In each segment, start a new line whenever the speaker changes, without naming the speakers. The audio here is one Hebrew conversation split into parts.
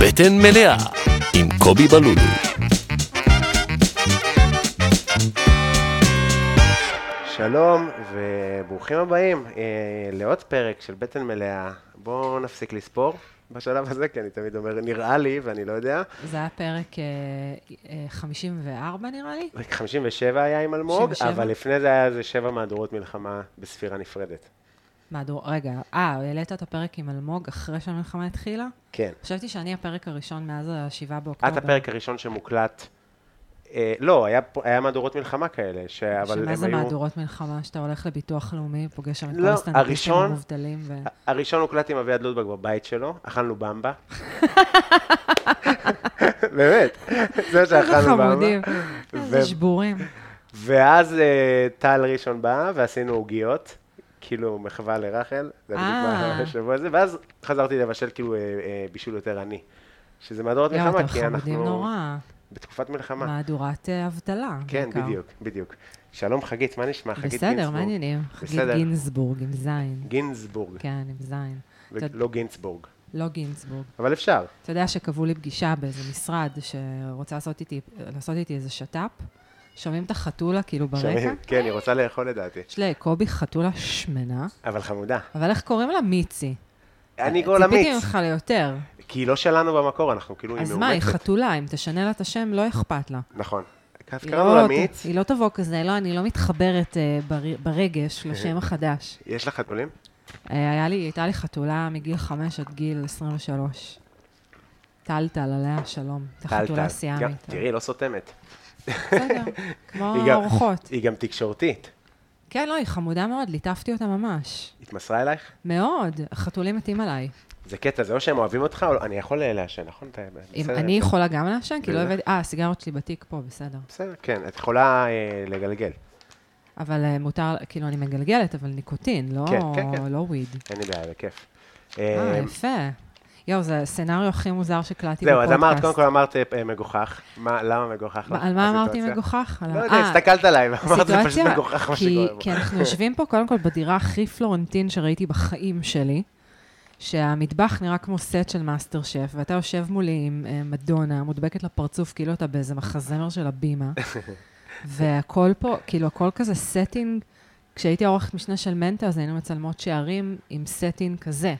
בטן מלאה עם קובי בלולו.
שלום וברוכים הבאים אה, לעוד פרק של בטן מלאה. בואו נפסיק לספור בשלב הזה, כי אני תמיד אומר נראה לי ואני לא יודע.
זה היה פרק אה, אה, 54 נראה לי.
57 היה עם אלמוג,
57.
אבל לפני זה היה איזה שבע מהדורות מלחמה בספירה נפרדת.
מהדור, רגע, אה, העלית את הפרק עם אלמוג אחרי שהמלחמה התחילה?
כן.
חשבתי שאני הפרק הראשון מאז ה-7 באוקטובר.
את הפרק הראשון שמוקלט. אה, לא, היה, פה- היה מהדורות מלחמה כאלה, ש... אבל הם
שמה זה
היו...
מהדורות מלחמה, שאתה הולך לביטוח לאומי, פוגש שם את כל
לא,
הסטנדאפיסטים
הראשון-
המובטלים, ו...
הראשון הוקלט עם אביעד לודבג בבית שלו, אכלנו במבה. באמת, זה מה
איזה
שאכלנו במבה.
חמודים,
ו-
איזה שבורים.
ואז אה, טל ראשון בא, ועשינו עוגיות, כאילו מחווה לרחל, זה בדיוק
אה.
מה השבוע הזה, ואז חזרתי לבשל כאילו אה, אה, בישול יותר עני. שזה מהדורות
יואו,
מלחמה,
אתם
כי
חמודים
אנחנו
נורא.
בתקופת מלחמה.
מהדורת אה, אבטלה.
כן,
בעיקר.
בדיוק, בדיוק. שלום חגית, מה נשמע? חגית גינזבורג.
בסדר, מה העניינים? חגית
בסדר.
גינזבורג, עם זין.
גינזבורג,
כן, עם זין. אתה-
ולא גינסבורג.
לא גינזבורג.
אבל אפשר.
אתה יודע שקבעו לי פגישה באיזה משרד שרוצה לעשות איתי, לעשות איתי איזה שת"פ? שומעים את החתולה כאילו ברקע?
שומעים? כן, היא רוצה לאכול לדעתי.
יש לקובי חתולה שמנה,
אבל חמודה.
אבל איך קוראים לה? מיצי.
אני קורא לה
ציפיתי
מיץ,
ממך ליותר.
כי היא לא שלנו במקור, אנחנו כאילו, היא
אז מה, היא
מאומצת.
חתולה, אם תשנה לה את השם, לא אכפת לה.
נכון. אז
היא
קראנו
לא-
לה מיץ,
היא לא תבוא כזה, לא, אני לא מתחברת אה, בר- ברגש
אה.
לשם החדש.
יש לך חתולים?
אה, היה לי, הייתה לי חתולה מגיל חמש עד גיל 23. טלטל עליה שלום. את
טל-טל.
החתולה
גם-
סיאמית.
תראי, לא סותמת.
בסדר, כמו
היא גם-
האורחות.
היא גם תקשורתית.
כן, לא, היא חמודה מאוד, ליטפתי אותה ממש.
התמסרה אלייך?
מאוד, החתולים מתים עליי.
זה קטע, זה או שהם אוהבים אותך, או לא. אני יכול אה, לעשן, נכון? אתה-
אם
בסדר.
אני יכולה גם לעשן, כי לא
בטח.
הבאתי... אה, הסיגרות שלי בתיק פה, בסדר.
בסדר, כן, את יכולה אה, לגלגל,
אבל אה, מותר, כאילו, אני מגלגלת, אבל ניקוטין, לא
כן, כן, כן.
לא וויד.
אין לי בעיה, בכיף.
אה,
אה,
יפה. יואו, זה הסצנריו הכי מוזר שקלעתי בפודקאסט.
זהו, אז אמרת, קודם כל אמרת אה, אה, מגוחך. מה- למה מגוחך?
מה-
לך?
על מה אמרתי
הסיטואציה?
מגוחך? על ה-
לא יודע,
אה,
הסתכלת עליי ואמרת, זה פשוט
הסיטואציה,
מגוחך מה
כי, כן.
שקורה פה.
כי אנחנו יושבים פה, קודם כל, בדירה הכי פלורנטין שראיתי בחיים שלי, שהמטבח נראה כמו סט של מאסטר שף, ואתה יושב מולי עם אה, מדונה, מודבקת לפרצוף, כאילו אתה באיזה מחזמר של הבימה, והכל פה, כאילו, הכל כזה סטינג, כשהייתי עורכת משנה של מנטה, אז היינו מצלמות שערים עם סטינג כזה,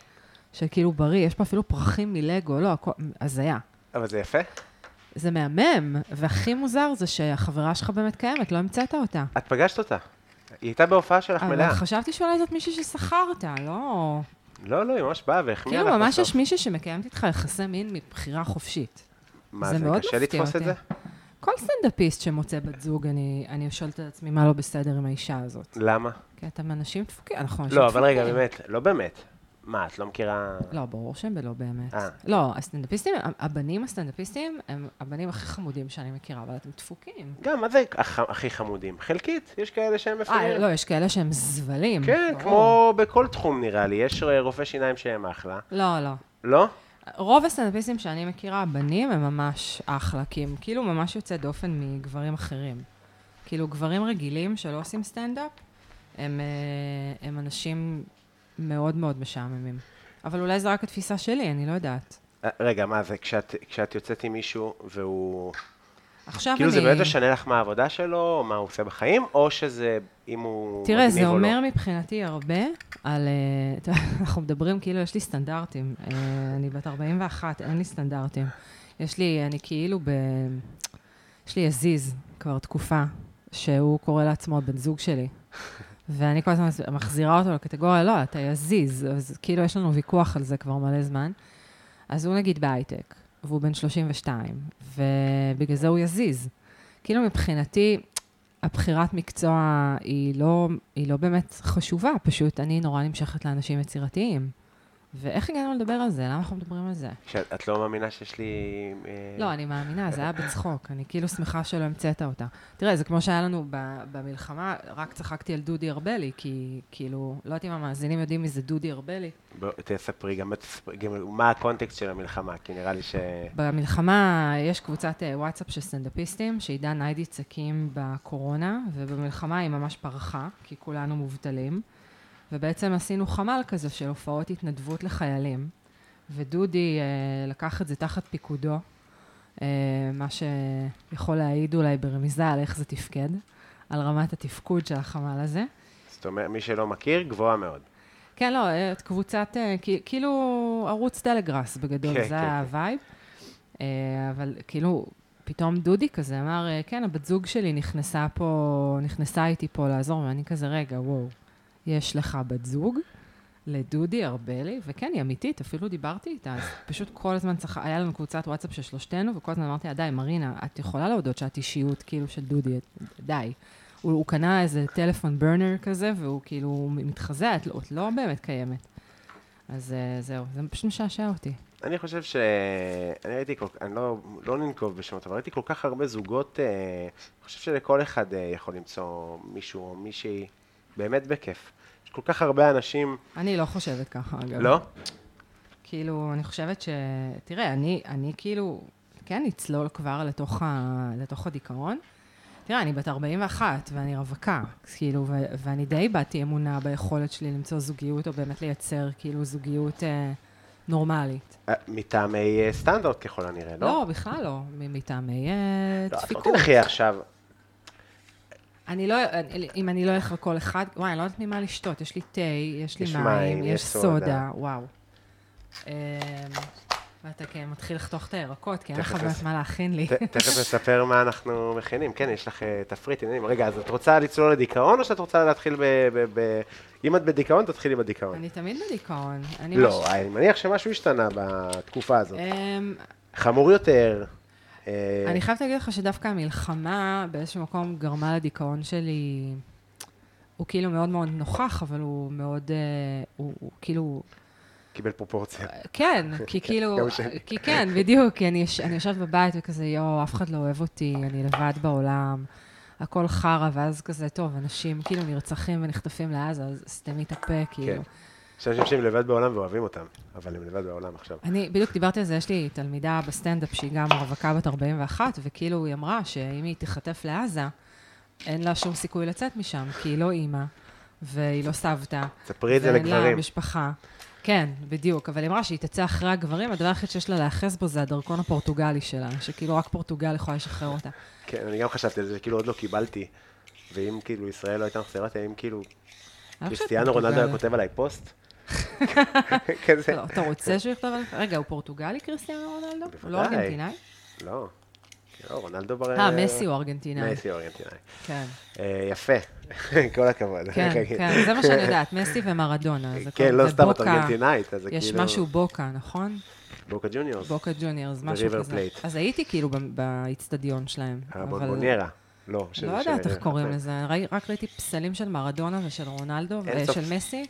שכאילו בריא, יש פה אפילו פרחים מלגו, לא, הכל, הזיה.
אבל זה יפה.
זה מהמם, והכי מוזר זה שהחברה שלך באמת קיימת, לא המצאת אותה.
את פגשת אותה. היא הייתה בהופעה שלך מלאה.
אבל אה, לא חשבתי שאולי זאת מישהי ששכרת, לא...
לא, לא, היא ממש באה והחמיאה לך
כאילו, ממש
בסוף.
יש מישהי שמקיימת איתך יחסי מין מבחירה חופשית.
מה,
זה
זה
מאוד
קשה
מפתיע
לתפוס את
אותי.
זה?
כל סטנדאפיסט שמוצא בת זוג, אני, אני שואלת את עצמי מה לא בסדר עם האישה הזאת.
למה?
כי אתם אנשים דפוקים, אנחנו אנשים
לא, אבל רגע,
דפוקים.
באמת, לא באמת. מה, את לא מכירה...
לא, ברור שהם בלא באמת.
אה.
לא, הסטנדאפיסטים, הבנים הסטנדאפיסטים, הם הבנים הכי חמודים שאני מכירה, אבל אתם דפוקים.
גם, מה זה הח- הכי חמודים? חלקית, יש כאלה שהם
אה,
מפגרים.
לא, יש כאלה שהם זבלים.
כן,
ברור.
כמו בכל תחום נראה לי, יש רופא שיניים שהם אחלה.
לא, לא.
לא?
רוב הסטנדאפיסטים שאני מכירה, הבנים, הם ממש אחלה, כי הם כאילו ממש יוצא דופן מגברים אחרים. כאילו, גברים רגילים שלא עושים סטנדאפ, הם, אה, הם אנשים מאוד מאוד משעממים. אבל אולי זו רק התפיסה שלי, אני לא יודעת.
אה, רגע, מה זה, כשאת, כשאת יוצאת עם מישהו והוא...
עכשיו
כאילו
אני...
זה באמת משנה לך מה העבודה שלו, או מה הוא עושה בחיים, או שזה אם הוא
תראה,
מגניב
זה
או לא.
אומר מבחינתי הרבה על... אה, אתה יודע, אנחנו מדברים כאילו, יש לי סטנדרטים. אה, אני בת 41, אין לי סטנדרטים. יש לי, אני כאילו ב... יש לי עזיז כבר תקופה, שהוא קורא לעצמו הבן זוג שלי. ואני כל הזמן מחזירה אותו לקטגוריה, לא, אתה יזיז. אז כאילו, יש לנו ויכוח על זה כבר מלא זמן. אז הוא נגיד בהייטק, והוא בן 32, ובגלל זה הוא יזיז. כאילו, מבחינתי, הבחירת מקצוע היא לא, היא לא באמת חשובה, פשוט אני נורא נמשכת לאנשים יצירתיים. ואיך הגענו לדבר על זה? למה אנחנו מדברים על זה?
שאת את לא מאמינה שיש לי... אה,
לא, אני מאמינה, זה היה בצחוק. אני כאילו שמחה שלא המצאת אותה. תראה, זה כמו שהיה לנו ב- במלחמה, רק צחקתי על דודי ארבלי, כי כאילו, לא יודעת אם המאזינים יודעים מי זה דודי ארבלי.
בוא, תספרי גם, תספרי גם מה הקונטקסט של המלחמה, כי נראה לי ש...
במלחמה יש קבוצת אה, וואטסאפ של סטנדאפיסטים, שעידן ניידיץ הקים בקורונה, ובמלחמה היא ממש פרחה, כי כולנו מובטלים. ובעצם עשינו חמ"ל כזה של הופעות התנדבות לחיילים. ודודי אה, לקח את זה תחת פיקודו, אה, מה שיכול להעיד אולי ברמיזה על איך זה תפקד, על רמת התפקוד של החמ"ל הזה.
זאת אומרת, מי שלא מכיר, גבוהה מאוד.
כן, לא, אה, את קבוצת, אה, כי- כאילו ערוץ טלגראס בגדול,
כן,
זה
כן, כן.
הווייב. אה, אבל כאילו, פתאום דודי כזה אמר, אה, כן, הבת זוג שלי נכנסה פה, נכנסה איתי פה לעזור, ואני כזה, רגע, וואו, יש לך בת זוג? לדודי ארבלי, וכן, היא אמיתית, אפילו דיברתי איתה, אז פשוט כל הזמן צריך, היה לנו קבוצת וואטסאפ של שלושתנו, וכל הזמן אמרתי לה, די, מרינה, את יכולה להודות שאת אישיות, כאילו, של דודי, את- די. הוא, הוא קנה איזה טלפון ברנר כזה, והוא כאילו מתחזה, את, לא- את לא באמת קיימת. אז אה, זהו, זה פשוט משעשע אותי.
אני חושב ש... אני ראיתי כל כך, אני לא, לא ננקוב בשמות, אבל ראיתי כל כך הרבה זוגות, אה, אני חושב שלכל אחד אה, יכול למצוא מישהו או מישהי באמת בכיף. יש כל כך הרבה אנשים...
אני לא חושבת ככה, אגב.
לא?
כאילו, אני חושבת ש... תראה, אני, אני כאילו, כן אצלול כבר לתוך, ה... לתוך הדיכאון. תראה, אני בת 41 ואני רווקה, כאילו, ו... ואני די איבדתי אמונה ביכולת שלי למצוא זוגיות, או באמת לייצר כאילו זוגיות אה, נורמלית.
אה, מטעמי אה, סטנדרט ככל הנראה, לא?
לא, בכלל לא, מ- מטעמי אה,
לא, את לא
דפיקות.
תלכי עכשיו.
אני לא, אני- אם אני לא אלך לכל אחד, וואי, אני לא יודעת ממה לשתות, יש לי תה, יש לי
יש
מים, יש סודה,
סודה.
וואו. אמ, ואתה כן מתחיל לחתוך את הירקות, כי אין לך
תכף
באמת
נס-
מה להכין לי.
ת- תכף נספר מה אנחנו מכינים. כן, יש לך אה, תפריט עניינים. רגע, אז את רוצה לצלול לדיכאון, או שאת רוצה להתחיל ב... ב- ב- אם את בדיכאון, תתחילי בדיכאון.
אני תמיד בדיכאון. אני
לא,
מש-
אני מניח שמשהו השתנה בתקופה הזאת.
אמ,
חמור יותר. אה,
אני חייבת להגיד לך שדווקא המלחמה באיזשהו מקום גרמה לדיכאון שלי. הוא כאילו מאוד מאוד נוכח, אבל הוא מאוד, אה, הוא הוא כאילו,
קיבל פרופורציה.
כן, כי כאילו,
גם שלי.
כי כן, בדיוק, כי אני יש- אני יושבת בבית וכזה, יואו, אף אחד לא אוהב אותי, אני לבד בעולם, הכל חרא, ואז כזה, טוב, אנשים כאילו נרצחים ונחטפים לעזה, אז סתמי את הפה, כאילו.
יש אנשים שהם לבד בעולם ואוהבים אותם, אבל הם לבד בעולם עכשיו.
אני בדיוק דיברתי על זה, יש לי תלמידה בסטנדאפ שהיא גם רווקה בת 41, וכאילו היא אמרה שאם היא תיחטף לעזה, אין לה שום סיכוי לצאת משם, כי היא לא אימא, והיא לא סבתא.
תספרי את זה
ואין לה
לגברים.
משפחה. כן, בדיוק, אבל היא אמרה שהיא תצא אחרי הגברים, הדבר היחיד שיש לה להיאחז בו זה הדרכון הפורטוגלי שלה, שכאילו רק פורטוגל יכולה לשחרר אותה.
כן, אני גם חשבתי על זה, כאילו עוד לא קיבלתי. ואם כאילו ישראל לא הייתה מחזירה אותי, אם כאילו
אני לא חושבת
קריסטיאנו רונלדו היה
פורטוגל.
כותב עליי פוסט. כן, כזה.
לא, אתה רוצה שהוא יכתוב עליך? רגע, הוא פורטוגלי קריסטיאנו רונלדו? הוא לא
בוודאי.
ארגנטינאי?
לא. לא, רונלדו בר...
אה, מסי הוא ארגנטינאי.
מסי הוא ארגנטינאי.
כן,
אה, יפה. כל הכבוד.
כן, כן, זה מה שאני יודעת, מסי ומרדונה. זה
כן,
כל-
לא
זה
סתם את
בוקה.
ארגנטינאית, אז זה כאילו...
יש משהו בוקה, נכון?
בוקה ג'וניורס.
בוקה ג'וניורס, משהו
ב-River
כזה.
Plate. אה,
אז הייתי כאילו ב- באיצטדיון שלהם. אבל-
הבונבוניירה. לא, שזה-
לא יודעת
של-
איך קוראים לזה, ראי- רק ראיתי פסלים של מרדונה ושל רונלדו
אין סוף.
ושל מסי,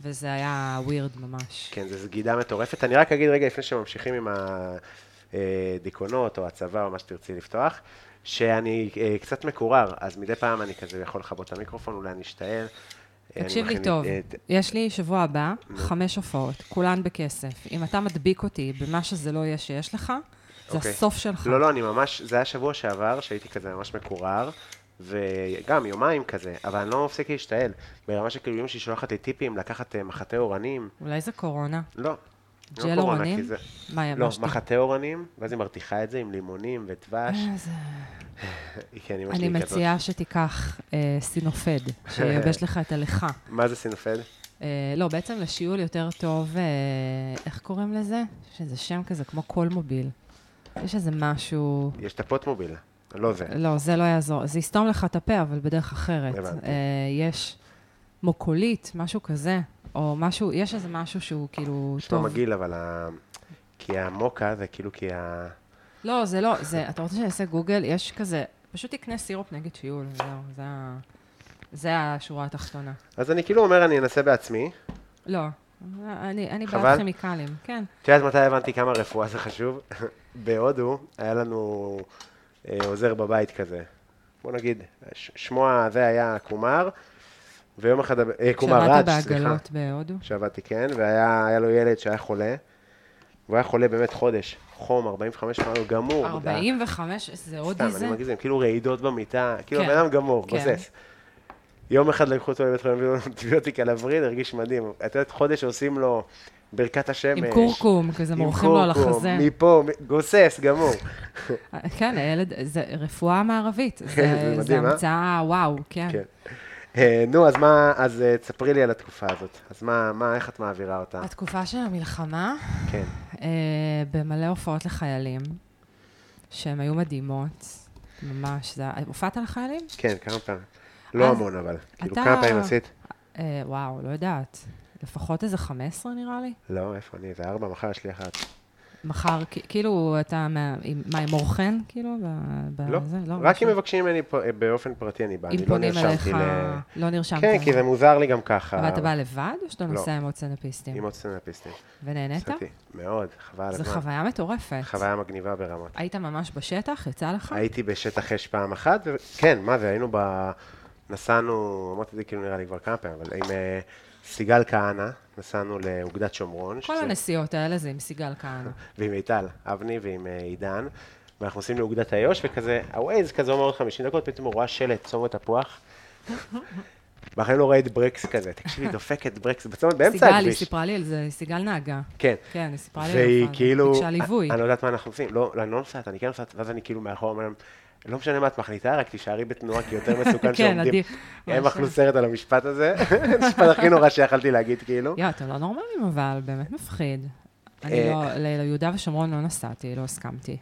וזה היה ווירד ממש.
כן, זו סגידה מטורפת. אני רק אגיד רגע לפני שממשיכים עם הדיכאונות או הצבא או מה שתרצי לפתוח, שאני אה, קצת מקורר, אז מדי פעם אני כזה יכול לכבות את המיקרופון, אולי אני אשתעל. אה,
תקשיב
אני
לי
מכין-
טוב,
אה, ת-
יש לי שבוע הבא חמש הופעות, כולן בכסף. אם אתה מדביק אותי במה שזה לא יהיה שיש לך, זה
אוקיי.
הסוף שלך.
לא, לא, אני ממש, זה היה שבוע שעבר שהייתי כזה ממש מקורר, וגם יומיים כזה, אבל אני לא מפסיק להשתעל, ברמה שכאילו אמא שלי שולחת לי טיפים לקחת אה, מחטה אורנים,
אולי זה קורונה.
לא. לא
ג'ל
קורונה,
אורנים?
כי זה-
אה, מה היה?
לא, מחטה אורנים, ואז היא מרתיחה את זה עם לימונים ודבש. כן, אמא שלי
אה, אני
היא כזאת.
מציעה שתיקח אה, סינופד, שייבש לך את הליכה.
מה זה סינופד?
אה, לא, בעצם לשיעול יותר טוב, אה, איך קוראים לזה? יש איזה שם כזה, כמו קול מוביל. יש איזה משהו...
יש את הפוטמוביל, לא זה.
לא, זה לא יעזור. זה יסתום לך את הפה, אבל בדרך אחרת.
הבנתי.
אה, יש מוקולית, משהו כזה, או משהו, יש איזה משהו שהוא כאילו
נשמע
טוב.
מגעיל, אבל ה... כי המוקה זה כאילו כי ה...
לא, זה לא, זה, אתה רוצה שאני אעשה גוגל? יש כזה, פשוט תקנה סירופ נגד שיעול, זהו, זה ה... זה השורה התחתונה.
אז אני כאילו אומר, אני אנסה בעצמי.
לא, אני, אני
חבל.
בעד כימיקלים, כן.
את יודעת מתי הבנתי כמה רפואה זה חשוב? בהודו היה לנו אה, עוזר בבית כזה. בוא נגיד, ש- שמו הזה היה קומר, ויום אחד... הב- אה, קומר
כשעמדת
ראץ', סליחה.
בעגלות בהודו.
שעבדתי, כן, והיה היה לו ילד שהיה חולה, והוא היה חולה באמת חודש. חום, 45 מעלות, גמור.
45, זה הודי
סתם, אני
זה?
מגזים, כאילו רעידות במיטה, כאילו
כן,
הבן אדם גמור,
כן.
גוסס. יום אחד לקחו אותו לבית חולים, הביאו לו אנטיביוטיקה לווריד, הרגיש מדהים. את יודעת, חודש עושים לו ברכת השמש.
עם קורקום, כזה
עם
מורחים לו על
קורקום,
החזה.
מפה, מ- גוסס, גמור.
כן, הילד, זה רפואה מערבית.
כן, זה
זה זה
מדהים, אה?
המצאה, וואו, כן.
כן. אה, נו, אז מה, אז אה, תספרי לי על התקופה הזאת. אז מה, מה, איך את מעבירה אותה?
התקופה של המלחמה,
כן.
אה, במלא הופעות לחיילים, שהן היו מדהימות, ממש. זה- הופעת לחיילים?
כן, כמה פעמים. לא
אז
המון, אבל. כאילו,
אתה-
כמה פעמים עשית?
אה, וואו, לא יודעת. לפחות איזה 15 נראה לי.
לא, איפה אני? זה ארבע, מחר יש לי אחת.
מחר, כ- כאילו, אתה, מה, עם, מה, עם אורחן, כאילו? ב, ב,
לא,
זה,
רק אם
משהו.
מבקשים ממני פה- אה, באופן פרטי, אני בא.
אם
אני לא
פונים אליך,
נרשמתי ל...
לא נרשמת.
כן, כי זה מוזר לי גם ככה.
אבל אתה בא לבד, או שאתה
לא.
נוסע עם עוד סנאפיסטים?
עם עוד סטנדאפיסטים.
ונהנית?
נסעתי. מאוד, חבל על
זו
הזמן.
חוויה מטורפת.
חוויה מגניבה ברמות.
היית ממש בשטח? יצא לך?
הייתי בשטח אש פעם אחת, ו- כן, מה זה, היינו ב... נסענו, אמרתי את זה כאילו נראה לי כבר כמה פעמים, אבל עם אה, סיגל כהנא, נסענו לאוגדת שומרון.
כל
שזה-
הנסיעות האלה זה עם סיגל כהנא.
ועם מיטל אבני ועם אה, עידן, ואנחנו נוסעים לאוגדת איו"ש, וכזה, הווייז כזה אומר עוד 50 דקות, פתאום הוא רואה שלט, צומת תפוח. בחיים לא ראית ברקס כזה, תקשיבי, דופקת ברקס בצומת, באמצע
סיגל, היא
הכביש.
סיפרה לי על זה, סיגל נהגה.
כן.
כן, היא סיפרה לי על
והיא
זה.
כאילו,
ביקשה ליווי.
אני לא יודעת מה אנחנו עושים, לא, לא, אני לא נוסעת, אני כן נוסעת, ואז אני כאילו מאחור אומר להם, לא משנה מה את מחליטה, רק תישארי בתנועה, כי יותר מסוכן
כן,
שעומדים.
עדיף.
הם
ממש.
אכלו סרט על המשפט הזה, המשפט הכי נורא שיכלתי להגיד, כאילו.
יא, אתם לא נורמלים, אבל באמת מפחיד. אני
אה,
לא, ל- ליהודה ושומרון לא נסעתי, לא הסכמתי.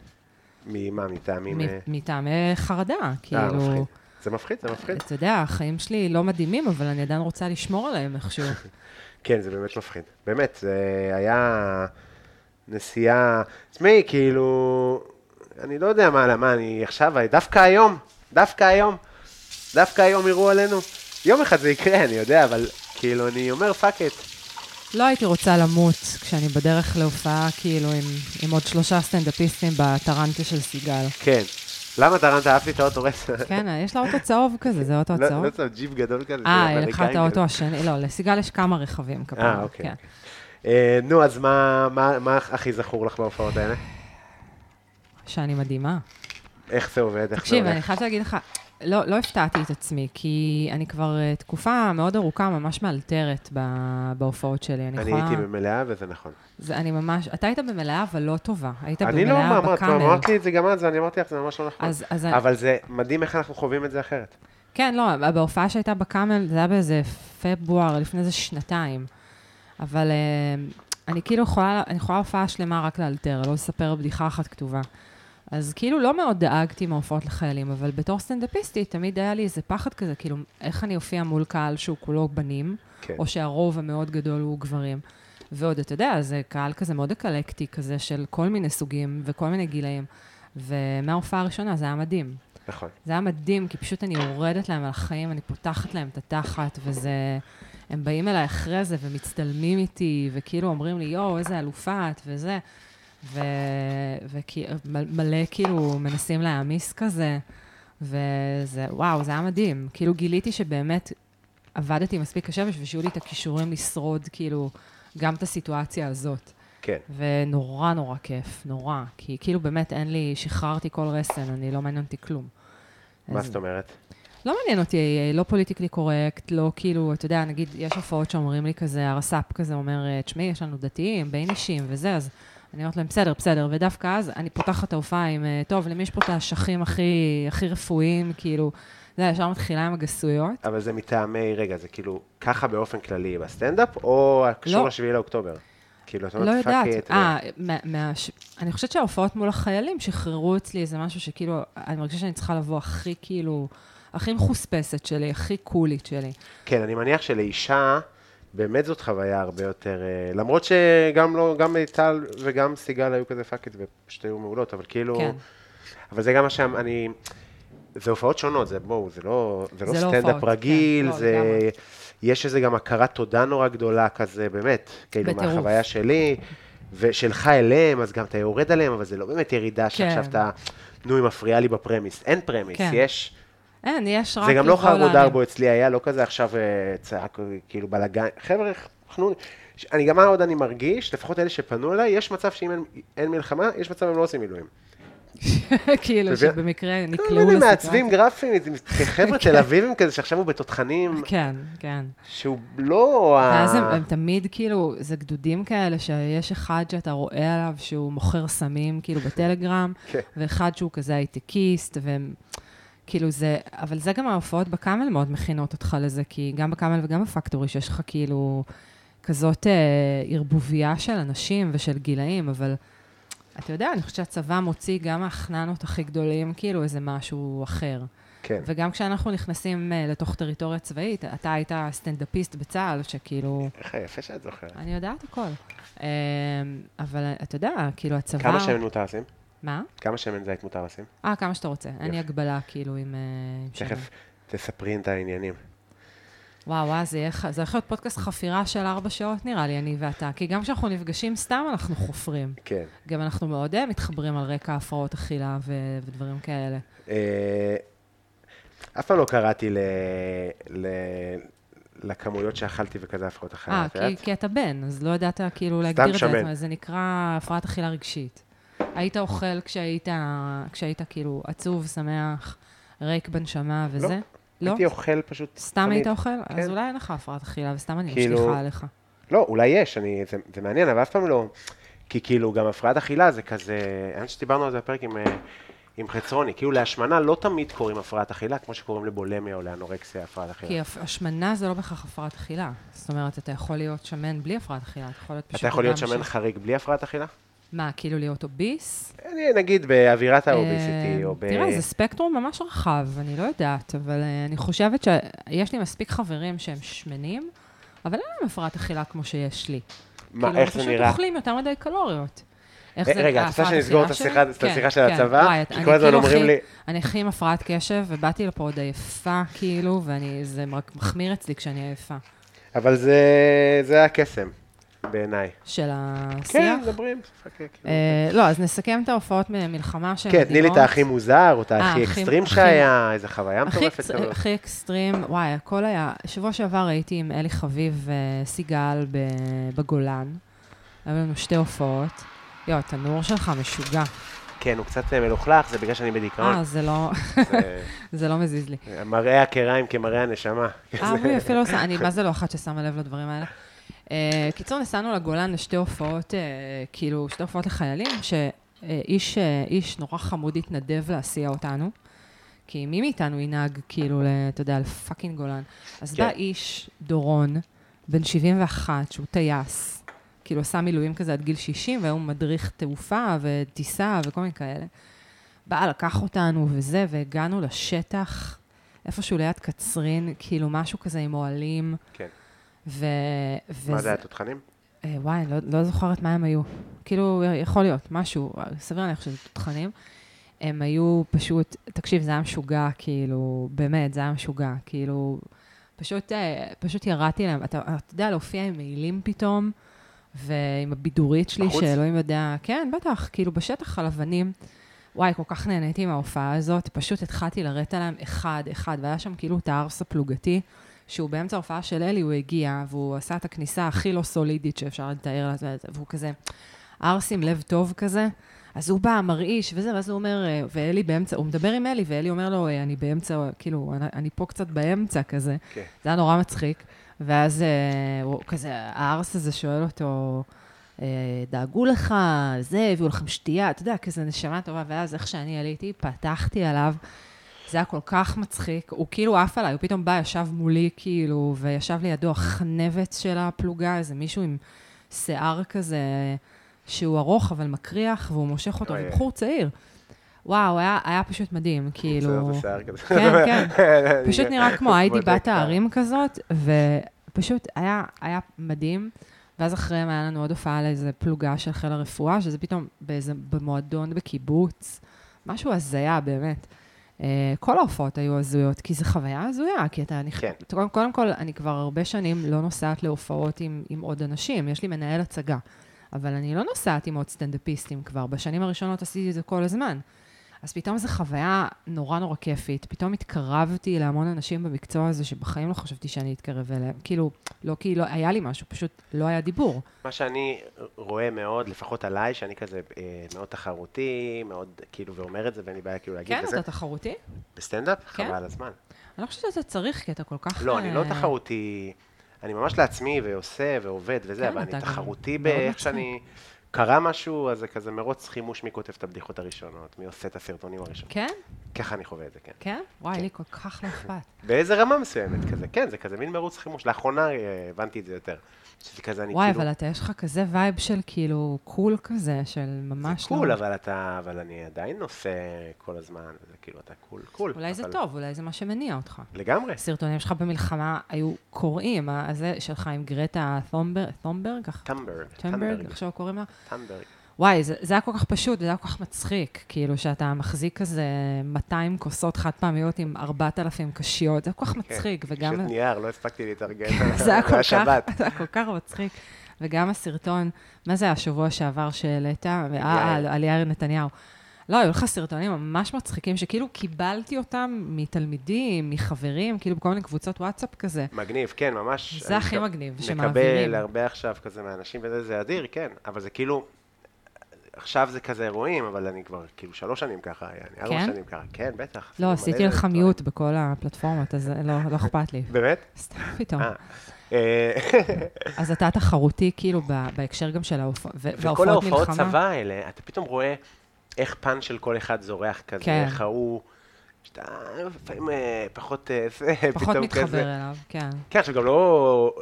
ממה, מטעמים...
מ-
אה,
מטעמי חרדה,
אה,
כאילו...
מפחיד. כן. זה מפחיד, זה מפחיד.
אתה יודע, החיים שלי לא מדהימים, אבל אני עדיין רוצה לשמור עליהם איכשהו.
כן, זה באמת מפחיד. באמת, זה היה נסיעה... תשמעי, כאילו, אני לא יודע מה, מה, אני עכשיו, דווקא היום, דווקא היום, דווקא היום יראו עלינו. יום אחד זה יקרה, אני יודע, אבל כאילו, אני אומר פאק את.
לא הייתי רוצה למות כשאני בדרך להופעה, כאילו, עם, עם עוד שלושה סטנדאפיסטים בטרנטה של סיגל.
כן. למה טרנת? אהבתי את האוטו רס.
כן, יש לה אוטו צהוב כזה, זה אוטו
לא,
הצהוב.
לא צריך ג'יפ גדול כזה. של
אה, היא
אמריקאים
לקחה את
כזה.
האוטו השני, לא, לסיגל יש כמה רכבים כן. כפיים.
אה, אוקיי. אוקיי. אה, נו, אז מה, מה, מה הכי זכור לך בהופעות האלה?
שאני
לא,
מדהימה.
איך זה עובד? איך זה
תקשיב, אני
הולך?
חייבת להגיד לך, לא, לא הפתעתי את עצמי, כי אני כבר אה, תקופה מאוד ארוכה ממש מאלתרת ב- בהופעות שלי. אני
אני
יכולה...
הייתי במלאה וזה נכון.
זה- אני ממש... אתה היית במלאה, אבל לא טובה. היית
אני לא
במלאה
אמרתי,
בקאנל.
אמרתי את זה גם אז, ואני אמרתי לך, זה ממש לא נכון.
אז, אז אני-
אבל זה מדהים איך אנחנו חווים את זה אחרת.
כן, לא, בהופעה שהייתה בקאמל, זה היה באיזה פברואר, לפני איזה שנתיים. אבל אה, אני כאילו יכולה, אני יכולה הופעה שלמה רק לאלתר, לא לספר בדיחה אחת כתובה. אז כאילו לא מאוד דאגתי מהופעות לחיילים, אבל בתור סטנדאפיסטית תמיד היה לי איזה פחד כזה, כאילו, איך אני אופיע מול קהל שהוא כולו בנים,
כן.
או שהרוב המאוד גדול הוא גברים. ועוד, אתה יודע, זה קהל כזה מאוד אקלקטי כזה, של כל מיני סוגים וכל מיני גילאים. ומההופעה הראשונה זה היה מדהים.
נכון.
זה היה מדהים, כי פשוט אני יורדת להם על החיים, אני פותחת להם את התחת, וזה... הם באים אליי אחרי זה ומצטלמים איתי, וכאילו אומרים לי, יואו, איזה אלופה את, וזה. ו... ומלא כאילו מנסים להעמיס כזה, וזה, וואו, זה היה מדהים. כאילו גיליתי שבאמת עבדתי מספיק קשה בשביל שיהיו לי את הכישורים לשרוד, כאילו, גם את הסיטואציה הזאת.
כן.
ונורא נורא כיף, נורא. כי כאילו באמת אין לי, שחררתי כל רסן, אני לא מעניין אותי כלום.
מה
אז-
זאת אומרת?
לא מעניין אותי, אה, לא פוליטיקלי קורקט, לא כאילו, אתה יודע, נגיד, יש הופעות שאומרים לי כזה, הרס"פ כזה אומר, אה, תשמעי, יש לנו דתיים, בין אישים וזה, אז אני אומרת להם, בסדר, בסדר, ודווקא אז אני פותחת את ההופעה עם, אה, טוב, למי יש פה את האשכים הכי, הכי רפואיים, כאילו, זה, ישר מתחילה עם הגסויות.
אבל זה מטעמי, רגע, זה כאילו ככה באופן כללי בסטנדאפ, או הקשור
לא.
לשביעי לאוקטובר? כאילו, את
לא
אומרת, פאק
יודעת,
את.
אה, מה- מה- ש- אני חושבת שההופעות מול החיילים שחררו אצלי איזה משהו שכאילו, אני מרגישה שאני צריכה לבוא הכי כאילו, הכי מחוספסת שלי, הכי קולית שלי.
כן, אני מניח שלאישה, באמת זאת חוויה הרבה יותר... אה, למרות שגם לא, גם טל וגם סיגל היו כזה פאק את, ופשוט היו מעולות, אבל כאילו...
כן.
אבל זה גם מה שאני... זה הופעות שונות, זה בואו, זה לא, זה לא
זה לא
סטנדאפ
הופעות,
רגיל,
כן, לא,
זה...
לגמרי.
יש איזה גם הכרת תודה נורא גדולה כזה, באמת, כאילו,
בטירוף.
מהחוויה שלי, ושלך אליהם, אז גם אתה יורד עליהם, אבל זה לא באמת ירידה שעכשיו
כן.
אתה, נו, היא מפריעה לי בפרמיס. אין פרמיס,
כן.
יש...
אין, יש רק...
זה גם לא
לבוא
חרבו
להרים.
דרבו אצלי היה, לא כזה עכשיו אה, צעק, אה, כאילו בלאגן. חבר'ה, חנון. ש- אני גם מה עוד אני מרגיש, לפחות אלה שפנו אליי, יש מצב שאם אין, אין מלחמה, יש מצב הם לא עושים מילואים.
כאילו,
מבין?
שבמקרה
כל
נקלעו
מיני
לסיטואציה.
לא, מעצבים גרפיים, חבר'ה תל אביבים כזה שעכשיו הוא בתותחנים,
כן, כן.
שהוא לא... ה-
ואז הם, הם תמיד כאילו, זה גדודים כאלה שיש אחד שאתה רואה עליו שהוא מוכר סמים כאילו בטלגרם,
כן.
ואחד שהוא כזה הייטקיסט, והם כאילו זה, אבל זה גם ההופעות בקאמל מאוד מכינות אותך לזה, כי גם בקאמל וגם בפקטורי שיש לך כאילו כזאת אה, ערבוביה של אנשים ושל גילאים, אבל אתה יודע, אני חושבת שהצבא מוציא גם מהחננות הכי גדולים כאילו איזה משהו אחר.
כן.
וגם כשאנחנו נכנסים אה, לתוך טריטוריה צבאית, אתה היית סטנדאפיסט בצה"ל, שכאילו,
איך יפה שאת זוכרת.
אני יודעת הכל. אה, אבל אתה יודע, כאילו הצבא...
כמה לא- שמן מותר לשים?
מה?
כמה שמן זית מותר לשים?
אה, כמה שאתה רוצה. אין לי הגבלה, כאילו, עם... אה, עם שמן.
תכף תספרי את העניינים.
וואו, וואו, זה יהיה ח- זה הולך להיות פודקאסט חפירה של ארבע שעות, נראה לי, אני ואתה. כי גם כשאנחנו נפגשים סתם, אנחנו חופרים.
כן.
גם אנחנו מאוד אה, מתחברים על רקע הפרעות אכילה ו- ודברים כאלה.
אה, אף פעם לא קראתי ל... ל... לכמויות שאכלתי וכזה הפרעות אחרות.
אה, כי, כי אתה בן, אז לא ידעת כאילו
סתם
להגדיר את זה,
שמן.
זאת אומרת, זה נקרא הפרעת אכילה רגשית. היית אוכל כשהיית, כשהיית כאילו עצוב, שמח, ריק בנשמה וזה? לא?
הייתי אוכל פשוט
סתם
תמיד.
היית אוכל? אז
כן.
אולי אין לך הפרעת אכילה, וסתם אני
כאילו-
משליכה עליך.
לא, אולי יש, אני, זה, זה מעניין, אבל אף פעם לא... כי כאילו, גם הפרעת אכילה זה כזה... האמת שדיברנו על זה בפרק עם, אה, עם חצרוני. כאילו, להשמנה לא תמיד קוראים הפרעת אכילה, כמו שקוראים לבולמיה או לאנורקסיה הפרעת אכילה.
כי הפ- השמנה זה לא בהכרח הפרעת אכילה. זאת אומרת, אתה יכול להיות שמן בלי הפרעת אכילה, אתה יכול להיות פשוט...
אתה יכול להיות
אדם
שמן
ש-
חריג בלי הפרעת אכילה?
מה, כאילו להיות אוביס?
אני, נגיד באווירת האוביסיטי,
אה,
או ב...
תראה, זה ספקטרום ממש רחב, אני לא יודעת, אבל אה, אני חושבת שיש לי מספיק חברים שהם שמנים, אבל אין להם הפרעת אכילה כמו שיש לי.
מה,
כאילו,
איך זה
פשוט
נראה?
אוכלים יותר מדי קלוריות. איך
אה,
זה-
רגע, את רוצה
ההפרעת
שנסגור את
אכילה שלי?
השיחה את
כן,
השיחה של
כן,
הצבא?
וואי,
כי
אני
כל הזמן
כאילו
אומרים
הכי-
לי...
אני הכי עם הפרעת קשב, ובאתי לפה עוד עייפה, כאילו, וזה רק מחמיר אצלי כשאני עייפה.
אבל זה- זה הקסם, בעיניי.
של השיח.
כן, מדברים. חכה, כאילו.
אה, לא, אז נסכם את ההופעות מלחמה שהן
כן, תני לי את הכי מוזר, או את
אה,
הכי
הכי-
אקסטרים
הכי-
שהיה, איזה חוויה
הכי
מטורפת.
אקס-
כזאת.
הכי אקסטרים, וואי, הכל היה... שבוע שעבר הייתי עם אלי חביב וסיגל ב- בגולן. היו לנו שתי הופעות. יואו, התנור שלך משוגע.
כן, הוא קצת אה, מלוכלך, זה בגלל שאני בדיכאון.
אה, זה לא,
זה-
זה לא מזיז לי.
זה מראה הכריים כמראה הנשמה.
אה, אוי, אפילו לא שם, אני מה זה לא אחת ששמה לב לדברים האלה. אה, קיצור, נסענו לגולן לשתי הופעות, אה, כאילו, שתי הופעות לחיילים, שאיש אה, איש נורא חמוד התנדב להסיע אותנו, כי מי מאיתנו ינהג, כאילו, ל- אתה יודע, לפאקינג גולן. אז
כן.
בא איש, דורון, בן 71, שהוא טייס, כאילו, עשה מילואים כזה עד גיל 60, והיום מדריך תעופה וטיסה וכל מיני כאלה. בא, לקח אותנו וזה, והגענו לשטח, איפשהו ליד קצרין, כאילו משהו כזה עם אוהלים.
כן.
ו...
מה
וזה-
זה, התותחנים?
אה, וואי, אני לא, לא זוכרת מה הם היו. כאילו, יכול להיות, משהו, סביר להניח שזה תותחנים. הם היו פשוט, תקשיב, זה היה משוגע, כאילו, באמת, זה היה משוגע, כאילו, פשוט, אה, פשוט ירדתי להם. אתה, אתה יודע, להופיע עם מעילים פתאום, ועם הבידורית שלי,
בחוץ?
שאלוהים יודע, כן, בטח, כאילו, בשטח על אבנים. וואי, כל כך נהניתי מההופעה הזאת, פשוט התחלתי לרדת עליהם אחד-אחד, והיה שם כאילו את הארס הפלוגתי, שהוא באמצע ההופעה של אלי, הוא הגיע, והוא עשה את הכניסה הכי לא סולידית שאפשר לתאר לעצמם, והוא כזה ארס עם לב טוב כזה. אז הוא בא, מרעיש, וזה, ואז הוא אומר, אה, ואלי באמצע, הוא מדבר עם אלי, ואלי אומר לו, אה, אני באמצע, כאילו, אני- אני פה קצת באמצע כזה.
כן.
זה היה נורא מצחיק. ואז אה, הוא כזה, הארס הזה שואל אותו, אה, דאגו לך, זה, הביאו לכם שתייה, אתה יודע, כזה נשמה טובה, ואז איך שאני עליתי, פתחתי עליו. זה היה כל כך מצחיק, הוא כאילו עף עליי, הוא פתאום בא, ישב מולי, כאילו, וישב לידו החנבת של הפלוגה, איזה מישהו עם שיער כזה, שהוא ארוך אבל מקריח, והוא מושך אותו,
אוי.
הוא בחור צעיר. וואו, היה, היה פשוט מדהים, כאילו...
זה שיער כזה.
כן, כן. פשוט נראה כמו היידי
בודק
בת
את ה-
הערים כזאת, ופשוט היה, היה מדהים. ואז אחריהם היה לנו עוד הופעה לאיזה פלוגה של חיל הרפואה, שזה פתאום באיזה, במועדון, בקיבוץ, משהו הזיה באמת. אה, כל ההופעות היו הזויות, כי זו חוויה הזויה, כי אתה... נכ...
כן.
קודם, קודם כל, אני כבר הרבה שנים לא נוסעת להופעות עם, עם עוד אנשים, יש לי מנהל הצגה, אבל אני לא נוסעת עם עוד סטנדאפיסטים כבר, בשנים הראשונות עשיתי את זה כל הזמן. אז פתאום זו חוויה נורא נורא כיפית. פתאום התקרבתי להמון אנשים במקצוע הזה שבחיים לא חשבתי שאני אתקרב אליהם. כאילו, לא כי לא היה לי משהו, פשוט לא היה דיבור.
מה שאני רואה מאוד, לפחות עליי, שאני כזה אה, מאוד תחרותי, מאוד, כאילו, ואומר את זה, ואין לי בעיה כאילו להגיד
כן,
כזה.
אתה תחרותי?
בסטנדאפ?
כן.
חבל על הזמן.
אני לא חושבת שאתה צריך, כי אתה כל כך...
לא, אני לא
אה,
תחרותי, אני ממש לעצמי ועושה ועובד וזה,
כן,
אבל
אתה
אני
גם
תחרותי
מאוד
באיך
מצחיק.
שאני... קרה משהו, אז זה כזה מרוץ חימוש מי כותב את הבדיחות הראשונות, מי עושה את הסרטונים הראשונים.
כן?
ככה אני חווה את זה, כן.
כן? וואי,
כן. כאילו-
לי כל כך לא אכפת.
באיזה רמה מסוימת כזה, כן, זה כזה מין מרוץ חימוש. לאחרונה אה, הבנתי את זה יותר. שזה כזה, אני
וואי,
כאילו...
אבל אתה, יש לך כזה וייב של כאילו קול כזה, של ממש
זה
לא...
קול, אבל אתה... אבל אני עדיין נושא כל הזמן, זה כאילו, אתה קול, קול.
אולי זה
אבל- כן.
טוב, אולי זה מה שמניע אותך.
לגמרי.
הסרטונים שלך במלחמה היו קוראים, אה, הזה שלך עם גרטה תומברג, תומברג, ככה?
טמברג.
טומברג,
טמברג.
איך שהוא קוראים לה?
טמברג.
וואי, זה, זה היה כל כך פשוט, וזה היה כל כך מצחיק, כאילו שאתה מחזיק כזה 200 כוסות חד פעמיות עם 4,000 קשיות, זה היה כל כך
כן.
מצחיק, וגם...
פשוט נייר, לא הספקתי להתארגן.
זה היה כל כך,
השבת.
זה היה כל כך מצחיק. וגם הסרטון, מה זה היה השבוע שעבר שהעלית?
יאיר.
אה, על- על יאיר נתניהו. לא, היו לך סרטונים ממש מצחיקים, שכאילו קיבלתי אותם מתלמידים, מחברים, כאילו בכל מיני קבוצות וואטסאפ כזה.
מגניב, כן, ממש.
זה
אני
הכי
מקב-
מגניב, שמעבירים.
מקבל הרבה עכשיו כזה מהאנשים וזה, זה אדיר, כן. אבל זה כאילו, עכשיו זה כזה אירועים, אבל אני כבר כאילו שלוש שנים ככה, אני ארבע
כן?
שנים ככה. כן, בטח. עשינו
לא,
מלא
עשיתי לך
דברים.
מיוט בכל הפלטפורמות, אז לא לא אכפת לי.
באמת?
סתם פתאום.
אה. אה,
אז אתה תחרותי, כאילו, ב- בהקשר גם של ההופעות מלחמה.
וכל ההופעות צבא האלה, אתה פתאום רואה איך פן של כל אחד זורח כזה,
כן.
איך ההוא, שאתה לפעמים אה, פחות, אה, זה,
פחות
פתאום
מתחבר
כזה.
אליו, כן.
כן, עכשיו גם לא...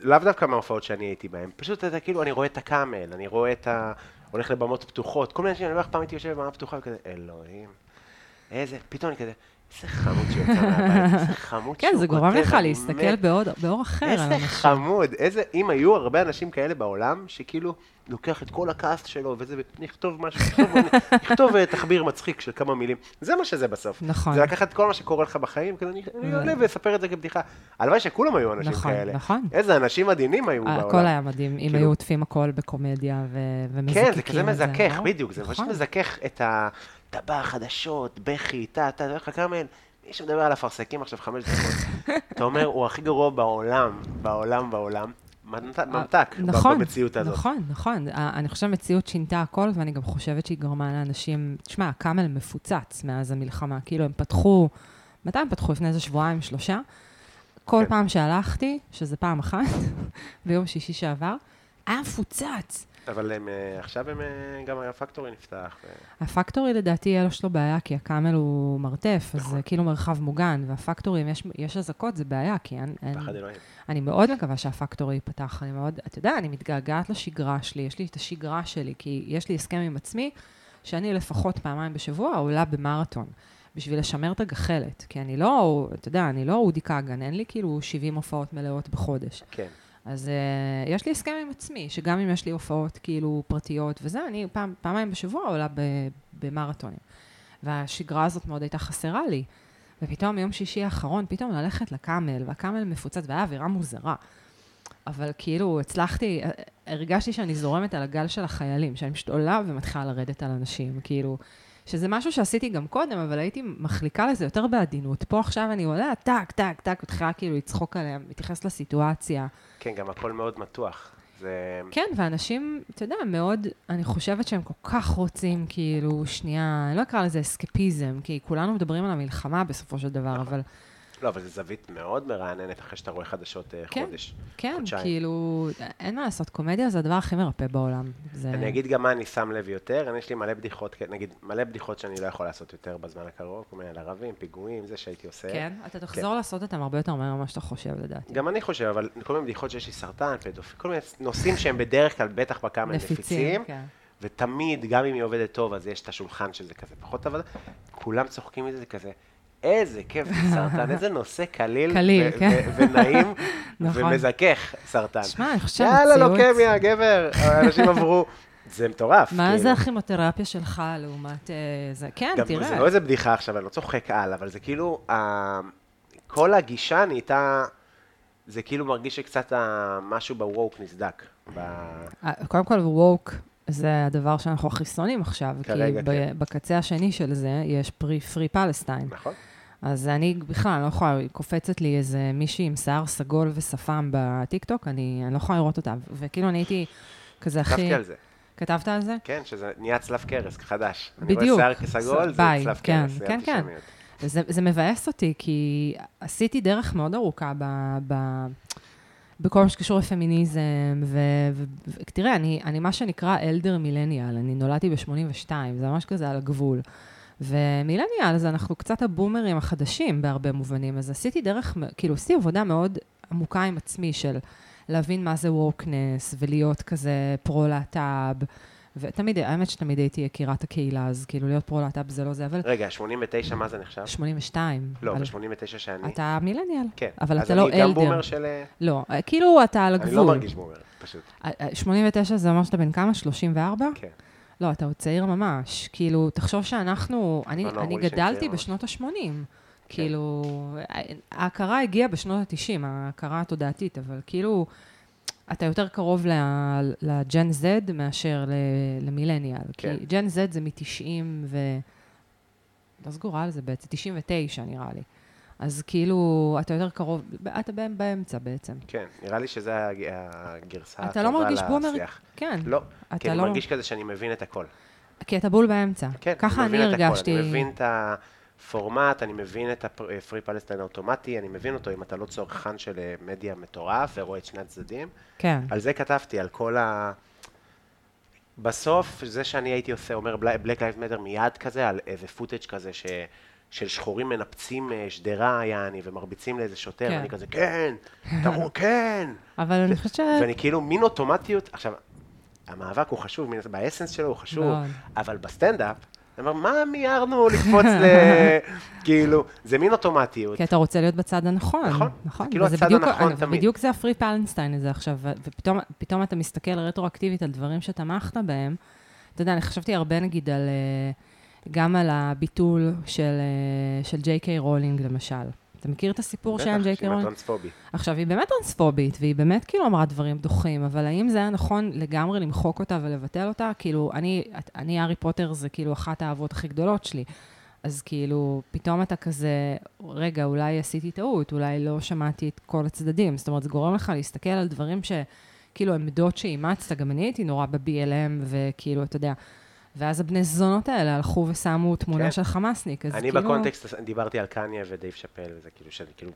לאו דווקא מההופעות שאני הייתי בהן, פשוט אתה כאילו, אני רואה את הקאמל, אני רואה את ה... הולך לבמות פתוחות, כל מיני אנשים, אני אומר לך, פעם הייתי יושב בבמה פתוחה וכזה, אלוהים, איזה, פתאום אני כזה, איזה חמוד שיוצא מהבית, איזה חמוד
כן,
שהוא
זה גורם
כותב,
לך
אני
להסתכל
מת."
בעוד- באור אחר על
איזה
אנשים.
חמוד, איזה, אם היו הרבה אנשים כאלה בעולם, שכאילו לוקח את כל הכעס שלו וזה, ונכתוב משהו, נכתוב- נכתוב אה, תחביר מצחיק של כמה מילים, זה מה שזה בסוף.
נכון.
זה לקחת את כל מה שקורה לך בחיים, כזה אני- אני עולה ואספר את זה כבדיחה. הלוואי שכולם היו אנשים
נכון, אה,
כאלה.
נכון.
איזה אנשים מדהימים היו בעולם.
הכל היה מדהים, אם
כאילו-
היו עוטפים הכל בקומדיה ו- ומזקקים
כן,
את
זה כזה מזכך,
וואו,
בדיוק, זה פשוט
נכון.
מזכך את ה... אתה בא, חדשות, בכי, טה, טה, אתה הולך לכרמל, מי שמדבר על אפרסקים עכשיו חמש דקות. אתה אומר, הוא הכי גרוע בעולם, בעולם, בעולם. מנת- ממתק ב-
נכון,
במציאות הזאת.
נכון, נכון. ה- אני חושבת שהמציאות שינתה הכל, ואני גם חושבת שהיא גרמה לאנשים... תשמע, הקאמל מפוצץ מאז המלחמה. כאילו, הם פתחו... מתי הם פתחו? לפני איזה שבועיים, שלושה? כל
כן.
פעם שהלכתי, שזה פעם אחת, ביום שישי שעבר, היה מפוצץ.
אבל הם, אה, עכשיו הם, אה, גם הפקטורי נפתח. אה, ו-
הפקטורי לדעתי יהיה לו שלו בעיה, כי הקאמל הוא מרתף, אז זה כאילו מרחב מוגן, והפקטורי, אם יש- יש אזעקות, זה בעיה, כי אין... אין-
פחד אלוהים.
אני מאוד מקווה שהפקטורי ייפתח, אני מאוד, אתה יודע, אני מתגעגעת לשגרה שלי, יש לי את השגרה שלי, כי יש לי הסכם עם עצמי, שאני לפחות פעמיים בשבוע עולה במרתון, בשביל לשמר את הגחלת, כי אני לא, אתה יודע, אני לא אודי כגן, אין לי כאילו 70 הופעות מלאות בחודש.
כן.
אז uh, יש לי הסכם עם עצמי, שגם אם יש לי הופעות כאילו פרטיות וזה, אני פעם, פעמיים בשבוע עולה ב, במרתונים. והשגרה הזאת מאוד הייתה חסרה לי. ופתאום יום שישי האחרון, פתאום ללכת לקאמל, והקאמל מפוצץ, והיה אווירה מוזרה. אבל כאילו הצלחתי, אה, הרגשתי שאני זורמת על הגל של החיילים, שאני פשוט עולה ומתחילה לרדת על אנשים, כאילו, שזה משהו שעשיתי גם קודם, אבל הייתי מחליקה לזה יותר בעדינות. פה עכשיו אני עולה, טק, טק, טק, מתחילה כאילו לצחוק עליהם, מתייחס לסיטואציה.
כן, גם הכל מאוד מתוח. זה...
כן, ואנשים, אתה יודע, מאוד, אני חושבת שהם כל כך רוצים, כאילו, שנייה, אני לא אקרא לזה אסקפיזם, כי כולנו מדברים על המלחמה בסופו של דבר, אבל
לא, אבל זו זווית מאוד מרעננת אחרי שאתה רואה חדשות אה,
כן.
חודש.
כן,
חודשיים.
כאילו, אין מה לעשות, קומדיה זה הדבר הכי מרפא בעולם. זה...
אני אגיד גם מה אני שם לב יותר, אני יש לי מלא בדיחות, כן, נגיד, מלא בדיחות שאני לא יכול לעשות יותר בזמן הקרוב, כל מיני על ערבים, פיגועים, זה שהייתי עושה.
כן, אתה תחזור לעשות אותם הרבה יותר מהר ממה שאתה חושב, לדעתי.
גם אני חושב, אבל כל מיני בדיחות שיש לי סרטן, פדופיל, כל מיני נושאים שהם בדרך כלל, בטח בקאמל נפיצים,
כן.
ותמיד, גם אם היא עובדת טוב, אז יש את השולחן שזה כזה פחות, אבל כולם צוחקים מזה, זה כזה, איזה כיף זה סרטן, איזה נושא קליל,
קליל,
ו-
כן.
ו- ונעים,
נכון.
ומזכך סרטן.
שמע, אני חושבת
יאללה,
שהמציאות-
לוקמיה, גבר, האנשים עברו, זה מטורף.
מה
כאילו.
זה הכימותרפיה שלך לעומת אה, זה? כן,
גם
תראה.
זה לא איזה בדיחה עכשיו, אני לא צוחק על, אבל זה כאילו, ה... כל הגישה נהייתה, זה כאילו מרגיש שקצת ה... משהו ב-woke אה, נסדק. ב...
אה, קודם כל, ווק, זה הדבר שאנחנו הכי שונאים עכשיו, כי
כרגע,
ב-
כן.
בקצה השני של זה יש פרי, פרי פלסטיין.
נכון?
אז אני בכלל, אני לא יכולה, קופצת לי איזה מישהי עם שיער סגול ושפם בטיקטוק, אני, אני לא יכולה לראות אותה. וכאילו, אני הייתי כזה הכי...
כתבתי על זה.
כתבת על זה?
כן, שזה נהיה צלב קרס חדש. אני
בדיוק.
רואה שיער כסגול,
ס-
זה
ביי,
צלב קרס.
כן,
זה
כן,
אנטישמיות.
זה, זה מבאס אותי, כי עשיתי דרך מאוד ארוכה ב, ב, בכל מה שקשור לפמיניזם, ו... ו- ו- תראה, אני, אני מה שנקרא אלדר מילניאל, אני נולדתי ב-82, זה ממש כזה על הגבול. ומילניאל, אז אנחנו קצת הבומרים החדשים בהרבה מובנים, אז עשיתי דרך, מ- כאילו עשיתי עבודה מאוד עמוקה עם עצמי של להבין מה זה וורקנס, ולהיות כזה פרו-להט"ב, ותמיד, האמת שתמיד הייתי יקירת הקהילה, אז כאילו להיות פרו-להט"ב זה לא זה, אבל
רגע, 89, מה זה נחשב?
82.
לא,
אבל-
ב-89 שאני.
אתה מילניאל.
כן.
אבל אתה
אז
לא
אני גם
אלדר.
בומר של... אה,
לא, אה, כאילו אתה על הגבול.
אני לא מרגיש בומר, פשוט.
אה, אה, 89 זה אומר שאתה בן כמה? 34?
כן.
לא, אתה עוד צעיר ממש. כאילו, תחשוב שאנחנו, אני,
לא, לא,
אני
אמרו לי שאני
גדלתי
צעיר ממש. כן.
בשנות ה-80. כאילו, ה- ההכרה הגיעה בשנות ה-90, ההכרה התודעתית, אבל כאילו, אתה יותר קרוב ל- לג'ן Z מאשר ל- למילניאל.
כן.
כי ג'ן Z זה מ-90 ו... לא סגורה על זה בעצם, 99 נראה לי. אז כאילו, אתה יותר קרוב, אתה בא- באמצע בעצם.
כן, נראה לי שזה הג- הגרסה
אתה לא
הטובה
מרגיש בומר?
לשיח.
כן.
לא,
אתה
כי אני
לא-
מרגיש כזה שאני מבין את הכל.
כי אתה בול באמצע.
כן,
ככה אני
מבין את הכל.
הרגשתי.
אני מבין את הפורמט, אני מבין את אה, הפרי פלסטיין האוטומטי, אני מבין אותו אם אתה לא צרכן של אה, מדיה מטורף ורואה את שני הצדדים.
כן.
על זה כתבתי, על כל ה... בסוף, זה שאני הייתי עושה, אומר בלק לייב מטר מיד כזה, על איזה פוטאג' כזה ש... של שחורים מנפצים אה, שדרה, יעני, ומרביצים לאיזה שוטר,
כן.
ואני כזה, כן, תראו, כן.
אבל אני חושבת ש...
ואני כאילו, מין אוטומטיות, עכשיו, המאבק הוא חשוב, מן- באסנס שלו הוא חשוב,
מאוד.
אבל בסטנדאפ, אני אומר, מה מיהרנו לקפוץ ל... כאילו, זה מין אוטומטיות.
כי אתה רוצה להיות בצד הנכון.
נכון,
נכון.
זה כאילו
וזה
הצד
בדיוק-
הנכון
אה,
תמיד.
בדיוק זה הפרי פלנסטיין הזה עכשיו, ו- ופתאום פתאום אתה מסתכל רטרואקטיבית על דברים שתמכת בהם. אתה יודע, אני חשבתי הרבה נגיד על... אה, גם על הביטול של, אה, של ג'יי קיי רולינג, למשל. אתה מכיר את הסיפור שהיה עם
בטח,
ג'יי קיי
שהיא
רולינג?
טרנספובי.
עכשיו, היא באמת טרנספובית, והיא באמת כאילו אמרה דברים דוחים, אבל האם זה היה נכון לגמרי למחוק אותה ולבטל אותה? כאילו, אני, את- אני, הארי פוטר זה כאילו אחת האהבות הכי גדולות שלי. אז כאילו, פתאום אתה כזה, רגע, אולי עשיתי טעות, אולי לא שמעתי את כל הצדדים. זאת אומרת, זה גורם לך להסתכל על דברים ש... כאילו, עמדות שאימצת, גם אני הייתי נורא ב-BLM, וכאילו, אתה יודע. ואז הבני זונות האלה הלכו ושמו תמונה
כן.
של חמאסניק, אז
אני
כאילו...
בקונטקסט דיברתי על קניה ודייב שאפל, וזה כאילו, שזה כאילו,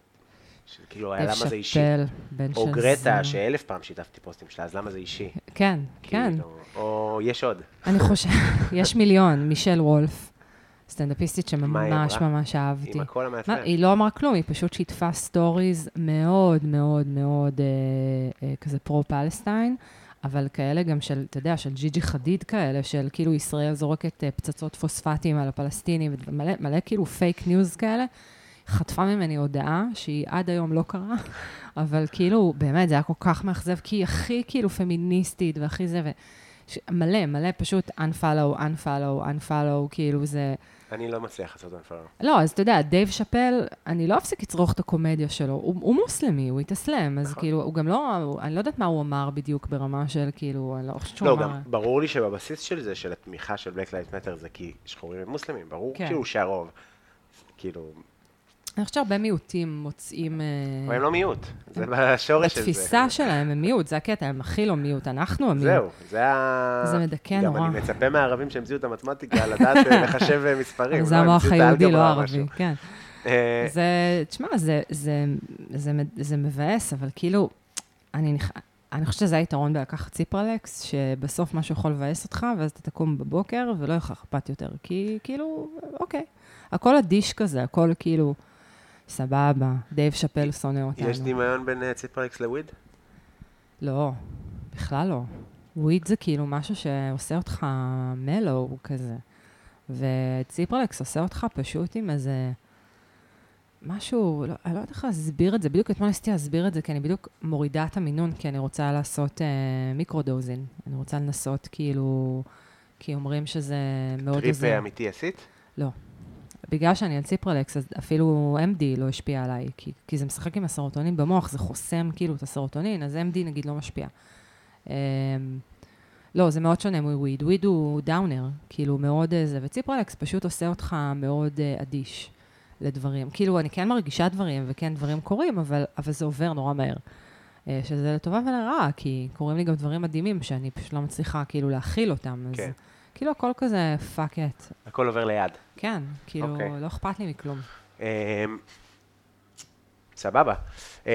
שזה כאילו, היה למה זה אישי.
שאפל, בן של
או גרטה,
זונות.
שאלף פעם שיתפתי פוסטים שלה, אז למה זה אישי?
כן, כן.
כאילו, או יש עוד.
אני חושבת, יש מיליון, מישל וולף, סטנדאפיסטית
מה היא אמרה?
שממש ממש אהבתי.
עם הקול
מה,
המעצבן.
היא לא אמרה כלום, היא פשוט שיתפה סטוריז מאוד מאוד מאוד אה, אה, כזה פרו-פלסטיין, אבל כאלה גם של, אתה יודע, של ג'יג'י חדיד כאלה, של כאילו ישראל זורקת אה, פצצות פוספטים על הפלסטינים, ומלא מלא כאילו פייק ניוז כאלה. חטפה ממני הודעה שהיא עד היום לא קרה, אבל כאילו, באמת, זה היה כל כך מאכזב, כי היא הכי כאילו פמיניסטית והכי זה, ו... ש... מלא, מלא, פשוט unfollow, unfollow, unfollow, כאילו זה...
אני לא מצליח לעשות אנפלו.
לא, אז אתה יודע, דייב שאפל, אני לא אפסיק לצרוך את הקומדיה שלו. הוא, הוא מוסלמי, הוא התאסלם, אז
נכון.
כאילו, הוא גם לא, הוא, אני לא יודעת מה הוא אמר בדיוק ברמה של, כאילו, אני לא חושבת שהוא
לא,
אמר...
גם ברור לי שבבסיס של זה, של התמיכה של Black Lives Matter, זה כי שחורים הם מוסלמים, ברור
כן.
כאילו שהרוב, כאילו,
אני חושבת שהרבה מיעוטים מוצאים... אה,
אבל הם לא מיעוט, זה בשורש של זה.
בתפיסה שלהם הם מיעוט, זה הקטע, הם הכי לא מיעוט, אנחנו המיעוט.
זהו, זה ה...
זה מדכא
גם
נורא.
אני מצפה מהערבים שהמציאו את המתמטיקה לדעת אה, לחשב אה, מספרים.
זה
לא, הם
המוח
המציאו את
היהודי, לא
האלגברה או
הערבי,
משהו.
כן.
אה,
זה, תשמע, זה, זה, זה, מ- זה מבאס, אבל כאילו, אני, נכ... אני חושבת שזה היתרון בלקחת ציפרלקס, שבסוף משהו יכול לבאס אותך, ואז אתה תקום בבוקר ולא יהיה לך אכפת יותר, כי כאילו, אוקיי. הכל אדיש כזה, הכל כאילו, סבבה, דייב שאפל שונא אותנו.
יש דמיון בין אה, ציפרלקס לוויד?
לא, בכלל לא. וויד זה כאילו משהו שעושה אותך מלו כזה. וציפרלקס עושה אותך פשוט עם איזה משהו, לא, אני לא יודעת איך להסביר את זה, בדיוק אתמול ניסיתי להסביר את זה, כי אני בדיוק מורידה את המינון, כי אני רוצה לעשות אה, מיקרודוזין. אני רוצה לנסות כאילו, כי אומרים שזה מאוד
טריפ אה,
עוזר.
אמיתי עשית?
בגלל שאני על ציפרלקס, אז אפילו MD לא השפיע עליי, כי, כי זה משחק עם הסרוטונין במוח, זה חוסם כאילו את הסרוטונין, אז MD נגיד לא משפיע. אמ, לא, זה מאוד שונה מוויד. וויד הוא דאונר, כאילו מאוד אה, זה, וציפרלקס פשוט עושה אותך מאוד אה, אדיש לדברים. כאילו, אני כן מרגישה דברים, וכן דברים קורים, אבל, אבל זה עובר נורא מהר. אה, שזה לטובה ולרעה, כי קורים לי גם דברים מדהימים שאני פשוט לא מצליחה כאילו להכיל אותם. אז
כן.
כאילו הכל כזה פאק את.
הכל עובר ליד.
כן, כאילו,
אוקיי.
לא אכפת לי מכלום.
אמ, סבבה. אמ,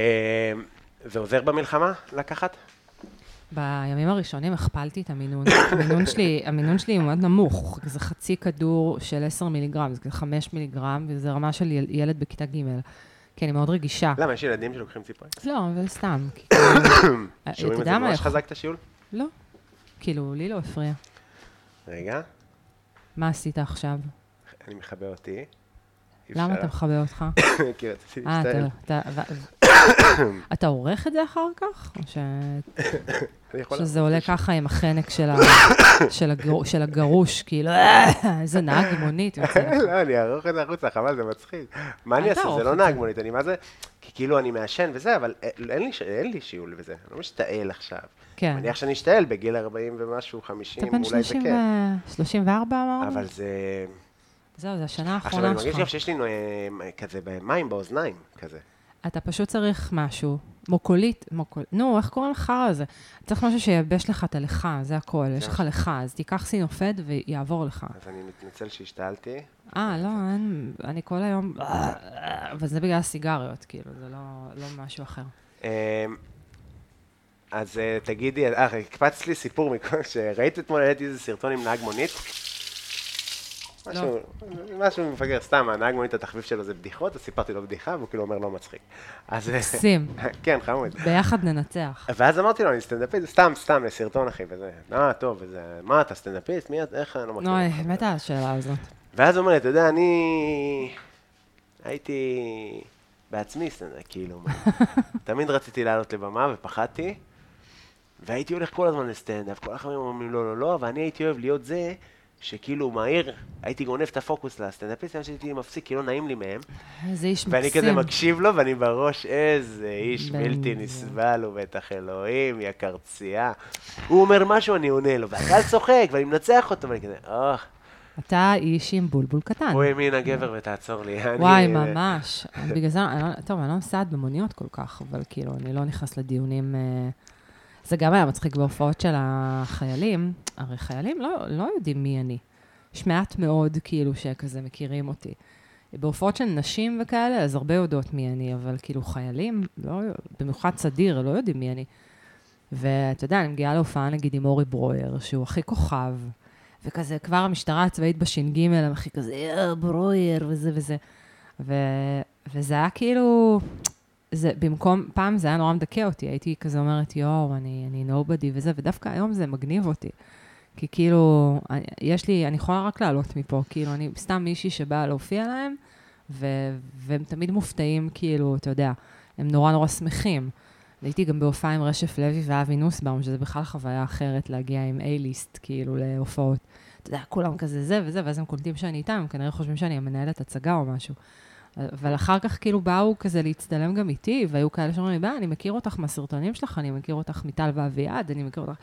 זה עוזר במלחמה לקחת?
בימים הראשונים הכפלתי את המינון. המינון שלי, המינון שלי הוא מאוד נמוך, זה חצי כדור של 10 מיליגרם, זה כזה 5 מיליגרם, וזה רמה של יל- ילד בכיתה ג', כי אני מאוד רגישה.
למה, יש ילדים שלוקחים ציפורן?
לא, אבל סתם. כי כאילו, אה,
שומעים
אתה
את זה
יודע מה
ממש
יכול-
חזק את השיעול?
לא. כאילו, לי לא הפריע.
רגע,
מה עשית עכשיו?
אני מכבה אותי. אי
למה
אפשר.
אתה מכבה אותך?
כי רציתי
אה,
להשתעל.
אתה- אתה... ו- אתה עורך את זה אחר כך? או ש-
אני יכול...
שזה עולה ככה עם החנק של ה- של הגר- של הגרוש, כאילו, איזה נהג מונית יוצא לך.
לא, אני אערוך את זה החוצה, חבל, זה מצחיק. מה אני
אל
אעשה?
תערוך
זה לא
את זה.
נהג מונית, אני מה זה... כי כאילו אני מעשן וזה, אבל אה, אין- אין לי ש- אין לי שיעול וזה, אני לא משתעל עכשיו.
כן.
מניח שאני אשתעל בגיל 40 ומשהו, 50,
אתה בן
אולי זה
30
כן.
ו- 34 אמרנו?
אבל זה...
זהו, זו השנה
עכשיו אני
האחרונה
מרגיש גם
שלך.
שיש לי נו- אה, כזה מים באוזניים, כזה.
אתה פשוט צריך משהו, מוקולית, מוקול... נו, איך קוראים לחרא הזה? צריך משהו שייבש לך את הלכה, זה הכל. יש
כן.
לך לכה, אז תיקח סינופד ויעבור לך.
אז אני מתנצל שהשתעלתי.
אה, לא, אין, אני כל היום... וזה בגלל הסיגריות, כאילו, זה לא- לא משהו אחר.
אמ, אז אה, תגידי, אה, הקפצת לי סיפור מכל שראית אתמול, העליתי איזה סרטון עם נהג מונית. משהו, משהו מפגר, סתם, הנהג מונית, התחביב שלו זה בדיחות, אז סיפרתי לו בדיחה, והוא כאילו אומר לא מצחיק. אז... אה,
מקסים.
כן, חמוד.
ביחד ננצח.
ואז אמרתי לו, אני סטנדאפיסט, סתם, סתם, לסרטון אחי, וזה, אה, טוב, וזה, מה, אתה סטנדאפיסט? מי, את- איך, אני לא מכיר.
נו,
אותך."
אני מתה על השאלה הזאת.
ואז הוא אומר לי, אתה יודע, אני הייתי בעצמי סטנדאפ, כאילו, מה. תמיד רציתי לעלות לבמה ופחדתי, והייתי הולך כל הזמן לסטנדאפ, כל החברים אומרים לא, לא, לא, ואני הייתי אוהב להיות זה שכאילו מהיר, הייתי גונב את הפוקוס לסטנדאפיסטים, שהייתי מפסיק, כי לא נעים לי מהם,
איזה איש מקסים.
ואני כזה מקשיב לו, ואני בראש, איזה איש
בן
בלתי
זונה.
נסבל, הוא בטח אלוהים, יא קרצייה. הוא אומר משהו, אני עונה לו, והקהל צוחק, ואני מנצח אותו, ואני כזה, אוח.
אתה איש עם בולבול קטן.
הוא האמין הגבר ותעצור לי. אני- אה,
וואי, ממש. בגלל זה, אני לא- טוב, אני לא נוסעת במוניות כל כך, אבל כאילו, אני לא נכנס לדיונים... אה, זה גם היה מצחיק בהופעות של החיילים. הרי חיילים לא, לא יודעים מי אני. יש מעט מאוד, כאילו, שכזה מכירים אותי. בהופעות של נשים וכאלה, אז הרבה יודעות מי אני, אבל כאילו חיילים, לא, במיוחד סדיר, לא יודעים מי אני. ואתה יודע, אני מגיעה להופעה נגיד עם אורי ברויר, שהוא הכי כוכב, וכזה, כבר המשטרה הצבאית בש"ג, הם הכי כזה, "אה, ברויר, וזה וזה. ו... וזה היה כאילו, זה במקום, פעם זה היה נורא מדכא אותי, הייתי כזה אומרת, יואו, אני, אני nobody וזה, ודווקא היום זה מגניב אותי. כי כאילו, אני- יש לי, אני יכולה רק לעלות מפה, כאילו, אני סתם מישהי שבאה להופיע להם, ו... והם תמיד מופתעים, כאילו, אתה יודע, הם נורא נורא שמחים. הייתי גם בהופעה עם רשף לוי ואבי נוסבאום, שזה בכלל חוויה אחרת להגיע עם A-ליסט, כאילו, להופעות. אתה יודע, כולם כזה זה וזה, ואז הם קולטים שאני איתם, הם כנראה חושבים שאני המנהלת הצגה או משהו. אבל אחר כך כאילו באו כזה להצטלם גם איתי, והיו כאלה שאומרים לי, "בא, אני מכיר אותך מהסרטונים שלך, אני מכיר אותך מטל ואביעד, אני מכיר אותך.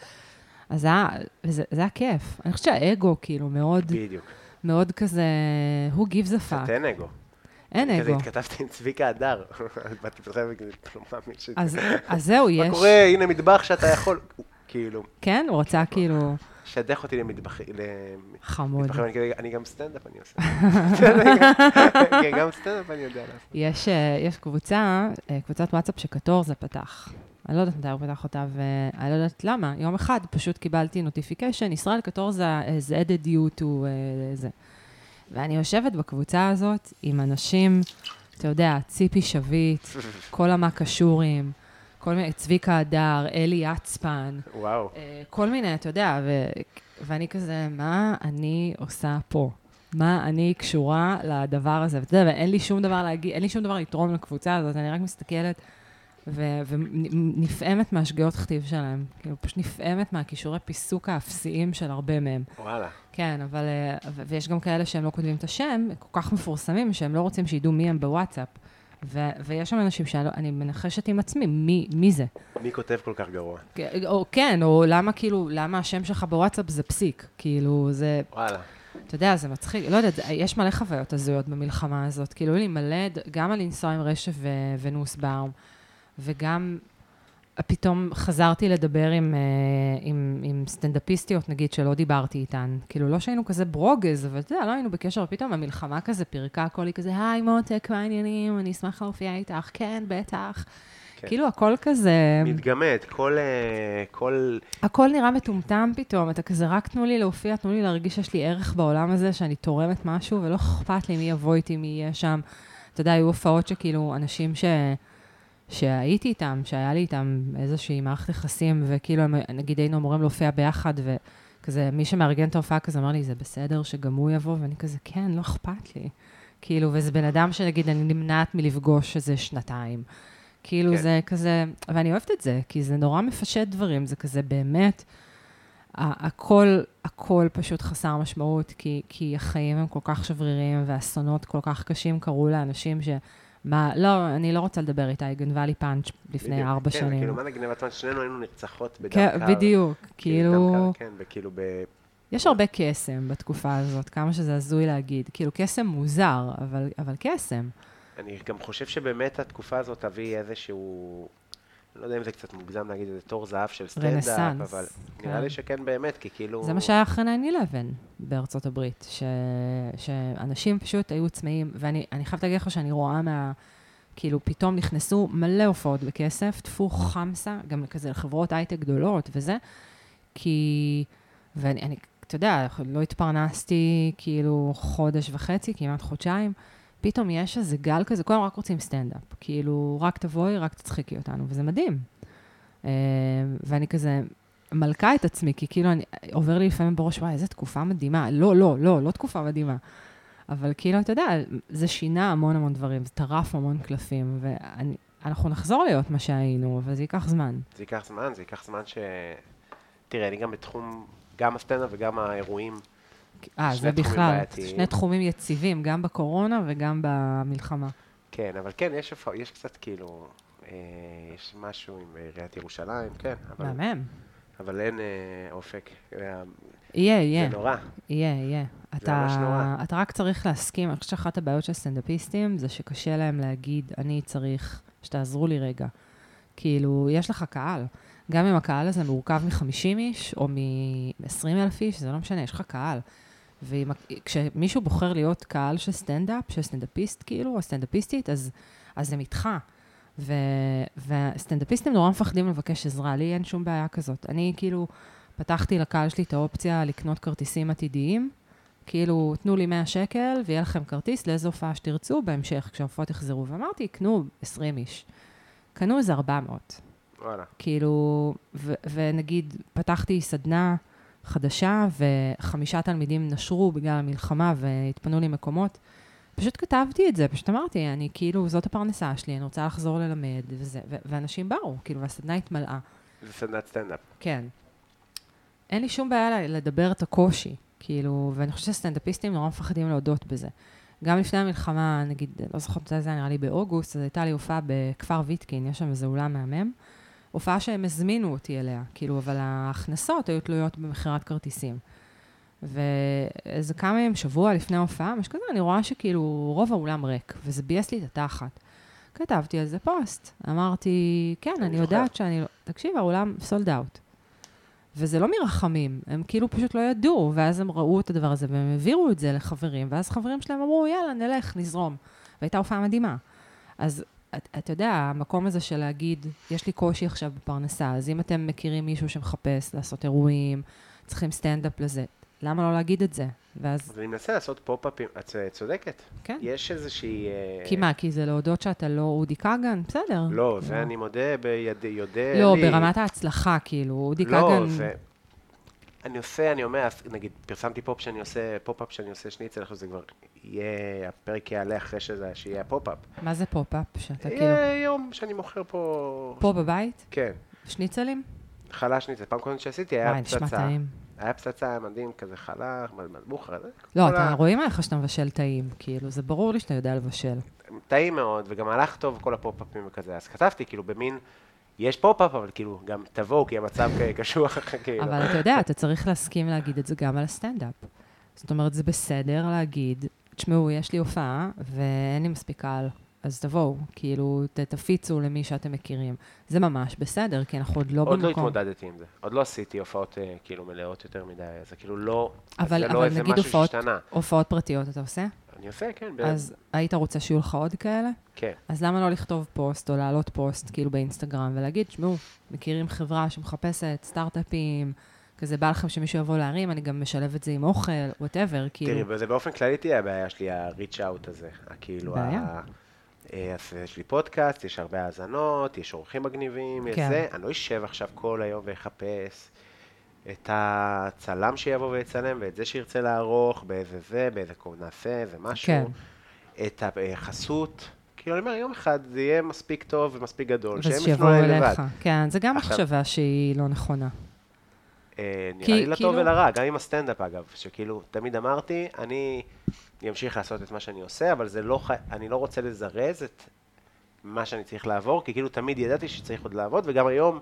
אז זה היה, וזה- זה היה כיף. אני חושבת שהאגו כאילו מאוד,
בדיוק.
מאוד כזה, who gives a fuck,
תן אגו.
אין
כזה
אגו.
התכתבתי עם צביקה הדר. אז באתי בסדר, וכזה, לא מאמין ש...
אז אז זהו,
מה
יש.
קורה? הנה מטבח שאתה יכול... כאילו,
כן, הוא רצה כאילו,
שדך אותי למטבח... למטבחים.
חמוד.
אני כזה, אני גם סטנדאפ אני עושה. כן, גם סטנדאפ אני יודע לעשות.
יש, אה, יש קבוצה, אה, קבוצת וואטסאפ שקטורזה פתח. אני לא יודעת מתי הוא פתח אותה, ואני לא יודעת למה. יום אחד פשוט קיבלתי נוטיפיקשן, ישראל קטורזה has added you to אה, זה. ואני יושבת בקבוצה הזאת עם אנשים, אתה יודע, ציפי שביט, כל המקשורים, כל מיני, צביקה הדר, אלי יצפן,
וואו.
אה, כל מיני, אתה יודע, ו... ואני כזה, מה אני עושה פה? מה אני קשורה לדבר הזה? ואתה יודע, ואין לי שום דבר להגיד, אין לי שום דבר לתרום לקבוצה הזאת, אני רק מסתכלת ו- ונפעמת מהשגיאות כתיב שלהם. כאילו, פשוט נפעמת מהכישורי פיסוק האפסיים של הרבה מהם.
וואלה.
כן, אבל... אה, ו- ויש גם כאלה שהם לא כותבים את השם, כל כך מפורסמים, שהם לא רוצים שידעו מי הם בוואטסאפ. ו- ויש שם אנשים שאני לא, מנחשת עם עצמי, מי, מי זה?
מי כותב כל כך גרוע?
או כן, או למה כאילו, למה השם שלך בוואטסאפ זה פסיק? כאילו, זה,
וואלה.
אתה יודע, זה מצחיק, לא יודעת, יש מלא חוויות הזויות במלחמה הזאת. כאילו, היו לי מלא, ד- גם על לנסוע עם רשף ו- ונוסבאום, וגם פתאום חזרתי לדבר עם, אה, עם, עם סטנדאפיסטיות, נגיד, שלא דיברתי איתן. כאילו, לא שהיינו כזה ברוגז, אבל אתה יודע, לא היינו בקשר, ופתאום המלחמה כזה פירקה הכל, היא כזה, היי מותק, מה העניינים? אני אשמח להופיע איתך. כן, בטח.
כן.
כאילו, הכל כזה...
מתגמד, כל... אה, כל...
הכל נראה מטומטם פתאום, אתה כזה, רק תנו לי להופיע, תנו לי להרגיש שיש לי ערך בעולם הזה, שאני תורמת משהו, ולא אכפת לי מי יבוא איתי, מי יהיה שם. אתה יודע, היו הופעות שכאילו, אנשים ש... שהייתי איתם, שהיה לי איתם איזושהי מערכת יחסים, וכאילו, הם, נגיד היינו אמורים להופיע ביחד, וכזה, מי שמארגן את ההופעה כזה אמר לי, זה בסדר שגם הוא יבוא, ואני כזה, כן, לא אכפת לי. כאילו, וזה בן אדם שנגיד, אני נמנעת מלפגוש איזה שנתיים. כאילו,
כן.
כן. זה כזה, ואני אוהבת את זה, כי זה נורא מפשט דברים, זה כזה באמת, ה- הכל, הכל פשוט חסר משמעות, כי, כי החיים הם כל כך שבריריים, ואסונות כל כך קשים קרו לאנשים ש... מה, לא, אני לא רוצה לדבר איתה, היא גנבה לי פאנץ' לפני
בדיוק,
ארבע
כן,
שנים.
כאילו, מה זה גנבת זמן? שנינו היינו נרצחות בדם
כן,
קר.
בדיוק,
בדם
כאילו,
קר, כן, וכאילו ב...
יש הרבה קסם בתקופה הזאת, כמה שזה הזוי להגיד. כאילו, קסם מוזר, אבל, אבל קסם.
אני גם חושב שבאמת התקופה הזאת תביא איזשהו... אני לא יודע אם זה קצת מוגזם להגיד איזה תור זהב של סטנדאפ,
רנסאנס,
אבל
כן.
נראה לי שכן באמת, כי כאילו...
זה מה שהיה אחרי 9-11 בארצות הברית, ש... שאנשים פשוט היו צמאים, ואני אני חייבת להגיד לך שאני רואה מה... כאילו, פתאום נכנסו מלא הופעות בכסף, טפו חמסה, גם כזה לחברות הייטק גדולות וזה, כי... ואני, אני, אתה יודע, לא התפרנסתי כאילו חודש וחצי, כמעט חודשיים, פתאום יש איזה גל כזה, כולם רק רוצים סטנדאפ. כאילו, רק תבואי, רק תצחיקי אותנו, וזה מדהים. אה, ואני כזה מלכה את עצמי, כי כאילו, אני, עובר לי לפעמים בראש, וואי, איזה תקופה מדהימה. לא, לא, לא, לא תקופה מדהימה. אבל כאילו, אתה יודע, זה שינה המון המון דברים, זה טרף המון קלפים, ואנחנו נחזור להיות מה שהיינו, אבל זה ייקח זמן.
זה ייקח זמן, זה ייקח זמן ש... תראה, אני גם בתחום, גם הסטנדאפ וגם האירועים.
אה,
שני
זה
תחומים
בכלל,
בעייתיים.
שני תחומים יציבים, גם בקורונה וגם במלחמה.
כן, אבל כן, יש, הופע- יש קצת כאילו... אה, יש משהו עם עיריית ירושלים, כן, אבל,
מהמם.
אבל אין אה, אופק. אה,
יהיה,
זה
יהיה,
נורא.
יהיה, יהיה.
ממש
אתה,
נורא.
אתה רק צריך להסכים, אני חושבת שאחת הבעיות של סטנדאפיסטים זה שקשה להם להגיד, אני צריך שתעזרו לי רגע. כאילו, יש לך קהל. גם אם הקהל הזה מורכב מ-50 איש או מ-20 אלף איש, זה לא משנה, יש לך קהל. וכשמישהו בוחר להיות קהל של סטנדאפ, של סטנדאפיסט כאילו, או סטנדאפיסטית, אז, אז הם איתך. ו, וסטנדאפיסטים נורא מפחדים לבקש עזרה, לי אין שום בעיה כזאת. אני כאילו פתחתי לקהל שלי את האופציה לקנות כרטיסים עתידיים, כאילו, תנו לי 100 שקל ויהיה לכם כרטיס לאיזו הופעה שתרצו בהמשך, כשההופעות יחזרו. ואמרתי, קנו 20 איש. קנו איזה 400.
וואלה.
כאילו, ו- ונגיד, פתחתי סדנה חדשה, וחמישה תלמידים נשרו בגלל המלחמה והתפנו לי מקומות. פשוט כתבתי את זה, פשוט אמרתי, אני כאילו, זאת הפרנסה שלי, אני רוצה לחזור ללמד, וזה, ו- ואנשים באו, כאילו, והסדנה התמלאה.
זה סדנת סטנדאפ.
כן. אין לי שום בעיה ל- לדבר את הקושי, כאילו, ואני חושבת שסטנדאפיסטים נורא מפחדים להודות בזה. גם לפני המלחמה, נגיד, לא זוכרת מתי זה היה, נראה לי באוגוסט, אז הייתה לי הופעה בכפר ויטקין, יש שם איזה אולם מהמם. הופעה שהם הזמינו אותי אליה, כאילו, אבל ההכנסות היו תלויות במכירת כרטיסים. ואיזה כמה ימים, שבוע לפני ההופעה, משהו כזה, אני רואה שכאילו רוב האולם ריק, וזה ביאס לי את התחת. כתבתי על זה פוסט, אמרתי, כן,
אני
אני
זוכר.
יודעת שאני... לא-" תקשיב, האולם סולד אאוט. וזה לא מרחמים, הם כאילו פשוט לא ידעו, ואז הם ראו את הדבר הזה, והם העבירו את זה לחברים, ואז חברים שלהם אמרו, יאללה, נלך, נזרום. והייתה הופעה מדהימה. אז את- אתה יודע, המקום הזה של להגיד, יש לי קושי עכשיו בפרנסה, אז אם אתם מכירים מישהו שמחפש לעשות אירועים, צריכים סטנדאפ לזה, למה לא להגיד את זה? ואז,
אז אני מנסה לעשות פופ-אפים, את אה, צודקת.
כן.
יש איזושהי... אה,
כי מה, כי זה להודות שאתה לא אודי כגן? בסדר.
לא, זה אני מודה, בידי, יודע
לא,
לי.
ברמת ההצלחה, כאילו, אודי כגן...
לא, זה... אני עושה, אני אומר, אז נגיד, פרסמתי פופ שאני עושה, פופ-אפ שאני עושה שניצל, עכשיו זה כבר יהיה, הפרק יעלה אחרי שזה, שיהיה הפופ-אפ.
מה זה פופ-אפ? שאתה כאילו...
יהיה יום שאני מוכר פה...
פה בבית?
כן,
שניצלים?
חלה שניצל. פעם קודם שעשיתי
וואי,
היה
נשמע
פצצה.
טעים.
היה פצצה, היה מדהים, כזה חלה, מלבוכר.
לא, אתה רואים עליך שאתה מבשל טעים, כאילו, זה ברור לי שאתה יודע לבשל.
טעים מאוד, וגם הלך טוב כל הפופ-אפים וכזה, אז כתבתי, כאילו, במין, יש פופ-אפ, אבל כאילו, גם תבואו, כי המצב קשוח, כאילו.
אבל אתה יודע, אתה צריך להסכים להגיד את זה גם על הסטנדאפ. זאת אומרת, זה בסדר להגיד, תשמעו, יש לי הופעה ואין לי מספיק קהל, אז תבואו, כאילו, ת- תפיצו למי שאתם מכירים. זה ממש בסדר, כי אנחנו עוד לא
עוד
במקום.
לא התמודדתי עם זה, עוד לא עשיתי הופעות אה, כאילו מלאות יותר מדי, אז זה כאילו לא,
אבל,
זה
אבל
לא איזה
נגיד
משהו
הופעות,
שהשתנה.
הופעות פרטיות אתה עושה?
אני עושה, כן, ב-
אז היית רוצה שיהיו לך עוד כאלה?
כן.
אז למה לא לכתוב פוסט או להעלות פוסט כאילו באינסטגרם ולהגיד, תשמעו, מכירים חברה שמחפשת סטארט-אפים, כזה בא לכם שמישהו יבוא להרים, אני גם משלב את זה עם אוכל, וואטאבר,
תראי,
כאילו.
וזה באופן כללי תהיה הבעיה שלי, ה-reach out הזה. ה- כאילו,
בעיה.
ה- אה, אז יש לי פודקאסט, יש הרבה האזנות, יש אורחים מגניבים, יש
כן.
זה. אני לא אשב עכשיו כל היום ואחפש את הצלם שיבוא ויצלם, ואת זה שירצה לערוך, באיזה זה, באיזה קוד נעשה, איזה משהו.
כן.
את החסות. כאילו, אני אומר, יום אחד זה יהיה מספיק טוב ומספיק גדול, שהם
אז
יפנו
שיבואו
אליי לבד.
אליך. כן, זה גם
עכשיו-
מחשבה שהיא לא נכונה.
אה,
כי-
נראה לי לטוב
כאילו-
ולרע, גם עם הסטנדאפ אגב, שכאילו, תמיד אמרתי, אני אמשיך לעשות את מה שאני עושה, אבל זה לא, חי- אני לא רוצה לזרז את מה שאני צריך לעבור, כי כאילו תמיד ידעתי שצריך עוד לעבוד, וגם היום,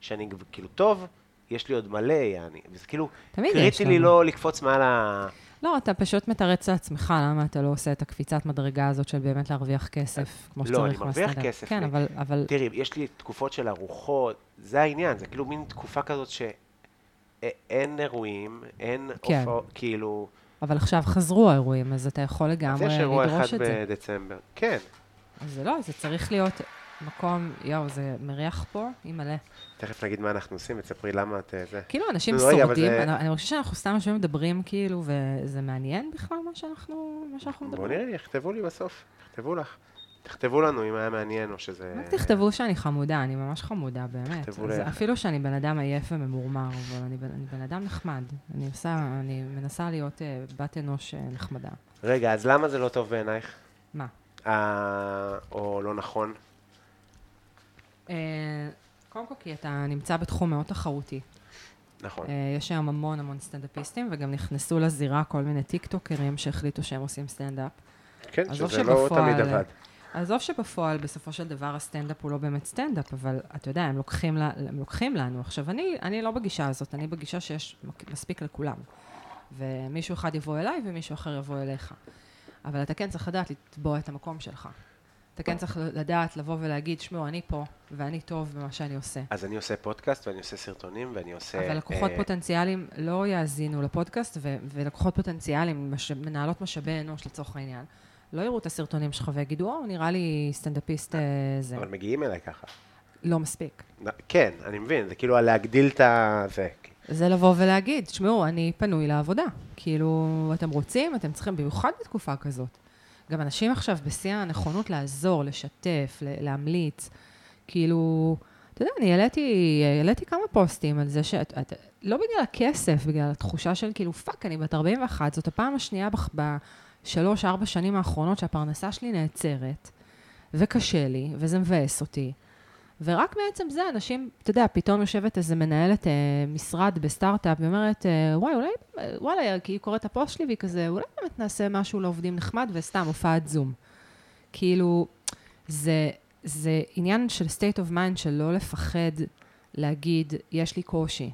שאני כבר- כאילו טוב, יש לי עוד מלא, יעני, וזה כאילו,
תמיד יש
קריטי לי
לנו.
לא לקפוץ מעל ה...
לא, אתה פשוט מתרץ לעצמך למה אתה לא עושה את הקפיצת מדרגה הזאת של באמת להרוויח כסף, כמו
לא,
שצריך
אני מרוויח
מהסטנדאפ.
כסף,
כן,
אני-
אבל- אבל
תראי, יש לי תקופות של ארוחות, זה העניין, זה כאילו מין תקופה כזאת ש... א- אין אירועים, אין
כן.
הופעות, כאילו...
אבל עכשיו חזרו האירועים, אז אתה יכול
אז
לגמרי
יש אירוע אחד
לדרוש את זה.
בדצמבר. כן.
אז זה לא, זה צריך להיות מקום, יואו, זה מריח פה, היא מלא.
תכף נגיד מה אנחנו עושים, ותספרי למה את אה, זה.
כאילו, אנשים
נו, רגע, אבל
שורדים,
זה-
אני- אני חושבת שאנחנו סתם יושבים ומדברים, כאילו, וזה מעניין בכלל מה שאנחנו מה שאנחנו
בואו
מדברים.
נראה, יכתבו לי בסוף, יכתבו לך. תכתבו לנו אם היה מעניין או שזה...
רק תכתבו שאני חמודה, אני ממש חמודה, באמת.
תכתבו
אז
לאיך.
אפילו שאני בן אדם עייף וממורמר, אבל אני בן- אני בן אדם נחמד. אני עושה, אני מנסה להיות אה, בת אנוש אה, נחמדה.
רגע, אז למה זה לא טוב בעינייך?
מה?
אה, או לא נכון?
אה, קודם כל, כי אתה נמצא בתחום מאוד תחרותי.
נכון.
אה, יש היום המון המון סטנדאפיסטים, וגם נכנסו לזירה כל מיני טיקטוקרים שהחליטו שהם עושים סטנדאפ.
כן,
עזוב
שזה לא
שבפועל- אה.
תמיד עבד.
עזוב שבפועל, בסופו של דבר, הסטנדאפ הוא לא באמת סטנדאפ, אבל אתה יודע, הם לוקחים, לה, הם לוקחים לנו. עכשיו, אני, אני לא בגישה הזאת, אני בגישה שיש מק- מספיק לכולם. ומישהו אחד יבוא אליי ומישהו אחר יבוא אליך. אבל אתה כן צריך לדעת לתבוע את המקום שלך. אתה כן צריך לדעת לבוא ולהגיד, שמעו, אני פה, ואני טוב במה שאני עושה.
אז אני עושה פודקאסט, ואני עושה סרטונים, ואני עושה...
אבל לקוחות
אה,
פוטנציאליים לא יאזינו לפודקאסט, ו- ולקוחות פוטנציאליים, מש- מנהלות משאבי אנוש לצורך העניין, לא יראו את הסרטונים שלך ויגידו, או, נראה לי סטנדאפיסט אה, זה.
אבל מגיעים אליי ככה.
לא מספיק.
נ- כן, אני מבין, זה כאילו על להגדיל את ה... זה.
זה לבוא ולהגיד, תשמעו, אני פנוי לעבודה. כאילו, אתם רוצים, אתם צריכים, במיוחד בתקופה כזאת. גם אנשים עכשיו בשיא הנכונות לעזור, לשתף, ל- להמליץ. כאילו, אתה יודע, אני העליתי, העליתי כמה פוסטים על זה שאת... את, לא בגלל הכסף, בגלל התחושה של כאילו, פאק, אני בת 41, זאת הפעם השנייה בח- בשלוש, ארבע שנים האחרונות שהפרנסה שלי נעצרת, וקשה לי, וזה מבאס אותי. ורק מעצם זה אנשים, אתה יודע, פתאום יושבת איזה מנהלת אה, משרד בסטארט-אפ ואומרת, אה, וואי, אולי, אה, וואלה, כי היא קוראת את הפוסט שלי והיא כזה, אולי באמת נעשה משהו לעובדים נחמד וסתם הופעת זום. כאילו, זה, זה עניין של state of mind של לא לפחד להגיד, יש לי קושי.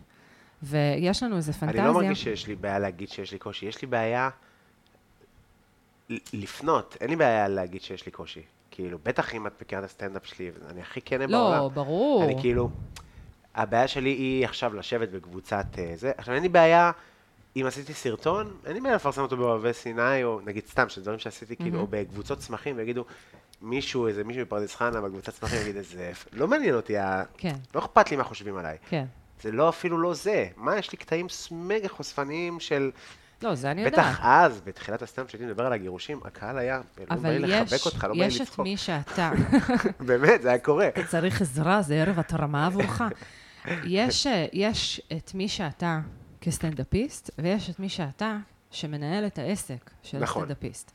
ויש לנו איזה
אני
פנטזיה.
לא מרגיש שיש לי בעיה להגיד שיש לי קושי, יש לי בעיה ל- לפנות, אין לי בעיה להגיד שיש לי קושי. כאילו, בטח אם את מכירה את הסטנדאפ שלי, אני הכי כנה בעולם.
לא, ברור.
אני כאילו, הבעיה שלי היא עכשיו לשבת בקבוצת אה, זה. עכשיו, אין לי בעיה, אם עשיתי סרטון, אין לי בעיה לפרסם אותו באוהבי סיני, או נגיד סתם, של דברים שעשיתי, כאילו, או בקבוצות צמחים, ויגידו, מישהו, איזה מישהו מפרדס חנה בקבוצת צמחים, יגיד איזה... לא מעניין אותי, ה-
כן,
לא אכפת לי מה חושבים עליי.
כן.
זה לא אפילו לא זה. מה, יש לי קטעים ס- מגה חושפניים של...
לא, זה אני יודעת.
בטח אז, בתחילת הסתם, כשהייתי מדבר על הגירושים, הקהל היה... לא בא לי
אבל
לחבק
יש,
אותך, לא בא לי
יש את
לצחוק.
מי שאתה.
באמת, זה היה קורה.
אתה צריך עזרה, זה ערב התרמה עבורך. יש, אה, יש את מי שאתה כסטנדאפיסט, ויש את מי שאתה שמנהל את העסק של
נכון.
הסטנדאפיסט.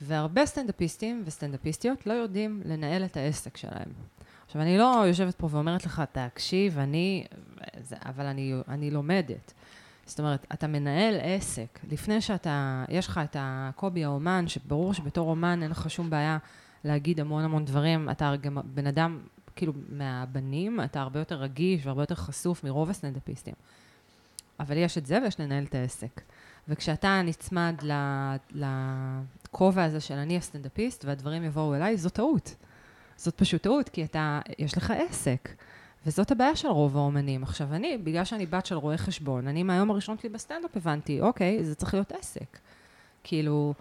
והרבה סטנדאפיסטים וסטנדאפיסטיות לא יודעים לנהל את העסק שלהם. עכשיו, אני לא יושבת פה ואומרת לך, תקשיב, אני... זה- אבל אני, אני לומדת. זאת אומרת, אתה מנהל עסק, לפני שאתה, יש לך את הקובי האומן, שברור שבתור אומן אין לך שום בעיה להגיד המון המון דברים. אתה הרי גם בן אדם, כאילו, מהבנים, אתה הרבה יותר רגיש והרבה יותר חשוף מרוב הסטנדאפיסטים. אבל יש את זה ויש לנהל את העסק. וכשאתה נצמד ל- לכובע הזה של אני הסטנדאפיסט והדברים יבואו אליי, זו טעות. זאת פשוט טעות, כי אתה, יש לך עסק. וזאת הבעיה של רוב האומנים. עכשיו, אני, בגלל שאני בת של רואי חשבון, אני מהיום הראשון שלי בסטנדאפ הבנתי, אוקיי, זה צריך להיות עסק. כאילו,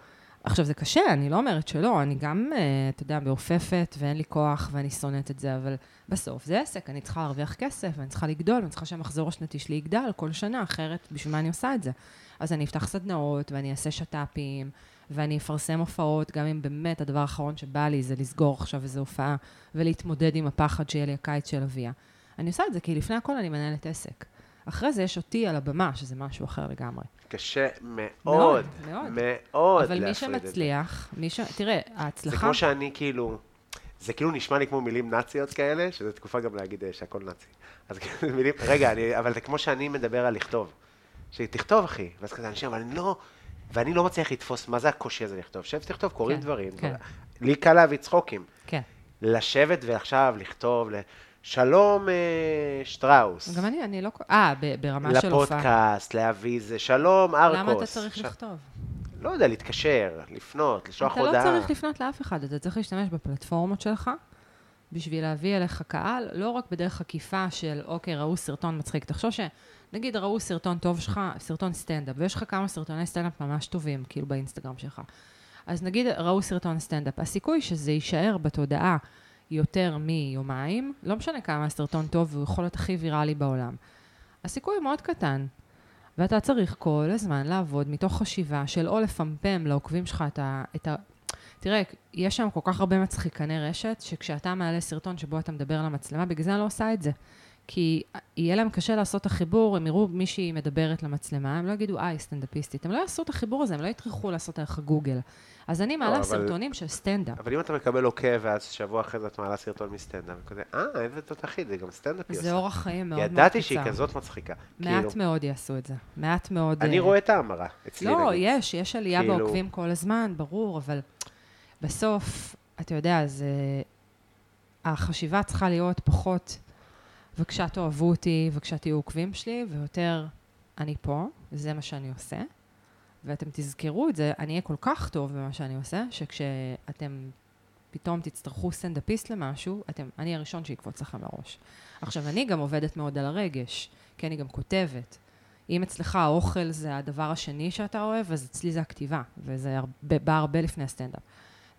עכשיו זה קשה, אני לא אומרת שלא, אני גם, אה, אתה יודע, מעופפת ואין לי כוח ואני שונאת את זה, אבל בסוף זה עסק, אני צריכה להרוויח כסף, ואני צריכה לגדול, ואני צריכה שהמחזור השנתי שלי יגדל כל שנה, אחרת בשביל מה אני עושה את זה? אז אני אפתח סדנאות, ואני אעשה שת"פים, ואני אפרסם הופעות, גם אם באמת הדבר האחרון שבא לי זה לסגור עכשיו איזו הופעה, ולהתמודד עם הפחד שיהיה לי הקיץ של אביה. אני עושה את זה כי לפני הכל אני מנהלת עסק. אחרי זה יש אותי על הבמה, שזה משהו אחר לגמרי.
קשה מאוד,
מאוד,
מאוד
מאוד.
להפריד את זה.
אבל מי שמצליח, מי ש... תראה,
זה
ההצלחה...
כמו שאני כאילו, זה כאילו נשמע לי כמו מילים נאציות כאלה, שזו תקופה גם להגיד אה, שהכל נאצי. אז כאילו זה מילים, רגע, אני, אבל זה כמו שאני מדבר על לכתוב. שתכתוב אחי, ואז כזה אנשים, אבל לא, ואני לא מצליח לתפוס מה זה הקושי הזה לכתוב. שב תכתוב, קוראים
כן,
דברים.
כן.
לי קל להביא צחוקים.
כן.
לשבת ועכשיו לכתוב, ל- שלום אה, שטראוס.
גם אני, אני לא... אה, ב- ברמה של הופעה.
לפודקאסט, להביא זה, שלום ארקוס.
למה אתה צריך
ש-
לכתוב?
לא יודע, להתקשר, לפנות, לשלוח
אתה
הודעה.
לא צריך לפנות לאף אחד, אתה צריך להשתמש בפלטפורמות שלך בשביל להביא אליך קהל, לא רק בדרך עקיפה של, אוקיי, ראו סרטון מצחיק. תחשוב שנגיד ראו סרטון טוב שלך, סרטון סטנדאפ, ויש לך כמה סרטוני סטנדאפ ממש טובים, כאילו באינסטגרם שלך. אז נגיד ראו סרטון סטנדאפ, הסיכוי שזה יישאר בתודעה יותר מיומיים, לא משנה כמה הסרטון טוב, והוא יכול להיות הכי ויראלי בעולם. הסיכוי מאוד קטן. ואתה צריך כל הזמן לעבוד מתוך חשיבה של או לפמפם לעוקבים שלך את ה... את ה... תראה, יש שם כל כך הרבה מצחיקני רשת, שכשאתה מעלה סרטון שבו אתה מדבר למצלמה, בגלל זה אני לא עושה את זה. כי יהיה להם קשה לעשות את החיבור, הם יראו מישהי מדברת למצלמה, הם לא יגידו, אה, היא סטנדאפיסטית. הם לא יעשו את החיבור הזה, הם לא יטרחו לעשות עליך גוגל. אז אני מעלה
לא, אבל-
סרטונים של סטנדאפ.
אבל אם אתה מקבל עוקב, ואז שבוע אחרי זה את מעלה סרטון מסטנדאפ, וכזה, אה, איזה תותחית, זה גם סטנדאפ היא עושה.
זה אורח חיים מאוד מאוד קצר.
ידעתי שהיא כזאת מצחיקה.
מעט
כאילו,
מאוד יעשו את זה. מעט מאוד...
אני
אה,
רואה את ההמרה אצלי.
לא,
נגיד.
יש, יש עלייה
כאילו-
כאילו... בעוקבים כל הזמן, ברור, אבל בסוף, אתה יודע, זה... החשיבה צריכה להיות פחות, בבקשה תאהבו אותי, בבקשה תהיו עוקבים שלי, ויותר, אני פה, זה מה שאני עושה. ואתם תזכרו את זה, אני אהיה כל כך טוב במה שאני עושה, שכשאתם פתאום תצטרכו סטנדאפיסט למשהו, אתם, אני הראשון שיקפוץ לכם לראש. עכשיו, אני גם עובדת מאוד על הרגש, כי אני גם כותבת. אם אצלך האוכל זה הדבר השני שאתה אוהב, אז אצלי זה הכתיבה, וזה הרבה, בא הרבה לפני הסטנדאפ.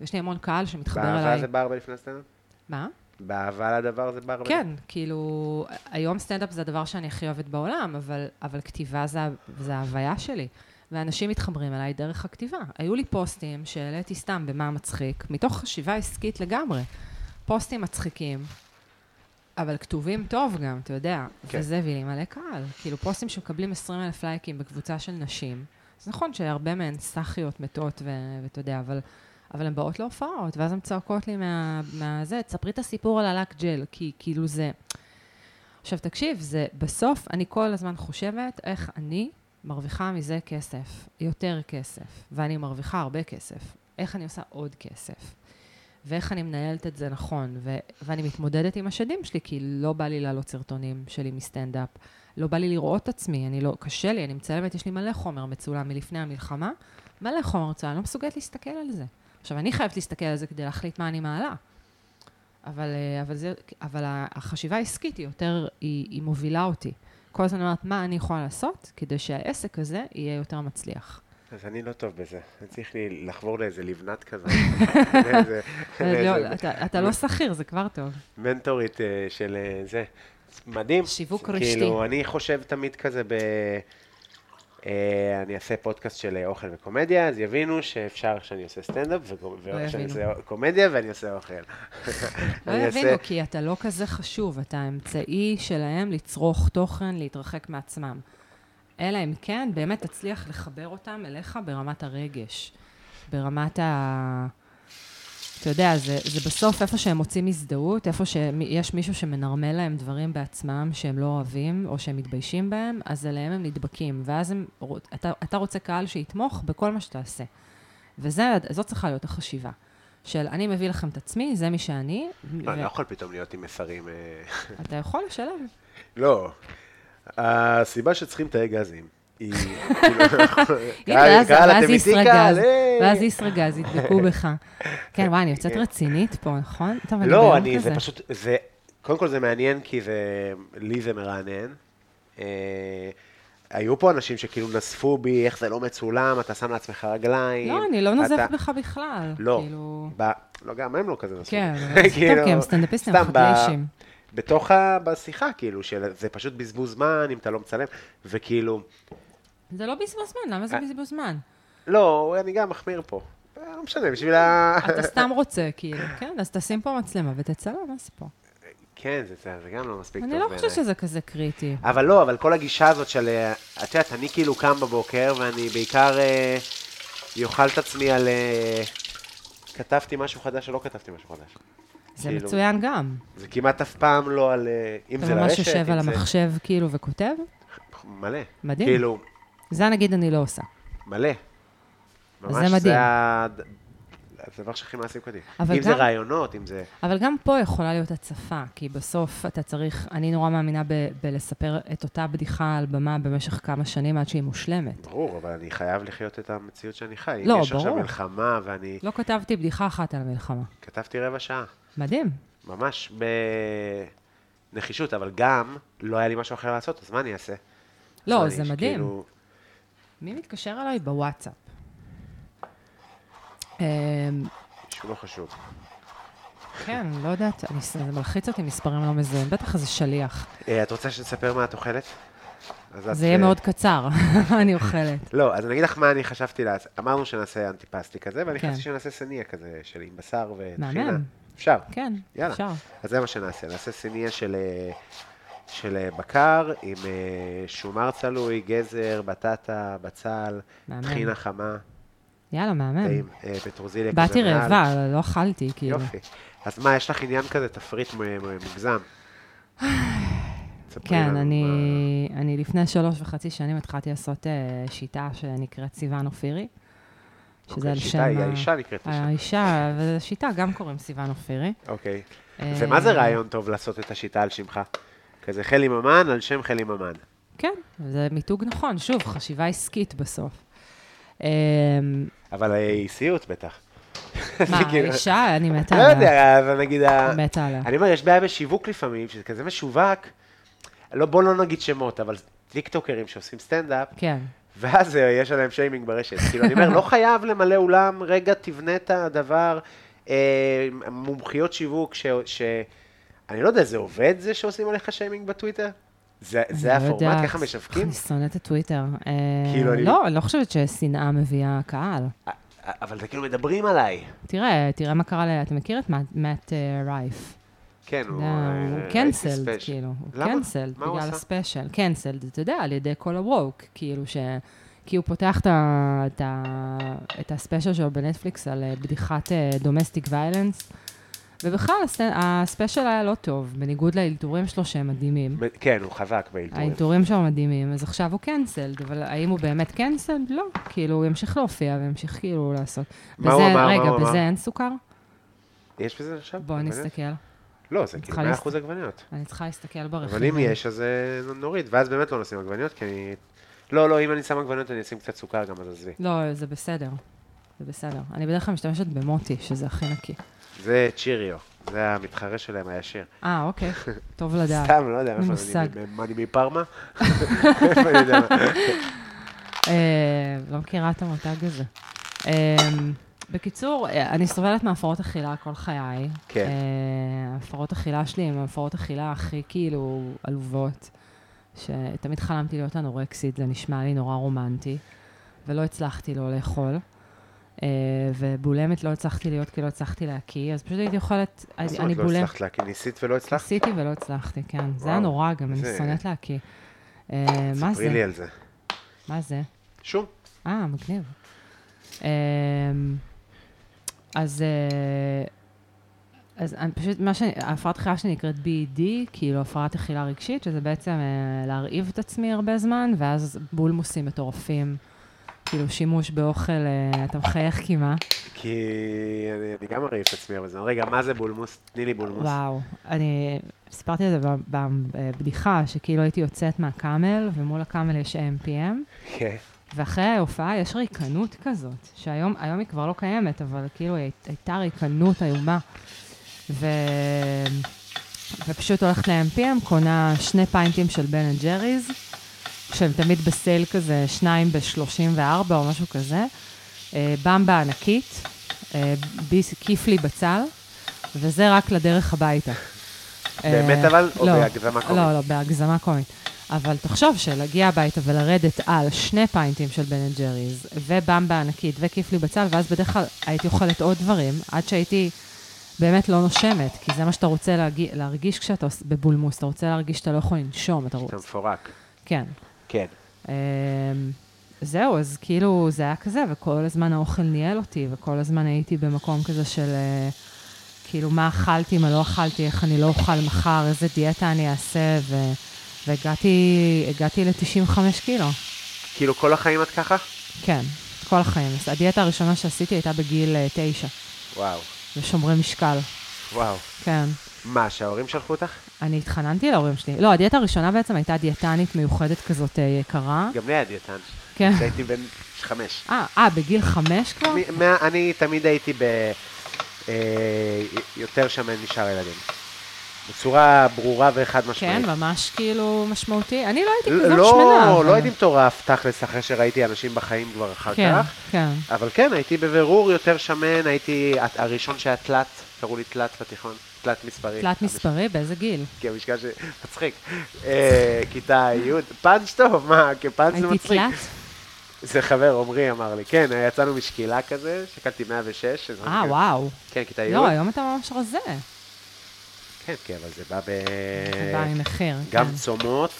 ויש לי המון קהל שמתחבר
באהבה
אליי.
זה בא הרבה לפני הסטנדאפ?
מה?
באהבה לדבר זה בא הרבה?
כן, כאילו, היום סטנדאפ זה הדבר שאני הכי אוהבת בעולם, אבל, אבל כתיבה זה, ה- זה ההוויה שלי. ואנשים מתחברים אליי דרך הכתיבה. היו לי פוסטים שהעליתי סתם במה מצחיק, מתוך חשיבה עסקית לגמרי. פוסטים מצחיקים, אבל כתובים טוב גם, אתה יודע.
כן.
כן. וזה הביא לי מלא קהל. כאילו, פוסטים שמקבלים 20 אלף לייקים בקבוצה של נשים. זה נכון שהרבה מהן סאחיות מתות, ו- ואתה יודע, אבל... אבל הן באות להופעות, ואז הן צועקות לי מה, מהזה, תספרי את הסיפור על הלק ג'ל, כי כאילו זה... עכשיו תקשיב, זה בסוף, אני כל הזמן חושבת איך אני מרוויחה מזה כסף, יותר כסף, ואני מרוויחה הרבה כסף. איך אני עושה עוד כסף, ואיך אני מנהלת את זה נכון, ו- ואני מתמודדת עם השדים שלי, כי לא בא לי להעלות סרטונים שלי מסטנדאפ, לא בא לי לראות את עצמי, אני לא, קשה לי, אני מצלמת, יש לי מלא חומר מצולם מלפני המלחמה, מלא חומר מצולם, אני לא מסוגלת להסתכל על זה. עכשיו, אני חייבת להסתכל על זה כדי להחליט מה אני מעלה. אבל, אה, אבל, זה, אבל ה- החשיבה העסקית היא יותר, היא, היא מובילה אותי. כל הזמן אומרת, מה אני יכולה לעשות כדי שהעסק הזה יהיה יותר מצליח.
אז אני לא טוב בזה. אני צריך לי לחבור לאיזה לבנת כזאת. לאיזה-
לא,
לאיזה
אתה, אתה לא שכיר, זה כבר טוב.
מנטורית אה, של אה, זה. מדהים.
שיווק
כאילו,
רשתי.
אני חושב תמיד כזה ב... אה, אני אעשה פודקאסט של אה, אוכל וקומדיה, אז יבינו שאפשר שאני עושה סטנדאפ, וקו- ועכשיו אני
לא יבינו.
עושה קומדיה ואני עושה אוכל.
לא
אני אעשה-
יבינו, כי אתה לא כזה חשוב, אתה האמצעי שלהם לצרוך תוכן, להתרחק מעצמם. אלא אם כן, באמת תצליח לחבר אותם אליך ברמת הרגש, ברמת ה... אתה יודע, זה, זה בסוף איפה שהם מוצאים הזדהות, איפה שיש מישהו שמנרמל להם דברים בעצמם שהם לא אוהבים, או שהם מתביישים בהם, אז אליהם הם נדבקים. ואז הם, רוצ- אתה, אתה רוצה קהל שיתמוך בכל מה שתעשה. וזאת צריכה להיות החשיבה. של אני מביא לכם את עצמי, זה מי שאני.
לא, אני
ו-
לא יכול פתאום להיות עם מסרים... אה,
אתה יכול לשלם.
לא. הסיבה שצריכים תאי גזים היא... כאילו,
הנה, ואז-
קהל,
ואז
אתם איתי,
ישראגז,
קהל, אה. היי.
ואז ישראגז ידבקו בך. כן, וואי, אני יוצאת רצינית פה, נכון? טוב, אני
לא,
בהלם
אני, זה
כזה.
פשוט, זה, קודם כל זה מעניין, כי זה, לי זה מרענן. אה, היו פה אנשים שכאילו נזפו בי, איך זה לא מצולם, אתה שם לעצמך רגליים.
לא, אני לא נוזפת
אתה-
בך בכלל.
לא,
כאילו...
ב... לא, גם הם לא כזה נזפו.
כן,
בי.
אבל סתם, כי הם סטנדאפיסטים,
סתם,
הם
ב-
חדל"שים.
בתוך ה... בשיחה, כאילו, שזה פשוט בזבוז זמן, אם אתה לא מצלם, וכאילו,
זה לא בזבוז זמן, למה זה
אה.
בזבוז זמן?
לא, אני גם מחמיר פה. אה, לא משנה, בשביל ה...
אתה סתם רוצה, כאילו, כן? אז תשים פה מצלמה ותצלם, מה הסיפור?
כן, זה- זה זה גם לא מספיק טוב.
אני לא חושבת
בעיניי.
שזה כזה קריטי.
אבל לא, אבל כל הגישה הזאת של... אה, את יודעת, אני כאילו קם בבוקר, ואני בעיקר אה, יאכל את עצמי על... אה, כתבתי משהו חדש או לא כתבתי משהו חדש.
זה
כאילו-
מצוין גם.
זה כמעט אף פעם לא על... אה, אם
אתה
זה לרשת,
ממש יושב
אם
על
זה-
המחשב, כאילו, וכותב?
מלא.
מדהים.
כאילו,
זה נגיד אני לא עושה.
מלא. ממש,
מדהים.
זה ה- הדבר שהכי מעסיק אותי.
אבל
אם זה
גם-
רעיונות, אם זה...
אבל גם פה יכולה להיות הצפה, כי בסוף אתה צריך, אני נורא מאמינה ב- בלספר את אותה בדיחה על במה במשך כמה שנים עד שהיא מושלמת.
ברור, אבל אני חייב לחיות את המציאות שאני חי.
לא,
אם יש עכשיו
ברור.
מלחמה, ואני...
לא כתבתי בדיחה אחת על מלחמה.
כתבתי רבע שעה.
מדהים.
ממש בנחישות, אבל גם לא היה לי משהו אחר לעשות, אז מה אני אעשה?
לא,
אז
זה
אני
מדהים.
כאילו-
מי מתקשר אליי בוואטסאפ? אמ,
שהוא לא חשוב.
כן, לא יודעת, אני- זה מלחיץ אותי מספרים לא מזוהים, בטח זה שליח.
אה, את רוצה שנספר מה את אוכלת? אז את,
זה יהיה
אה,
מאוד קצר, מה אני אוכלת.
לא, אז אני אגיד לך מה אני חשבתי לעשות. אמרנו שנעשה אנטיפסטי כזה, ואני
כן.
חשבתי שנעשה סניה כזה, של עם בשר וטחינה.
מהמם.
אפשר.
כן,
יאללה.
אפשר.
אז זה מה שנעשה, נעשה סניה של, אה, של אה, בקר עם אה, שומר צלוי, גזר, בטטה, בצל,
מהמם.
טחינה חמה,
יאללה, מהמם.
טעים, אה, פטרוזיליה.
באתי
כזה מעל.
רעבה, לא אכלתי, כאילו.
יופי. אז מה, יש לך עניין כזה תפריט מ- מ- מוגזם? תספרי
כן,
לנו
אני,
מה-
אני לפני שלוש וחצי שנים התחלתי לעשות אה, שיטה שנקראת סיוון אופירי, שזה
אוקיי,
על שם...
שיטה, היא
ה- אה,
האישה נקראת לשם.
האישה, ושיטה גם קוראים סיוון אופירי.
אוקיי.
אה,
ומה זה רעיון טוב לעשות את השיטה על שמך? כזה חלי ממן על שם חלי ממן.
כן, זה מיתוג נכון, שוב, חשיבה עסקית בסוף. אה,
אבל היא סיוט בטח.
מה,
זה כאילו-
האישה, אני מתה
לא
עליה.
יודע, אבל נגיד... ה-
אני מתה עליה.
אני אומר, יש בעיה בשיווק לפעמים, שזה כזה משווק. לא, בוא לא נגיד שמות, אבל טיקטוקרים שעושים סטנדאפ,
כן,
ואז אה, יש עליהם שיימינג ברשת. כאילו, אני אומר, לא חייב למלא אולם, רגע, תבנה את הדבר. אה, מומחיות שיווק, ש... ש... אני לא יודע, זה עובד זה שעושים עליך שיימינג בטוויטר? זה, זה
אני לא
הפורמט,
יודעת.
ככה משווקים?
אני שונאת את טוויטר. אה,
כאילו, אני-
לא, אני לא חושבת ששנאה מביאה קהל.
אה, אה, אבל זה כאילו מדברים עליי.
תראה, תראה מה קרה ל... אתה מכיר את מאט- מאט אה, רייף?
כן, הוא...
אתה יודע, לא, הוא
אה,
קנסלד,
ראיתי ספיישל.
כאילו. הוא
למה?
קנסלד,
מה הוא
בגלל
עשה?
הספיישל. קנסלד, אתה יודע, על ידי כל הווק, כאילו ש... כי הוא פותח את, ה... את, ה... את הספיישל שלו בנטפליקס על אה, בדיחת דומסטיק ויילנס, ובכלל הסט- הספיישל היה לא טוב, בניגוד לאלתורים שלו שהם מדהימים.
מ- כן, הוא חזק באלתורים.
האלתורים שלו מדהימים, אז עכשיו הוא קנסלד, אבל האם הוא באמת קנסלד? לא. כאילו, הוא ימשיך להופיע וימשיך כאילו לעשות.
מה הוא
בזה-
אמר? מה
רגע,
הוא אמר? אה,
בזה אין סוכר?
יש בזה עכשיו?
בוא
עגבניות?
נסתכל.
לא, זה כאילו
צריכה
100% עגבניות.
אני צריכה להסתכל ברכיב.
אבל אם יש, אז אה, נוריד. ואז באמת לא נשים עגבניות, כי אני... לא, לא, אם אני שם עגבניות, אני אשים קצת סוכר גם, אז עזבי.
לא, זה בסדר. זה בסדר. אני בדרך כלל משתמשת במוטי, שזה הכי נקי.
זה צ'יריו, זה המתחרה שלהם הישיר.
אה, אוקיי. טוב לדעת.
סתם, לא יודע,
אין לי
איפה
מושג.
אני, מה, אני מפרמה? איפה אני יודע מה?
אה, לא מכירה את המותג הזה. אה, בקיצור, אה, אני סובלת מהפרעות אכילה כל חיי.
כן.
אה, הפרעות אכילה שלי הן הפרעות אכילה הכי כאילו עלובות, שתמיד חלמתי להיות אנורקסית, זה נשמע לי נורא רומנטי, ולא הצלחתי לא לאכול. אה, ובולמת לא הצלחתי להיות כי לא הצלחתי להקיא, אז פשוט הייתי אוכלת,
מה
אני
זאת
אני
אומרת, לא
בולמת.
הצלחת לה, כי ניסית ולא הצלחת?
ניסיתי ולא הצלחתי, כן. זה היה
וואו,
נורא גם, אני
זה-
שונאת להקיא. אה, מה
ספרי לי
זה?
על זה.
מה זה?
שום.
אה, מגניב. אמ, אז אה, אז אני פשוט, מה ש... ההפרעת אכילה שלי נקראת BED, כאילו הפרעת אכילה רגשית, שזה בעצם אה, להרעיב את עצמי הרבה זמן, ואז בולמוסים מטורפים. כאילו שימוש באוכל, אה, אתה מחייך קימה.
כי אני, אני גם מרעיף את עצמי הרבה זמן. רגע, מה זה בולמוס? תני לי בולמוס.
וואו, אני סיפרתי את זה ב- בבדיחה, שכאילו הייתי יוצאת מהקאמל, ומול הקאמל יש AMPM,
כן.
ואחרי ההופעה יש ריקנות כזאת, שהיום היום היא כבר לא קיימת, אבל כאילו היא הייתה ריקנות איומה. ו... ופשוט הולכת ל-MPM, קונה שני פיינטים של בן אנד ג'ריז, שהם תמיד בסייל כזה, שניים ב-34 או משהו כזה, אה, במבה ענקית, אה, ביס- כיפלי בצל, וזה רק לדרך הביתה.
באמת
אה,
אבל? או
לא.
בהגזמה קומית?
לא, לא, בהגזמה קומית. אבל תחשוב שלהגיע הביתה ולרדת על שני פיינטים של בן אנד ג'ריז, ובמבה ענקית, וכיפלי בצל, ואז בדרך כלל הייתי אוכלת עוד דברים, עד שהייתי באמת לא נושמת, כי זה מה שאתה רוצה להגיע, להרגיש כשאתה עוש- בבולמוס, אתה רוצה להרגיש שאתה לא יכול לנשום, אתה
אתה
רוצה...
מפורק.
כן.
כן.
אמ, זהו, אז כאילו זה היה כזה, וכל הזמן האוכל ניהל אותי, וכל הזמן הייתי במקום כזה של אה, כאילו מה אכלתי, מה לא אכלתי, איך אני לא אוכל מחר, איזה דיאטה אני אעשה, ו... והגעתי הגעתי ל-95 קילו,
כאילו כל החיים את ככה?
כן, כל החיים. אז הדיאטה הראשונה שעשיתי הייתה בגיל 9,
וואו.
ושומרי משקל,
וואו.
כן.
מה, שההורים שלחו אותך?
אני התחננתי להורים שלי. לא, הדיאטה הראשונה בעצם הייתה דיאטנית מיוחדת כזאת אה, יקרה.
גם לי היה דיאטן.
כן.
כשהייתי בן חמש.
אה, אה, בגיל חמש כבר?
מ- מה- אני תמיד הייתי ב... אה, יותר שמן משאר הילדים. בצורה ברורה וחד
כן,
משמעית.
ממש כאילו משמעותי. אני לא הייתי כזאת שמנה.
לא,
אבל-
לא הייתי מטורף תכלס אחרי שראיתי אנשים בחיים כבר אחר
כן,
כך,
כן.
אבל כן, הייתי בבירור יותר שמן, הייתי הת- הראשון שהיה תלת, קראו לי תלת בתיכון, תלת מספרי.
תלת מספרי, באיזה גיל?
כי המשקל ש... מצחיק. אה, כיתה י', פאנץ' טוב, מה, כפאנץ' זה
הייתי
מצחיק.
תלת?
זה חבר, עמרי אמר לי, כן, יצאנו משקילה כזה, שקלתי 106. שזה-
אה, וואו.
כן, כיתה י'.
לא, היום אתה ממש רזה.
כן, כן, אבל זה בא ב...
זה בא עם מחיר.
אה, גם
כן.
צומות,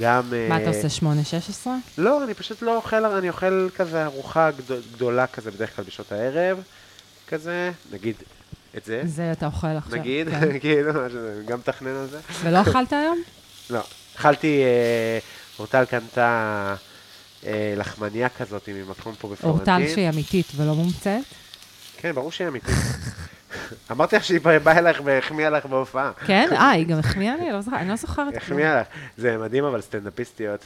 גם...
מה
אה,
אתה עושה, 8-16?
לא, אני פשוט לא אוכל, אני אוכל כזה ארוחה גדול- גדולה כזה בדרך כלל בשעות הערב, כזה, נגיד את זה,
זה אתה אוכל עכשיו.
כן. נגיד,
כן.
כאילו, משהו כזה, גם מתכנן על זה.
ולא אכלת היום?
לא, אכלתי, אה, אורטל קנתה אה, לחמניה כזאת ממקום פה בפלורנטין.
אורטל שהיא אמיתית ולא מומצאת?
כן, ברור שהיא אמיתית. אמרתי לך שהיא באה באה אלייך והחמיאה לך בהופעה.
כן? אה, היא גם החמיאה לי? לא זוכרת- אני לא זוכרת. כלום.
החמיאה לך. זה מדהים, אבל סטנדאפיסטיות,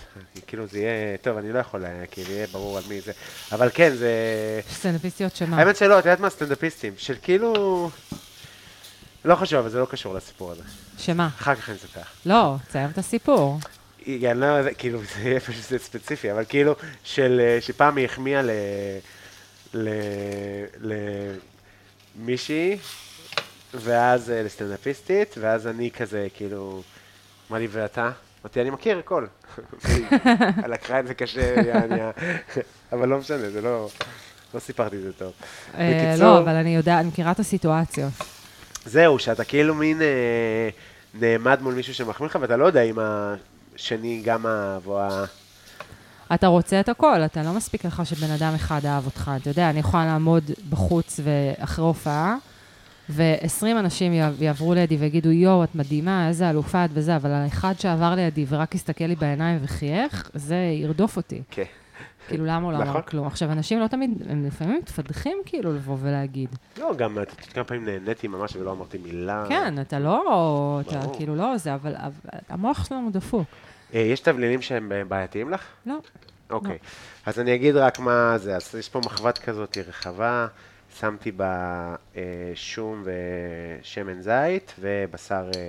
כאילו זה יהיה, טוב, אני לא יכול, אה, כאילו יהיה ברור על מי זה. אבל כן, זה...
סטנדאפיסטיות שמה?
האמת שלא, את יודעת מה סטנדאפיסטים, של כאילו... לא חשוב, אבל זה לא קשור לסיפור הזה.
שמה?
אחר כך אני אספר.
לא, תסיים את הסיפור.
היא- אני לא יודע, כאילו, זה יהיה פשוט זה ספציפי, אבל כאילו, של, אה, שפעם היא החמיאה ל... ל... למישהי, ואז אה, לסטנדאפיסטית, ואז אני כזה, כאילו, אמר לי, ואתה? אמרתי, אני מכיר הכל. והיא לקחה את זה קשה, יעני, אבל לא משנה, זה לא... לא סיפרתי את זה טוב.
אה,
בקיצור-
לא, אבל אני יודעת, אני מכירה את הסיטואציות.
זהו, שאתה כאילו מין אה, נעמד מול מישהו שמחמיא לך, ואתה לא יודע אם השני גם אהב או ה...
אתה רוצה את הכל, אתה לא מספיק לך שבן אדם אחד אהב אותך. אתה יודע, אני יכולה לעמוד בחוץ ואחרי הופעה, ו-20 אנשים יע- יעברו לידי ויגידו, יואו, את מדהימה, איזה אלופה את וזה, אבל האחד שעבר לידי ורק הסתכל לי בעיניים וחייך, זה ירדוף אותי.
כן.
כאילו, למה הוא לא אמר
נכון.
כלום? עכשיו, אנשים לא תמיד, הם לפעמים מתפדחים כאילו לבוא ולהגיד.
לא, גם את יודעת כמה פעמים נהניתי ממש ולא אמרתי מילה.
כן, אתה לא, אתה
אה. ברור.
כאילו לא זה, אבל אבל המוח שלנו דפוק.
אה, יש תבלינים שהם אה, בעייתיים לך?
לא.
אוקיי. אז אני אגיד רק מה זה. אז יש פה מחבת כזאת רחבה, שמתי בה אה, שום ושמן זית ובשר אה,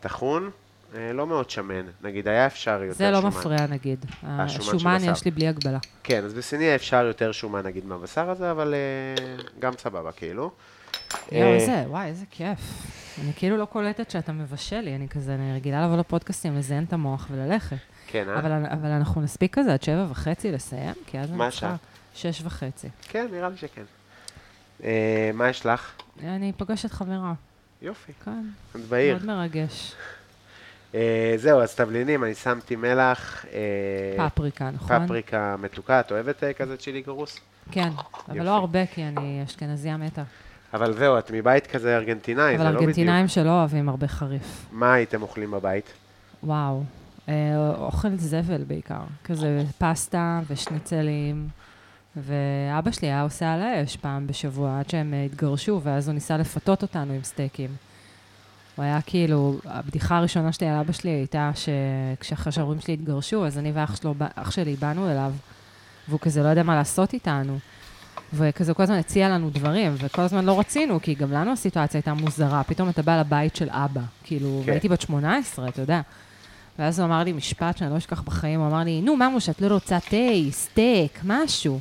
טחון. אה, לא מאוד שמן, נגיד היה אפשר יותר
זה
שומן.
לא מפריע, נגיד.
של
השומן
בשר.
יש לי בלי הגבלה.
כן, אז בסיני היה אפשר יותר שומן נגיד מהבשר הזה, אבל אה, גם סבבה כאילו.
יואו,
אה,
איזה, וואי, איזה כיף. אני כאילו לא קולטת שאתה מבשל לי, אני כזה, אני רגילה לבוא לפודקאסטים, לזיין את המוח וללכת.
כן, אה?
אבל, אבל אנחנו נספיק כזה עד שבע וחצי לסיים, כי אז אני
מה
צריכה
השעה?
שש וחצי.
כן, נראה לי שכן. אה, מה יש לך?
אני פוגשת חברה,
יופי,
כן,
את בעיר.
מאוד מרגש.
אה, זהו, אז תבלינים, אני שמתי מלח, אה,
פפריקה, נכון?
פפריקה מתוקה, את אוהבת אה, כזה צ'ילי גרוס?
כן, אבל
יופי.
לא הרבה, כי אני אשכנזייה מתה. אבל
אבל זהו, את מבית כזה ארגנטינאי, זה לא בדיוק.
ארגנטינאים שלא אוהבים הרבה חריף.
מה הייתם אוכלים בבית?
וואו. אה, אוכל זבל בעיקר, כזה פסטה ושניצלים ואבא שלי היה עושה על האש פעם בשבוע, עד שהם אה, התגרשו, ואז הוא ניסה לפתות אותנו עם סטייקים. הוא היה כאילו, הבדיחה הראשונה שלי על אבא שלי הייתה שכשאחרי שההורים שלי התגרשו, אז אני ואח שלו, אח שלי באנו אליו, והוא כזה לא יודע מה לעשות איתנו. וכזה הוא כל הזמן הציע לנו דברים, וכל הזמן לא רצינו, כי גם לנו הסיטואציה הייתה מוזרה. פתאום אתה בא לבית של אבא, כאילו,
כן.
והייתי בת 18, אתה יודע. ואז הוא אמר לי משפט שאני לא אשכח בחיים, הוא אמר לי, נו, ממוש, את לא רוצה תה, סטייק, משהו.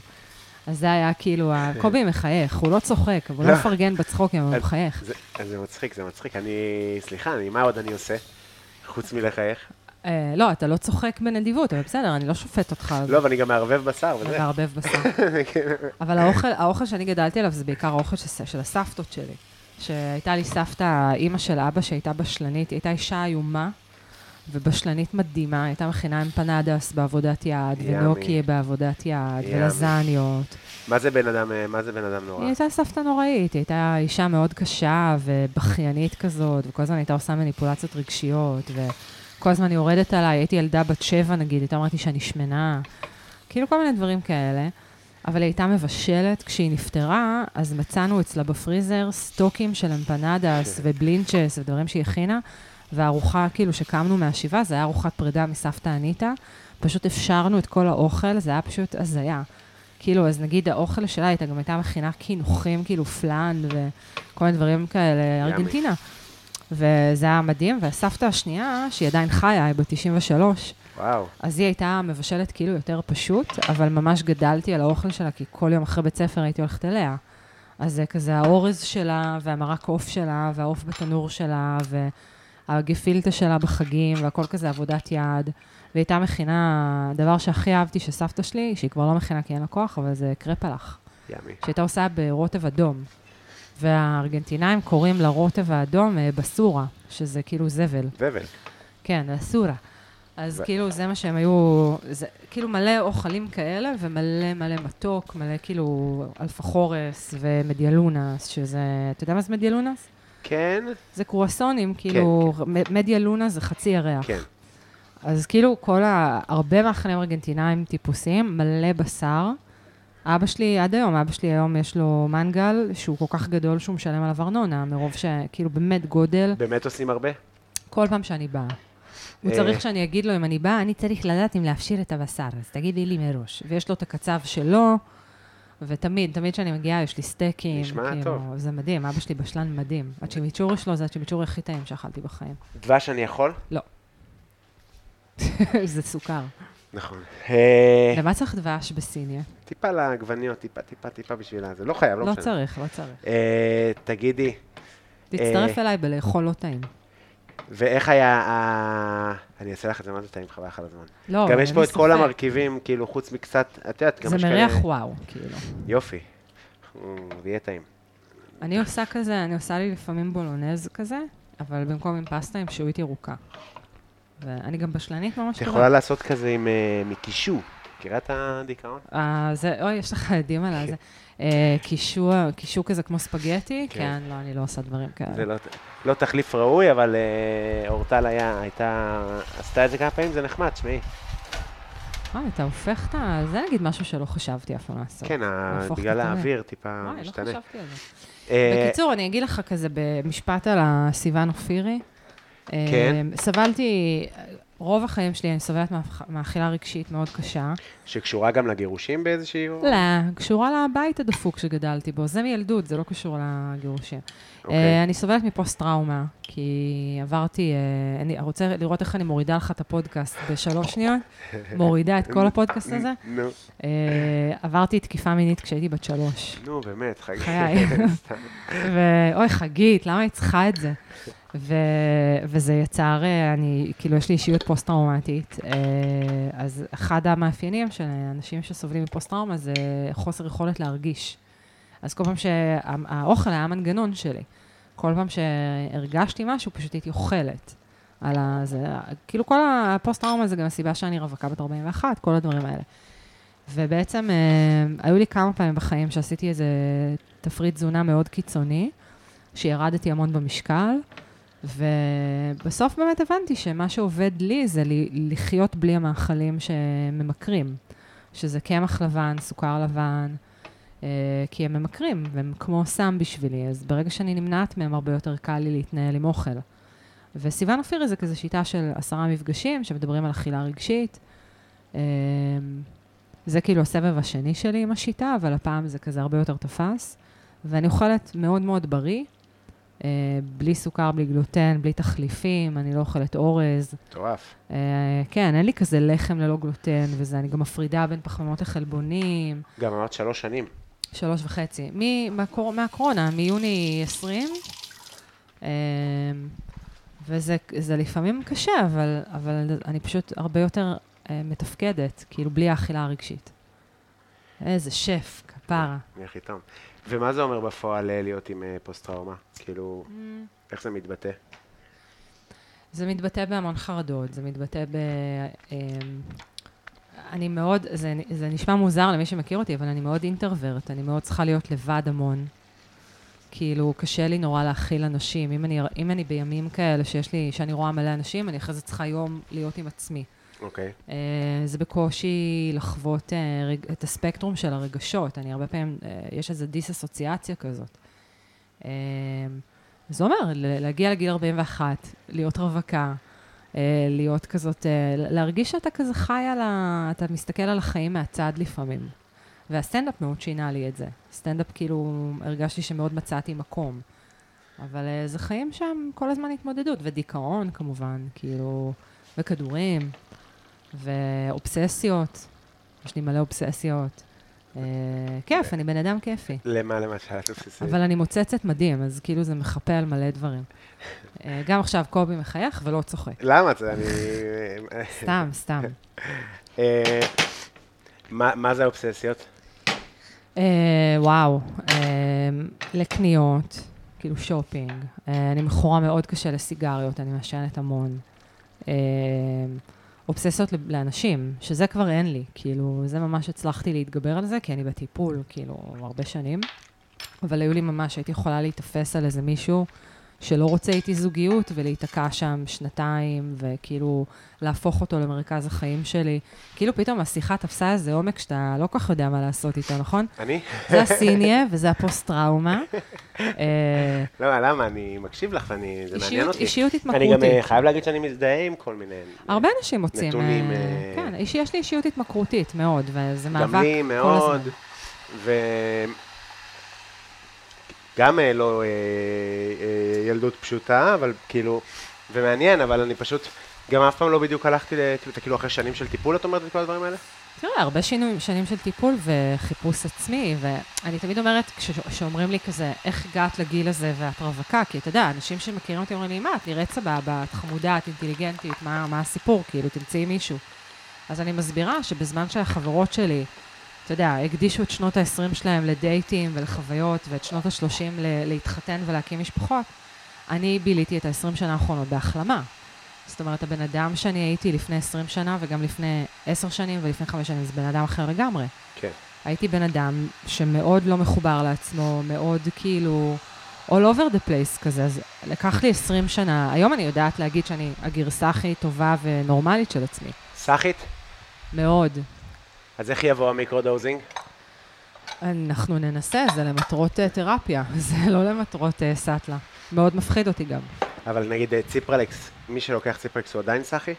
אז זה היה כאילו, ה- קובי מחייך, הוא לא צוחק, אבל הוא לא
לא.
מפרגן בצחוקים, אבל הוא מחייך.
זה, זה מצחיק, זה מצחיק. אני, סליחה, אני, מה עוד אני עושה? חוץ מלחייך.
אה, לא, אתה לא צוחק בנדיבות, אבל בסדר, אני לא שופט אותך.
לא, אבל כן. אני גם מערבב בשר
אתה
וזה.
מערבב בשר. אבל האוכל, האוכל שאני גדלתי עליו זה בעיקר האוכל של, של הסבתות שלי. שהייתה לי סבתא, אימא של אבא, שהייתה בשלנית, היא הייתה אישה איומה ובשלנית מדהימה, הייתה מכינה אמפנדס בעבודת יד,
ימי.
ונוקיה בעבודת יד,
ימי.
ולזניות.
מה זה בן אדם, אה, מה זה בן אדם נורא?
היא הייתה סבתא נוראית, היא הייתה אישה מאוד קשה ובכיינית כזאת, וכל הזמן הייתה עושה מניפולציות רגשיות, וכל הזמן היא יורדת עליי, הייתי ילדה בת שבע נגיד, הייתה אומרת לי שאני שמנה, כאילו כל מיני דברים כאלה. אבל היא הייתה מבשלת, כשהיא נפטרה, אז מצאנו אצלה בפריזר סטוקים של אמפנדס ובלינצ'ס ודברים שהיא הכינה, והארוחה, כאילו, שקמנו מהשבעה, זה היה ארוחת פרידה מסבתא אניטה. פשוט הפשרנו את כל האוכל, זה היה פשוט הזיה. כאילו, אז נגיד האוכל שלה הייתה גם הייתה מכינה קינוחים, כאילו פלאן וכל מיני דברים כאלה,
ימי.
ארגנטינה. וזה היה מדהים, והסבתא השנייה, שהיא עדיין חיה, היא בת 93,
וואו.
אז היא הייתה מבשלת כאילו יותר פשוט, אבל ממש גדלתי על האוכל שלה, כי כל יום אחרי בית ספר הייתי הולכת אליה. אז זה כזה האורז שלה, והמרק עוף שלה, והעוף בתנור שלה, והגפילטה שלה בחגים, והכל כזה עבודת יד. והיא הייתה מכינה, הדבר שהכי אהבתי שסבתא שלי, שהיא כבר לא מכינה כי אין לה כוח, אבל זה קרפלח,
ימי.
שהייתה עושה ברוטב אדום. והארגנטינאים קוראים לרוטב האדום אה, בסורה, שזה כאילו זבל.
זבל.
כן, הסורה. אז
ו-
כאילו זה מה שהם היו, זה כאילו מלא אוכלים כאלה ומלא מלא מתוק, מלא כאילו אלפחורס ומדיאלונס, שזה, אתה יודע מה זה מדיאלונס?
כן,
זה קרואסונים, כאילו, מ- מדיאלונה זה חצי ירח.
כן.
אז כאילו כל ה... הרבה מאכלים ארגנטינאים טיפוסיים, מלא בשר. אבא שלי, עד היום, אבא שלי היום יש לו מנגל שהוא כל כך גדול שהוא משלם עליו ארנונה, מרוב שכאילו באמת גודל.
באמת עושים הרבה?
כל פעם שאני באה. הוא
אה.
צריך שאני אגיד לו אם אני באה, אני צריך לדעת אם להפשיר את הבשר, אז תגידי לי מראש. ויש לו את הקצב שלו, ותמיד, תמיד כשאני מגיעה, יש לי סטייקים.
נשמע
כאילו,
טוב.
זה מדהים, אבא שלי בשלן מדהים. הצ'ימיצ'ורי שלו זה הצ'ימיצ'ורי הכי טעים שאכלתי בחיים. לא.
דבש אני יכול?
זה סוכר.
נכון. אה,
למה צריך דבש בסיניה?
טיפה לעגבניות, טיפה, טיפה, טיפה בשביל הזה. לא חייב, לא
לא
משנה.
צריך, לא צריך.
אה, תגידי,
תצטרף אליי בלאכול לא טעים.
ואיך היה ה... אני אעשה לך את זה, מה זה טעים חבל לך על הזמן.
לא,
גם
אבל
יש
אין
פה
לי
את כל
ספק.
המרכיבים, כאילו, חוץ מקצת, את יודעת, גם
זה
יש
מריח
כאלה-
וואו, כאילו.
יופי. אמ, זה יהיה טעים.
אני עושה כזה, אני עושה לי לפעמים בולונז כזה, אבל במקום עם פסטה עם שהועית ירוקה. ואני גם בשלנית ממש
את
טובה.
יכולה לעשות כזה עם אה, מקישו. מכירה את הדיכאון?
אה, זה, אוי, יש לך עדים על זה. אה, קישוע, קישור כזה כמו ספגטי?
כן.
כן, לא, אני לא עושה דברים
זה
כאלה.
לא- לא תחליף ראוי, אבל אה, אורטל היה, הייתה, עשתה את זה כמה פעמים, זה נחמד, שמעי.
וואי, אתה הופך את ה... זה נגיד משהו שלא חשבתי אף פעם לעשות.
כן, ה-
להפוך
בגלל
את הלב.
האוויר טיפה
וואי, לא
משתנה.
חשבתי על זה.
אה,
בקיצור, אני אגיד לך כזה במשפט על הסיוון אופירי. אה,
כן.
סבלתי, רוב החיים שלי אני סובלת מאכ- מאכילה רגשית מאוד קשה.
שקשורה גם לגירושים באיזושהי...
לא, קשורה לבית הדפוק שגדלתי בו. זה מילדות, זה לא קשור לגירושים.
אוקיי.
אה, אני סובלת מפוסט-טראומה, כי עברתי... אה, אני רוצה לראות איך אני מורידה לך את הפודקאסט בשלוש שניות, מורידה את כל הפודקאסט הזה.
Mm, נו,
אה, עברתי תקיפה מינית כשהייתי בת שלוש.
נו, באמת, חגי.
חיי. ואוי, חגית, למה היא צריכה את זה? ו... וזה יצר, אה, אני, כאילו, יש לי אישיות פוסט-טראומטית, אה, אז אחד המאפיינים של אנשים שסובלים מפוסט-טראומה זה חוסר יכולת להרגיש. אז כל פעם שהאוכל היה המנגנון שלי, כל פעם שהרגשתי משהו, פשוט הייתי אוכלת. על ה... זה... כאילו, כל הפוסט-טראומה זה גם הסיבה שאני רווקה בת 41, כל הדברים האלה. ובעצם אה, היו לי כמה פעמים בחיים שעשיתי איזה תפריט תזונה מאוד קיצוני, שירדתי המון במשקל, ובסוף באמת הבנתי שמה שעובד לי זה לי, לחיות בלי המאכלים שממכרים. שזה קמח לבן, סוכר לבן, אה, כי הם ממכרים, והם כמו סם בשבילי, אז ברגע שאני נמנעת מהם, הרבה יותר קל לי להתנהל עם אוכל. וסיוון אופירי זה כזה שיטה של עשרה מפגשים, שמדברים על אכילה רגשית. אה, זה כאילו הסבב השני שלי עם השיטה, אבל הפעם זה כזה הרבה יותר תפס. ואני אוכלת מאוד מאוד בריא, אה, בלי סוכר, בלי גלוטן, בלי תחליפים, אני לא אוכלת אורז.
מטורף.
אה, כן, אין לי כזה לחם ללא גלוטן וזה, אני גם מפרידה בין פחמימות לחלבונים,
גם אמרת שלוש שנים.
שלוש וחצי. מ- מהקור- מהקורונה, מיוני 20, אה, וזה זה לפעמים קשה, אבל, אבל אני פשוט הרבה יותר אה, מתפקדת, כאילו בלי האכילה הרגשית. איזה שף, כפרה.
אני הכי טוב. ומה זה אומר בפועל אה, להיות עם אה, פוסט-טראומה? כאילו,
Mm.
איך זה מתבטא?
זה מתבטא בהמון חרדות, זה מתבטא ב... אמ, אני מאוד, זה, זה נשמע מוזר למי שמכיר אותי, אבל אני מאוד אינטרוורט, אני מאוד צריכה להיות לבד המון. כאילו, קשה לי נורא להכיל אנשים. אם אני, אם אני בימים כאלה שיש לי, שאני רואה מלא אנשים, אני אחרי זה צריכה יום להיות עם עצמי.
אוקיי.
אה, זה בקושי לחוות אה, רג- את הספקטרום של הרגשות. אני הרבה פעמים, אה, יש איזו דיסאסוציאציה כזאת. אה, זה אומר, ל- להגיע לגיל 41, להיות רווקה, אה, להיות כזאת, אה, להרגיש שאתה כזה חי על ה... אתה מסתכל על החיים מהצד לפעמים. והסטנדאפ מאוד שינה לי את זה. סטנדאפ כאילו, הרגשתי שמאוד מצאתי מקום. אבל אה, זה חיים שם כל הזמן התמודדות, ודיכאון כמובן, כאילו, וכדורים. ואובססיות, יש לי מלא אובססיות. אה, כיף, אני בן אדם כיפי.
למה למשל את בסיסית?
אבל אני מוצצת מדהים, אז כאילו זה מחפה על מלא דברים. אה, גם עכשיו קובי מחייך ולא צוחק.
למה זה? אני...
סתם, סתם.
אה, מה מה זה האובססיות?
אה, וואו, אה, לקניות, כאילו שופינג. אה, אני מכורה מאוד קשה לסיגריות, אני מעשנת המון. אה, אובססיות לב- לאנשים, שזה כבר אין לי, כאילו, זה ממש הצלחתי להתגבר על זה, כי אני בטיפול, כאילו, הרבה שנים. אבל היו לי ממש, הייתי יכולה להיתפס על איזה מישהו שלא רוצה איתי זוגיות, ולהיתקע שם שנתיים, וכאילו, להפוך אותו למרכז החיים שלי. כאילו, פתאום השיחה תפסה איזה עומק שאתה לא כל כך יודע מה לעשות איתו, נכון?
אני?
זה הסיניה וזה הפוסט-טראומה. אה,
לא, למה? אני מקשיב לך ואני... זה מעניין
אישיות-
אותי.
אישיות
אני גם אה,
התמכרותית.
חייב להגיד שאני מזדהה עם כל מיני...
הרבה אנשים מוצאים...
נתונים,
אה,
אה,
כן, איש- יש לי אישיות התמכרותית מאוד, וזה מאבק
גם
כל
לי
הזמן.
מאוד, ו... גם אה, לא אה, אה, ילדות פשוטה, אבל כאילו, ומעניין, אבל אני פשוט, גם אף פעם לא בדיוק הלכתי, לטיפול, אתה כאילו אחרי שנים של טיפול, את אומרת את כל הדברים האלה?
תראה, לא, הרבה שינויים, שנים של טיפול וחיפוש עצמי, ואני תמיד אומרת, כש- כשאומרים לי כזה, איך הגעת לגיל הזה ואת רווקה? כי אתה יודע, אנשים שמכירים אותי אומרים לי, מה, את נראית סבבה, את חמודה, את אינטליגנטית, מה, מה הסיפור? כאילו, תמצאי מישהו. אז אני מסבירה שבזמן שהחברות שלי, אתה יודע, הקדישו את שנות ה-20 שלהם לדייטים ולחוויות, ואת שנות ה-30 ל- להתחתן ולהקים משפחות, אני ביליתי את ה-20 שנה האחרונות בהחלמה. זאת אומרת, הבן אדם שאני הייתי לפני 20 שנה, וגם לפני 10 שנים ולפני 5 שנים, זה בן אדם אחר לגמרי.
כן.
הייתי בן אדם שמאוד לא מחובר לעצמו, מאוד כאילו all over the place כזה, אז לקח לי 20 שנה. היום אני יודעת להגיד שאני הגרסה הכי טובה ונורמלית של עצמי.
סחית,
מאוד.
אז איך יבוא המיקרודוזינג?
אנחנו ננסה, זה למטרות אה, תרפיה, זה לא למטרות אה, סאטלה. מאוד מפחיד אותי גם.
אבל נגיד אה, ציפרלקס, מי שלוקח ציפרלקס הוא עדיין סחי?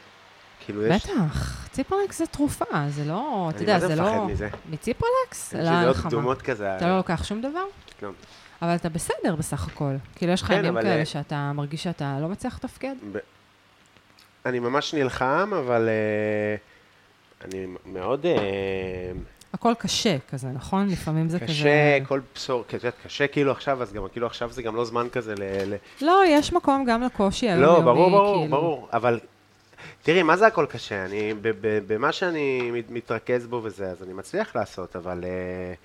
כאילו יש...
בטח, ציפרלקס זה תרופה, זה לא, אתה
אני
יודע,
מה זה
זה לא...
מפחד מזה.
מציפרלקס?
אני
לא,
חושב
אין
שזה
לך
עוד
מה.
קדומות כזה. אה,
אתה לא לוקח שום דבר?
כלום.
אבל אתה בסדר בסך הכל. כאילו, יש לך
כן,
ימים
אבל, אה,
כאלה שאתה מרגיש שאתה לא מצליח לתפקד?
ב- אני ממש נלחם, אבל אה, אני מאוד... אה,
הכל קשה כזה, נכון? לפעמים זה כזה...
קשה, כל בשור, כי את יודעת, קשה כאילו עכשיו, אז גם כאילו עכשיו זה גם לא זמן כזה ל... ל-
לא, יש מקום גם לקושי היומיומי,
לא,
כאילו.
ברור, ברור, ברור, אבל... תראי, מה זה הכל קשה? אני, ב- ב- במה שאני מת- מתרכז בו וזה, אז אני מצליח לעשות, אבל אה,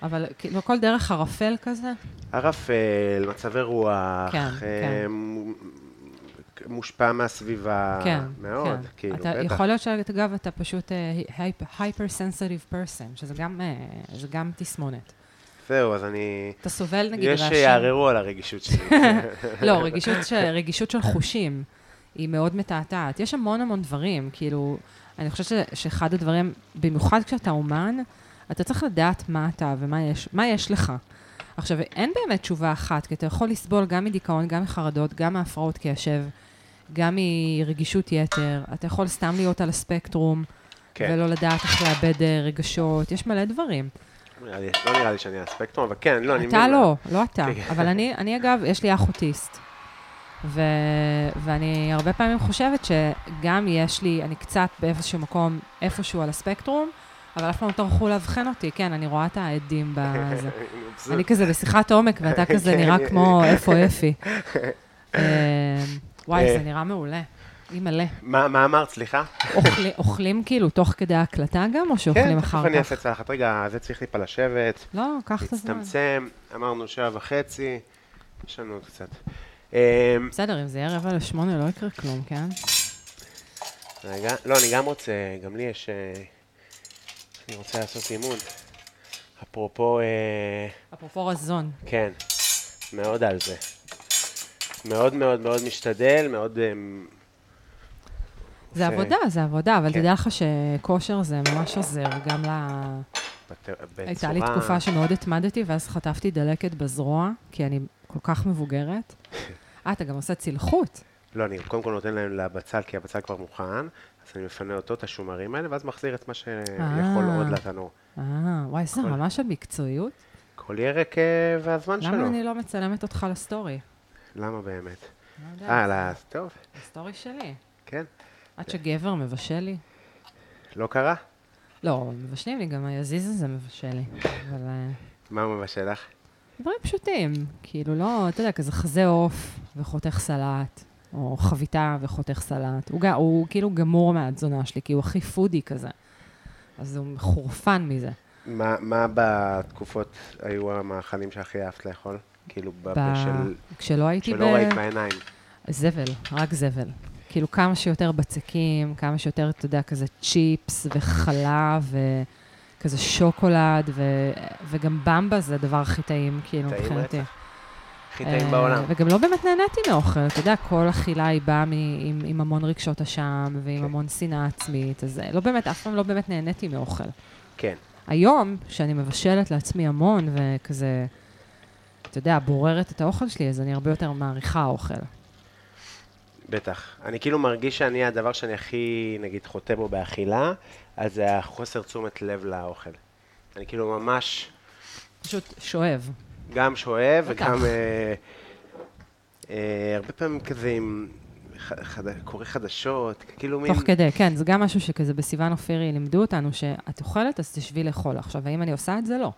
אבל כאילו, הכל דרך ערפל כזה?
ערפל, מצבי רוח,
כן,
אה,
כן.
מ- מושפע מהסביבה,
כן,
אה, מאוד,
כן.
כאילו,
אתה,
בטח.
יכול להיות שאגב, אתה פשוט אה, הייפר סנסיטיב פרסן, שזה גם, אה, זה גם תסמונת.
זהו, אז אני...
אתה סובל נגיד
יש
רעשים.
שיערערו על הרגישות שלי. כן.
לא, רגישות, ש... רגישות של חושים היא מאוד מתעתעת. יש המון המון דברים, כאילו, אני חושבת ש- שאחד הדברים, במיוחד כשאתה אומן, אתה צריך לדעת מה אתה ומה יש, מה יש לך. עכשיו, אין באמת תשובה אחת, כי אתה יכול לסבול גם מדיכאון, גם מחרדות, גם מהפרעות קשב, גם מרגישות יתר, אתה יכול סתם להיות על הספקטרום,
כן.
כן. ולא לדעת איך לאבד אה, רגשות, יש מלא דברים.
לא נראה לי- לא נראה לי שאני על הספקטרום, אבל כן, לא, אני...
אתה
מבין.
לא, לא אתה.
כן.
אבל אני, אני אגב, יש לי אח אוטיסט. ו... ואני הרבה פעמים חושבת שגם יש לי, אני קצת באיזשהו מקום, איפשהו על הספקטרום, אבל אף פעם לא טרחו לאבחן אותי, כן, אני רואה את העדים בזה.
אני מבסוט.
אני כזה בשיחת עומק, ואתה כזה
כן,
נראה
אני-
כמו איפה אפי. אמ, וואי,
אה.
זה נראה מעולה. אימא'לה.
מה מה אמרת, סליחה?
אוכלי- אוכלים כאילו תוך כדי ההקלטה גם, או שאוכלים
כן, תכף אני
אחר
אעשה
כך?
צלחת. רגע, זה צריך טיפה לשבת.
לא, קח את הזמן.
להצטמצם, אמרנו שעה וחצי, יש לנו עוד קצת. אמ,
בסדר, אם זה יהיה רבע לשמונה, לא יקרה כלום, כן?
רגע, לא, אני גם רוצה, גם לי יש... אה, אני רוצה לעשות אימון. אפרופו, אה,
אפרופו רזון.
כן, מאוד על זה. מאוד מאוד מאוד משתדל, מאוד... אמ,
זה
אוקיי.
עבודה, זה עבודה, אבל
כן.
תדע לך שכושר זה ממש עוזר, גם ל...
בת- בצורה...
הייתה לי תקופה שמאוד התמדתי, ואז חטפתי דלקת בזרוע, כי אני כל כך מבוגרת. אה, אתה גם עושה צלחות.
לא, אני קודם כל נותן להם לבצל, כי הבצל כבר מוכן, אז אני מפנה אותו, את השומרים האלה, ואז מחזיר את מה שיכול
אה.
עוד לתנור.
אה, וואי, איזה
הכל.
רמה של מקצועיות.
כל ירק אה, והזמן
למה
שלו.
אני לא מצלמת אותך לסטורי?
למה באמת?
לא יודעת,
אה, לא, טוב,
לסטורי שלי.
כן.
עד שגבר מבשל לי.
לא קרה?
לא, מבשלים לי, גם היזיז הזה מבשל לי. אבל אה,
מה המבא שלך?
דברים פשוטים. כאילו, לא, אתה יודע, כזה חזה עוף וחותך סלט, או חביתה וחותך סלט. הוא, ג- הוא כאילו גמור מהתזונה שלי, כי הוא הכי פודי כזה. אז הוא חורפן מזה.
מה, מה בתקופות היו המאכלים שהכי אהבת לאכול? כאילו, ב... בשל...
כשלא הייתי
שלא ראית בעיניים.
זבל, רק זבל. כאילו כמה שיותר בצקים, כמה שיותר, אתה יודע, כזה צ'יפס וחלב וכזה שוקולד, ו... וגם במבה זה הדבר הכי טעים, כאילו,
טעים
מבחינתי.
הכי טעים
אה,
בעולם.
וגם לא באמת נהניתי מאוכל, אתה יודע, כל אכילה היא באה מ- עם, עם המון רגשות אשם ועם
כן.
המון שנאה עצמית, אז אה, לא באמת, אף פעם לא באמת נהניתי מאוכל.
כן.
היום, שאני מבשלת לעצמי המון וכזה, אתה יודע, בוררת את האוכל שלי, אז אני הרבה יותר מעריכה אוכל.
בטח. אני כאילו מרגיש שאני, הדבר שאני הכי, נגיד, חוטא בו באכילה, אז זה החוסר תשומת לב לאוכל. אני כאילו ממש
פשוט שואב.
גם שואב
בטח.
וגם... אה, אה, הרבה פעמים כזה עם... ח- חד- קורא חדשות, כאילו מין...
תוך כדי, כן, זה גם משהו שכזה בסיוון אופירי לימדו אותנו, שאת אוכלת, אז תשבי לאכול. עכשיו, האם אני עושה את זה? לא.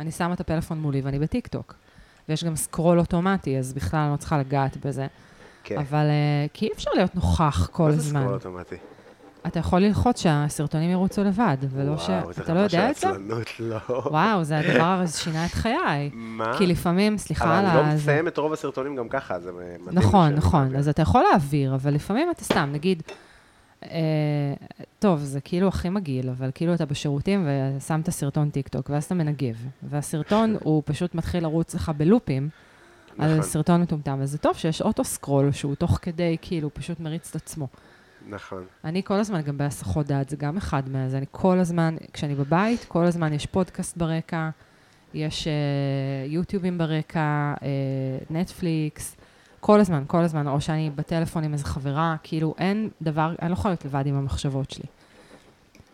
אני שמה את הפלאפון מולי ואני בטיקטוק. ויש גם סקרול אוטומטי, אז בכלל אני לא צריכה לגעת בזה.
כן.
אבל אה, כי אי אפשר להיות נוכח כל
מה זה
הזמן.
סקרול אוטומטי?
אתה יכול ללחוץ שהסרטונים ירוצו לבד, ולא ש...
וואו, זה
אתה לא
רמה של
יודע את זה?
עצלנות, לא.
וואו, זה הדבר ששינה את חיי.
מה?
כי לפעמים, סליחה
אה? אבל
על
אני לא
ה... זה-
מסיים את רוב הסרטונים גם ככה, זה מדהים.
נכון,
שאני לא
נכון.
מעביר.
אז אתה יכול להעביר, אבל לפעמים אתה סתם, נגיד, אה, טוב, זה כאילו הכי מגעיל, אבל כאילו אתה בשירותים ושמת סרטון טיקטוק, ואז אתה מנגב, והסרטון הוא פשוט מתחיל לרוץ לך בלופים. על
נכון,
סרטון מטומטם, אז זה טוב שיש אוטו סקרול שהוא תוך כדי, כאילו, פשוט מריץ את עצמו.
נכון.
אני כל הזמן גם בהסחות דעת, זה גם אחד מה... אז אני כל הזמן, כשאני בבית, כל הזמן יש פודקאסט ברקע, יש אה, יוטיובים ברקע, אה, נטפליקס, כל הזמן, כל הזמן, או שאני בטלפון עם איזה חברה, כאילו אין דבר, אני לא יכולה להיות לבד עם המחשבות שלי.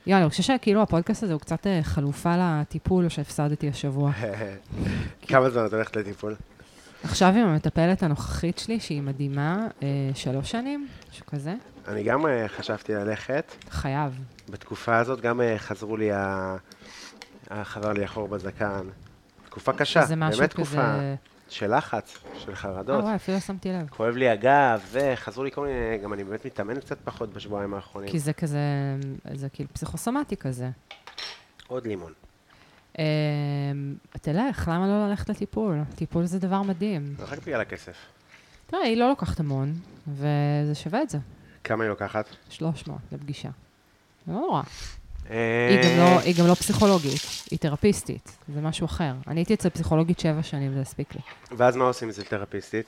יאללה, אני חושבת שכאילו הפודקאסט הזה הוא קצת אה, חלופה לטיפול שהפסדתי השבוע.
כמה זמן את הולכת לטיפול?
עכשיו עם המטפלת הנוכחית שלי, שהיא מדהימה, אה, שלוש שנים, משהו כזה,
אני גם אה, חשבתי ללכת.
חייב.
בתקופה הזאת גם אה, חזרו לי ה... ה- חזר לי החור בזקן. תקופה קשה,
זה משהו
באמת
כזה-
תקופה של לחץ, של
אה,
חרדות.
וואי, אפילו לא שמתי לב.
כואב לי הגב, וחזרו לי כל מיני, גם אני באמת מתאמן קצת פחות בשבועיים האחרונים.
כי זה כזה, זה כאילו פסיכוסומטי כזה.
עוד לימון.
אמ, תלך, למה לא ללכת לטיפול? טיפול זה דבר מדהים.
זרקת לי על הכסף.
תראה, היא לא לוקחת המון, וזה שווה את זה.
כמה היא לוקחת?
300 לפגישה. זה לא נורא.
אה,
היא גם לא, היא גם לא פסיכולוגית, היא תרפיסטית, זה משהו אחר. אני הייתי אצל פסיכולוגית שבע שנים, זה הספיק לי.
ואז מה עושים אצל תרפיסטית?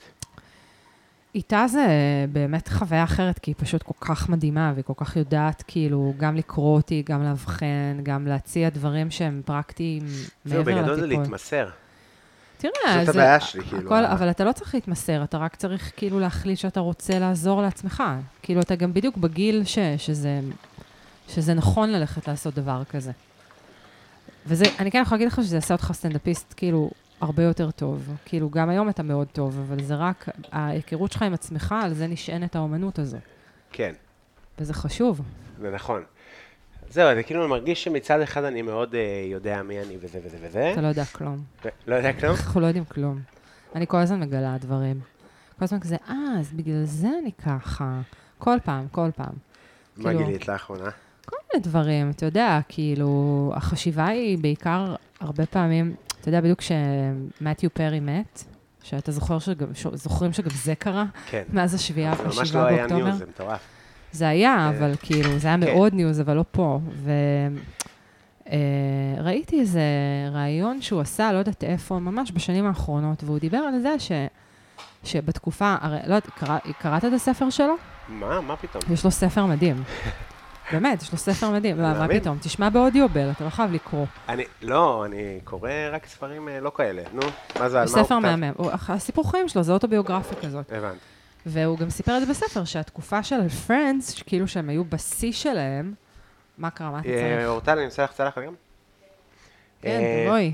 איתה זה באמת חוויה אחרת, כי היא פשוט כל כך מדהימה, והיא כל כך יודעת כאילו גם לקרוא אותי, גם לאבחן, גם להציע דברים שהם פרקטיים מעבר
זהו,
לטיפול.
בגדול זה להתמסר.
תראה,
זאת הבעיה שלי, כאילו.
הכל, אבל אתה לא צריך להתמסר, אתה רק צריך כאילו להחליט שאתה רוצה לעזור לעצמך. כאילו, אתה גם בדיוק בגיל ש, שזה, שזה נכון ללכת לעשות דבר כזה. וזה, אני כן יכולה להגיד לך שזה יעשה אותך סטנדאפיסט, כאילו, הרבה יותר טוב. כאילו, גם היום אתה מאוד טוב, אבל זה רק ההיכרות שלך עם עצמך, על זה נשענת האומנות הזו.
כן,
וזה חשוב.
זה נכון. זהו, אני כאילו מרגיש שמצד אחד אני מאוד אה, יודע מי אני וזה וזה וזה.
אתה לא יודע כלום.
ו- לא יודע כלום.
אנחנו לא יודעים כלום. אני כל הזמן מגלה דברים. כל הזמן כזה, אה, אז בגלל זה אני ככה. כל פעם, כל פעם.
מה
כאילו-
גילית לאחרונה?
כל מיני דברים, אתה יודע, כאילו, החשיבה היא בעיקר, הרבה פעמים, אתה יודע, בדיוק כשמתיו פרי מת, שאתה זוכר שגם, זוכרים שגם זה קרה,
כן.
מאז השביעה,
זה ממש לא
השבעה
היה
באוקטובר.
ניוז, זה מטורף.
זה היה,
אה,
אבל כאילו, זה היה
כן.
מאוד ניוז, אבל לא פה. ו... אה, ראיתי איזה ראיון שהוא עשה, לא יודעת איפה, ממש בשנים האחרונות, והוא דיבר על זה ש... שבתקופה, הרי, לא יודעת, קרא, קראת את הספר שלו?
מה? מה פתאום?
יש לו ספר מדהים. באמת, יש לו ספר מדהים. לא, מה
מאמין.
פתאום? תשמע באודיובל, אתה לא חייב לקרוא.
אני, לא, אני קורא רק ספרים אה, לא כאלה. נו, מה זה, על
יש
מה הוא
ספר
כתב?
מהמם. הוא- הסיפור חיים שלו, זה אוטוביוגרפיה כזאת.
הבנתי.
והוא גם סיפר את זה בספר, שהתקופה של פרנדס, כאילו שהם היו בשיא שלהם, מה קרה, מה אתה צריך?
אה, אורטל, אני עושה לך צלחת גם?
כן,
אה,
בואי.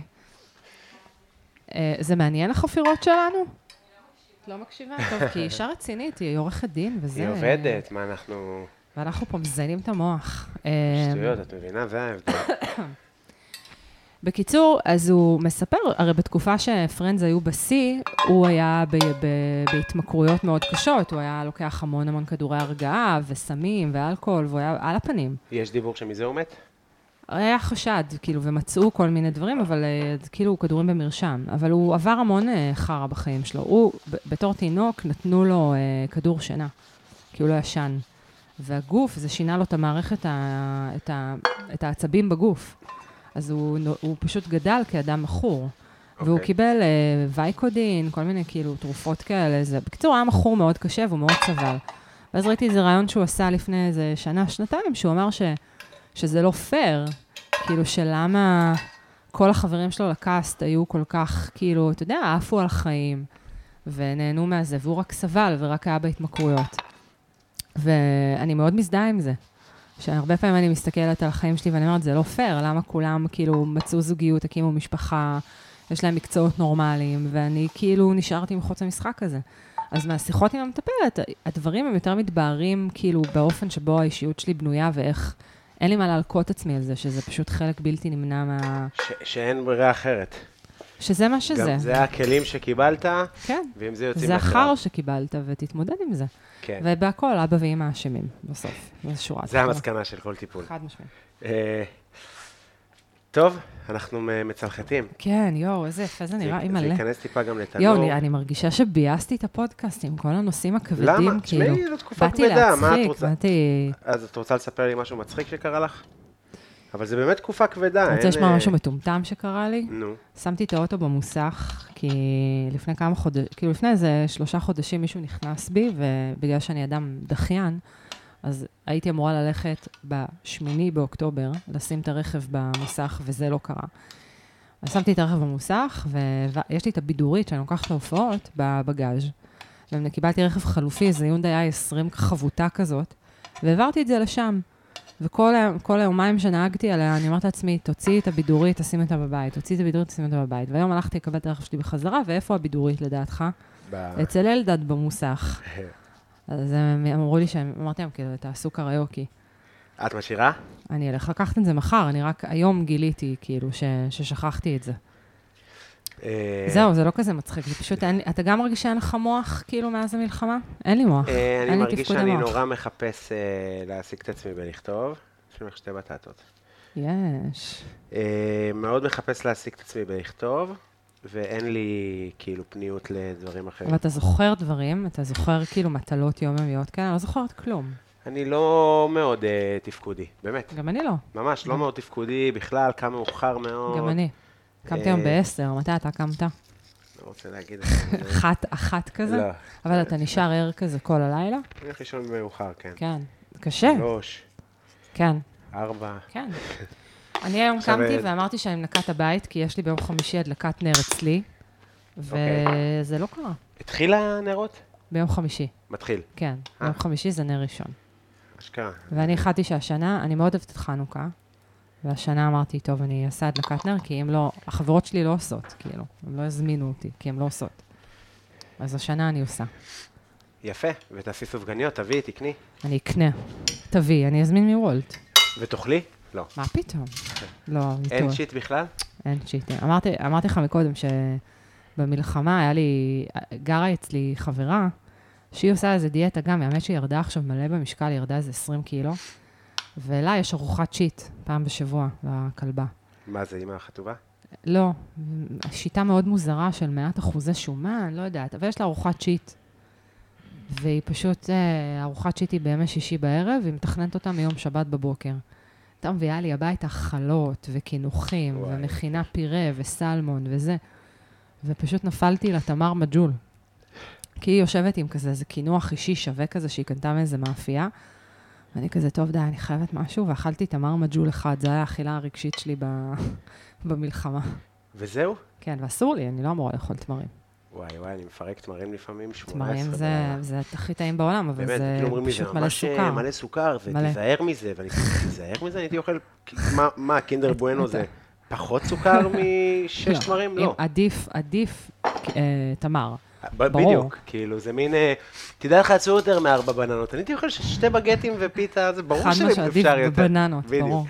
אה, זה מעניין החפירות שלנו? את לא מקשיבה? טוב, כי היא אישה רצינית, היא עורכת דין וזה...
היא עובדת, מה אנחנו...
ואנחנו פה מזיינים את המוח. אה,
שטויות, את מבינה? זה ההבדל.
בקיצור, אז הוא מספר, הרי בתקופה שפרנדס היו בשיא, הוא היה ב- ב- בהתמכרויות מאוד קשות, הוא היה לוקח המון המון כדורי הרגעה וסמים ואלכוהול, והוא היה על הפנים.
יש דיבור שמזה הוא מת?
היה חשד, כאילו, ומצאו כל מיני דברים, אבל אה, זה כאילו כדורים במרשם. אבל הוא עבר המון אה, חרא בחיים שלו. הוא, ב- בתור תינוק, נתנו לו אה, כדור שינה, כי הוא לא ישן. והגוף, זה שינה לו את המערכת, ה, את, ה, את העצבים בגוף. אז הוא, נו- הוא פשוט גדל כאדם מכור. Okay. והוא
אוקיי.
קיבל אה, וייקודין, כל מיני כאילו תרופות כאלה. זה, בקיצור, היה מכור מאוד קשה והוא מאוד סבל. ואז ראיתי איזה רעיון שהוא עשה לפני איזה שנה, שנתיים, שהוא אמר ש, שזה לא פייר, כאילו שלמה כל החברים שלו לקאסט היו כל כך, כאילו, אתה יודע, עפו על החיים, ונהנו מהזה, והוא רק סבל ורק היה בהתמכרויות. ואני מאוד מזדהה עם זה. שהרבה פעמים אני מסתכלת על החיים שלי ואני אומרת, זה לא פייר, למה כולם כאילו מצאו זוגיות, הקימו משפחה, יש להם מקצועות נורמליים, ואני כאילו נשארתי מחוץ למשחק הזה. אז מהשיחות עם המטפלת, הדברים הם יותר מתבהרים כאילו באופן שבו האישיות שלי בנויה ואיך... אין לי מה להלקות עצמי על זה, שזה פשוט חלק בלתי נמנע מה...
ש- שאין ברירה אחרת.
שזה מה שזה.
גם זה הכלים שקיבלת,
כן.
ועם זה יוצאים
זה
לקרב.
החרא שקיבלת, ותתמודד עם זה.
כן.
ובהכל, אבא ואמא אשמים, בסוף. זו שורה.
זה
התחתונה.
המסקנה של כל טיפול.
חד משמעית.
אה, טוב, אנחנו מ- מצלחתים.
כן, יואו, איזה יפה זה נראה,
זה
אימא'לה.
ייכנס טיפה גם לתנור.
יואו, אני- אני מרגישה שביאסתי את הפודקאסט עם כל הנושאים הכבדים,
למה?
כאילו.
תשמעי, זו תקופה כבדה, מה את
באתי להצחיק,
רוצה?
באתי...
אז את רוצה לספר לי משהו מצחיק שקרה לך? אבל זה באמת תקופה כבדה.
אתה רוצה
אין,
לשמוע
אה,
משהו מטומטם שקרה לי?
נו,
שמתי את האוטו במוסך, כי לפני כמה חודשים, כאילו לפני איזה שלושה חודשים מישהו נכנס בי, ובגלל שאני אדם דחיין, אז הייתי אמורה ללכת ב-8 באוקטובר, לשים את הרכב במוסך, וזה לא קרה. אז שמתי את הרכב במוסך, ו- ויש לי את הבידורית שאני לוקחת להופעות בבגאז'. וקיבלתי רכב חלופי, איזה יונדאי i20 חבוטה כזאת, והעברתי את זה לשם. וכל ה- כל היומיים שנהגתי עליה, אני אומרת לעצמי, תוציאי את הבידורית, תשים אותה בבית, תוציאי את הבידורית, תשים אותה בבית. והיום הלכתי לקבל את הרכב שלי בחזרה, ואיפה הבידורית לדעתך?
ב-
אצל אלדד במוסך. אז הם אמרו לי שהם, אמרתי להם, כאילו, תעשו קריוקי.
את משאירה?
אני אלך לקחת את זה מחר, אני רק היום גיליתי, כאילו, ש, ששכחתי את זה.
אה,
זהו, זה לא כזה מצחיק, זה פשוט, אין, לי- אתה גם מרגיש שאין לך מוח, כאילו, מאז המלחמה? אין לי מוח.
אה, אני
אין לי
מרגיש
תפקוד
שאני
המוח.
נורא מחפש אה, להעסיק את עצמי בלכתוב. יש לי לך שתי בטטות.
יש.
אה, מאוד מחפש להעסיק את עצמי בלכתוב, ואין לי כאילו פניות לדברים אחרים.
אבל אתה זוכר דברים, אתה זוכר כאילו מטלות יומיומיות כאלה, אני לא זוכרת כלום.
אני לא מאוד אה, תפקודי, באמת.
גם אני לא,
ממש לא מאוד תפקודי בכלל, קם מאוחר מאוד.
גם אני. קמתי היום
אה.
בעשר, מתי אתה קמת?
לא רוצה להגיד את זה.
אחת, אחת כזה?
לא.
אבל אתה נשאר ער כזה כל הלילה?
אני הולך לישון מאוחר, כן.
כן. קשה,
שלוש,
כן.
ארבע.
כן. אני היום
עכשיו,
קמתי
אה,
ואמרתי שאני מנקה את הבית, כי יש לי ביום חמישי הדלקת נר אצלי,
אוקיי.
וזה לא קרה.
התחיל הנרות?
ביום חמישי,
מתחיל,
כן.
אה.
ביום חמישי זה נר ראשון.
אשכרה.
ואני החלטתי שהשנה, אני מאוד אוהבת את חנוכה, והשנה אמרתי, טוב, אני אעשה הדלקת נר, כי אם לא, החברות שלי לא עושות, כאילו, הם לא הזמינו אותי, כי הם לא עושות. אז השנה אני עושה.
יפה, ותעשי סופגניות, תביאי, תקני.
אני אקנה. תביא, אני אזמין מוולט.
ותאכלי? לא.
מה פתאום? לא, אני
אין
טועה.
שיט בכלל?
אין שיטים. אמרתי, אמרתי לך מקודם שבמלחמה היה לי, גרה אצלי חברה, שהיא עושה איזה דיאטה גם, האמת שהיא ירדה עכשיו מלא במשקל, היא ירדה איזה 20 קילו, ולה יש ארוחת שיט פעם בשבוע לכלבה.
מה זה, אימא חטובה?
לא, שיטה מאוד מוזרה של מעט אחוזי שומן, לא יודעת, אבל יש לה ארוחת שיט. והיא פשוט, אה, ארוחת שיט היא בימי שישי בערב, והיא מתכננת אותה מיום שבת בבוקר. הייתה מביאה לי הביתה חלות וקינוחים,
וואי.
ומכינה פירה וסלמון וזה, ופשוט נפלתי לתמר מג'ול. כי היא יושבת עם כזה, איזה קינוח אישי שווה כזה, שהיא קנתה מאיזה מאפייה, ואני כזה, טוב, די, אני חייבת משהו, ואכלתי תמר מג'ול אחד, זו הייתה האכילה הרגשית שלי ב... במלחמה.
וזהו?
כן, ואסור לי, אני לא אמורה לאכול תמרים.
וואי וואי, אני מפרק תמרים לפעמים, 18
תמרים זה,
בלילה.
זה הכי טעים בעולם, אבל
באמת,
זה
כאילו אומרים לי, זה
פשוט מלא
ממש
סוכר.
אה, מלא סוכר,
מלא.
ותיזהר מזה, ואני כאילו, תיזהר מזה, הייתי אוכל, מה- מה, קינדר בואנו זה פחות סוכר משש תמרים?
לא. אם-
לא.
עדיף, עדיף אה, תמר.
ב-
ברור.
בדיוק, כאילו, זה מין, אה, תדע לך, עשו יותר מארבע בננות. אני הייתי אוכל ש- שתי בגטים ופיתה, זה ברור
חד משמעית, עדיף
שאפשר יותר.
בבננות,
בדיוק.
ברור.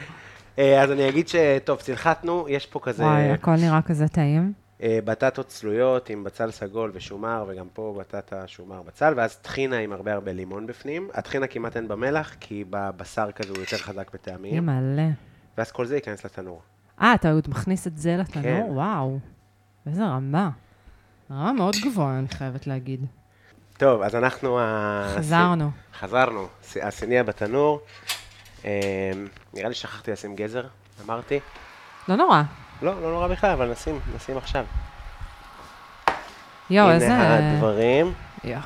אה, אז אני אגיד שטוב, צלחתנו, יש פה כזה
וואי, הכל נראה כזה טעים.
אה, בטטות צלויות עם בצל סגול ושומר, וגם פה בטטה, שומר, בצל, ואז טחינה עם הרבה הרבה לימון בפנים. הטחינה כמעט אין במלח, כי בבשר כזה הוא יותר חזק
היא
בטעמים,
מלא.
ואז כל זה ייכנס לתנור.
אה, אתה עוד מכניס את זה
כן.
לתנור? וואו, איזה רמה. רמה מאוד גבוהה, אני חייבת להגיד.
אה, טוב, אז אנחנו... ה-
חזרנו.
כן. חזרנו, ס- הסיניה בתנור. אה, נראה לי שכחתי לשים גזר, אמרתי.
לא נורא.
לא, לא נורא בכלל, אבל נשים, נשים עכשיו.
יואו, איזה...
הנה אה, הדברים,
יואו.